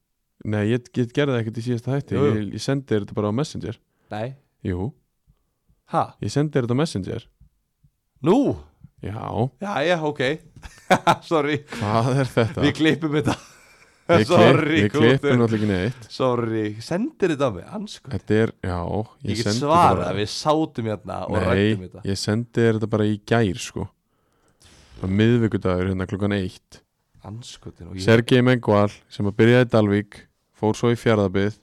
A: Nei, ég, ég gerði það ekkert í síðasta hætti
B: Jú, jú.
A: Ég, ég sendi þér þetta bara á Messenger
B: nei,
A: Jú,
B: ha,
A: ég sendi þér þetta á Messenger
B: nú
A: Já,
B: já, já, ok [laughs] sorry,
A: hvað er þetta?
B: við klippum þetta
A: Við klipp-
B: sorry,
A: Við klippum
B: Knútur.
A: náttúrulega ekki neitt
B: sorry, sendir þetta á mig ansku,
A: Þetta er, já
B: ég get
A: sendi þetta
B: svara
A: bara-
B: við sátum hérna og rættum
A: Nei,
B: þetta
A: ég sendi þér þetta bara í gær sko Bara miðvikudagur hérna klukkan eitt
B: anskutin og ég
A: Sergei Mengval sem að byrjaði í Dalvík Fór svo í fjárðabið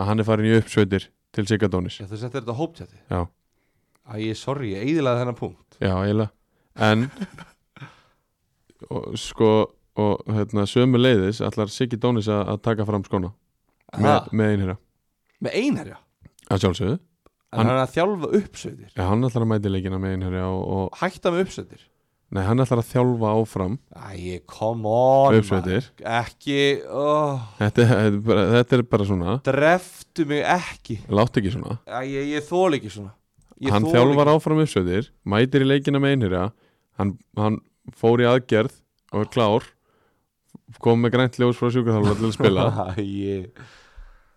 A: Að hann er farin í uppsveitir til Sigadónis
B: Já, þú settir þetta á hóptjati
A: Já.
B: Æ, ég er sorry, ég eðilaði þennan punkt
A: Já, eiginlega En og, Sko Og hérna, sömu leiðis Allar Siggi Dónis að að taka fram skóna Með,
B: Ha,
A: með einherja
B: Með einherja
A: Að sjálfsögðu
B: En
A: Hann-
B: hann er að þjálfa uppsveitir
A: Já, hann ætlar að mæti leikina með einherja og, og,
B: Hætta með uppsveitir
A: Nei, hann ætlar að þjálfa áfram
B: Æ, come on
A: Uppsveitir.
B: maður. Ekki, oh,
A: Þetta, þetta, er bara, þetta er bara svona
B: dreftu mig ekki
A: Látt ekki svona
B: Æ, ég, ég þól ekki svona ég
A: Hann
B: þoli
A: þjálfar
B: ekki-
A: áfram uppsveitir Mætir í leikina með einherja Hann, hann fór í aðgerð Og er klár Kom með grænt ljós frá sjúkarþjálfara til að
B: [laughs]
A: spila
B: Æ, ég,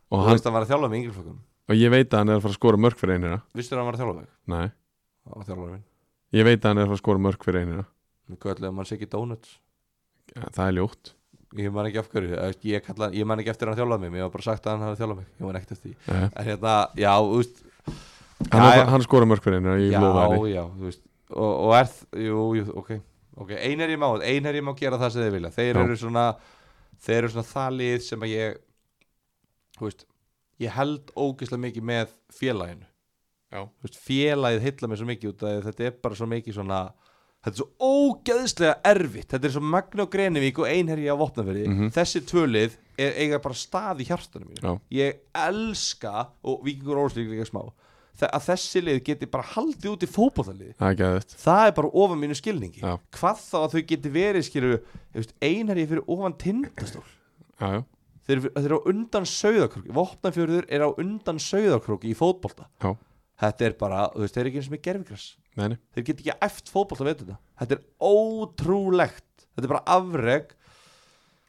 A: og,
B: Þú
A: hann,
B: veist að hann var að þjálfa með yngri flokkum
A: og ég veit að hann er að fara að skora mörg fyrir einherja
B: Vistu að hann var að þjálfa mig?
A: Nei
B: Það var þjálfarinn minn
A: Ég veit að hann er að fara að skora mörg fyrir einina
B: Við köllum hann Siggi Donuts
A: ja, Það er ljótt
B: Ég man ekki af hverju Þú veist, Ég, kalla, ég man ekki eftir að hann þjálfaði mig Mér var bara sagt að hann hafi þjálfað mig Ég man ekkert eftir því
A: Nei.
B: En hérna, já, þú veist
A: Eh, Hann, er að
B: Já,
A: fara- hann skora mörg fyrir einina, ég
B: já,
A: lofa henni
B: já, þú veist og, og er, þ- jú, jú, ok, ok einherjum á, einherjum á gera það sem þeir vilja þeir
A: Já.
B: eru svona, þeir eru svona það lið sem að ég þú veist, ég held ógeðslega mikið með félaginu
A: Já.
B: Þú veist, félagið heilla mér svo mikið út að þetta er bara svo mikið svona þetta er svo ógeðslega erfitt þetta er svo Magna og Grenivík og einherji á vopnafyrði
A: Mhm.
B: þessi tvölið er, eiga bara stað í hjartanum mínu
A: Já.
B: ég elska og vikingur óslík líka smá þe- að þessi lið geti bara haldið út í fótbollalið
A: Það er gæðið
B: það er bara ofan mínu skilningi
A: Já.
B: hvað þá að þau geti verið skilur einherji fyrir ofan tindastól
A: Já, já,
B: þeir, eru- þeir eru á undan sauðakróki vopnafjörður er á undan sauðakróki í fótbolta
A: já,
B: þetta er bara, þú veist, þeir eru ekki eins og með gerfigræs
A: nei, nei
B: þeir get ekki eftir fótbolta við þetta þetta er ótrúlegt þetta er bara afreg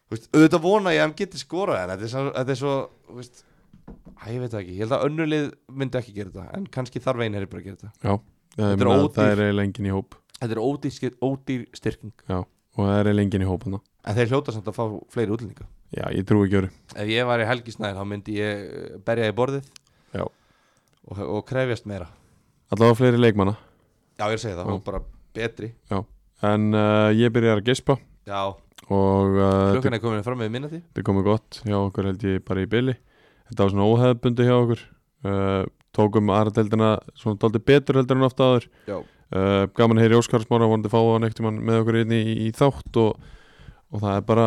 B: Þú veist, auðvitað vona ég að hann geti skorað en þetta er svo, þetta er svo þú veist, að, ég veit það ekki, ég held að önnulið myndi ekki gera þetta en kannski þarf einherri bara að gera þetta
A: Já, það,
B: Þetta er
A: er meina,
B: ódýr.
A: það er eiginlega engin í hóp
B: þetta er ódýr, skir- ódýr styrking
A: Já, og það er eiginlega engin í hóp hana
B: en þeir hljóta samt að fá fleiri útlendinga
A: Já, ég trúi ekki öru
B: ef ég var í Helgi Snæðin þá myndi ég eh, berja í borðið
A: Já.
B: og, og krefjast meira
A: Allavega fleiri leikmanna
B: já ég er að segja
A: Já.
B: það, og bara betri
A: En uh, ég byrjar að gespa
B: já,
A: og uh, þetta-
B: klukkan er komin fram með minna því
A: þetta er komið gott hjá okkur held ég bara í byli Þetta var svona óhefbundi hjá okkur uh, Tókum aðradeldina svona dálítið betur heldur en oft áður
B: já,
A: uh, gaman að heyra í Óskar Smára vonandi fá hann ekkert mann með okkur inn í, í þátt og, og það er bara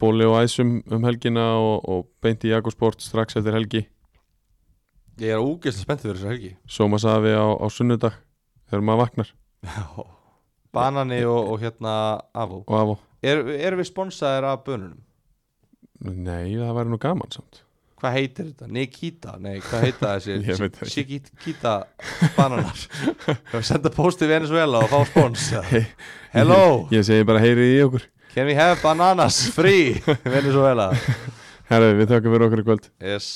A: bóli og æsum um helgina og, og beint í Jakosport strax eftir helgi
B: ég er ógeðslega spenntið fyrir þessu helgi
A: Soma Safi á, á sunnudag þegar maður vaknar
B: Já. Banani og, og hérna Avó
A: og af og
B: er, Erum við sponsaðir af bönunum?
A: Nei, það væri nú gaman samt
B: Hvað heitir þetta? Nikita? Nei, hvað heita
A: [laughs] Ég veit það
B: þessi?
A: ekki.
B: Sikita bananar Ég senda postið Venezuela og fá spons
A: [laughs]
B: Hello,
A: Ég segi bara heyrið í okkur
B: can we have bananas free Venezuela
A: Herra, við þökkum fyrir okkur í kvöld
B: Yes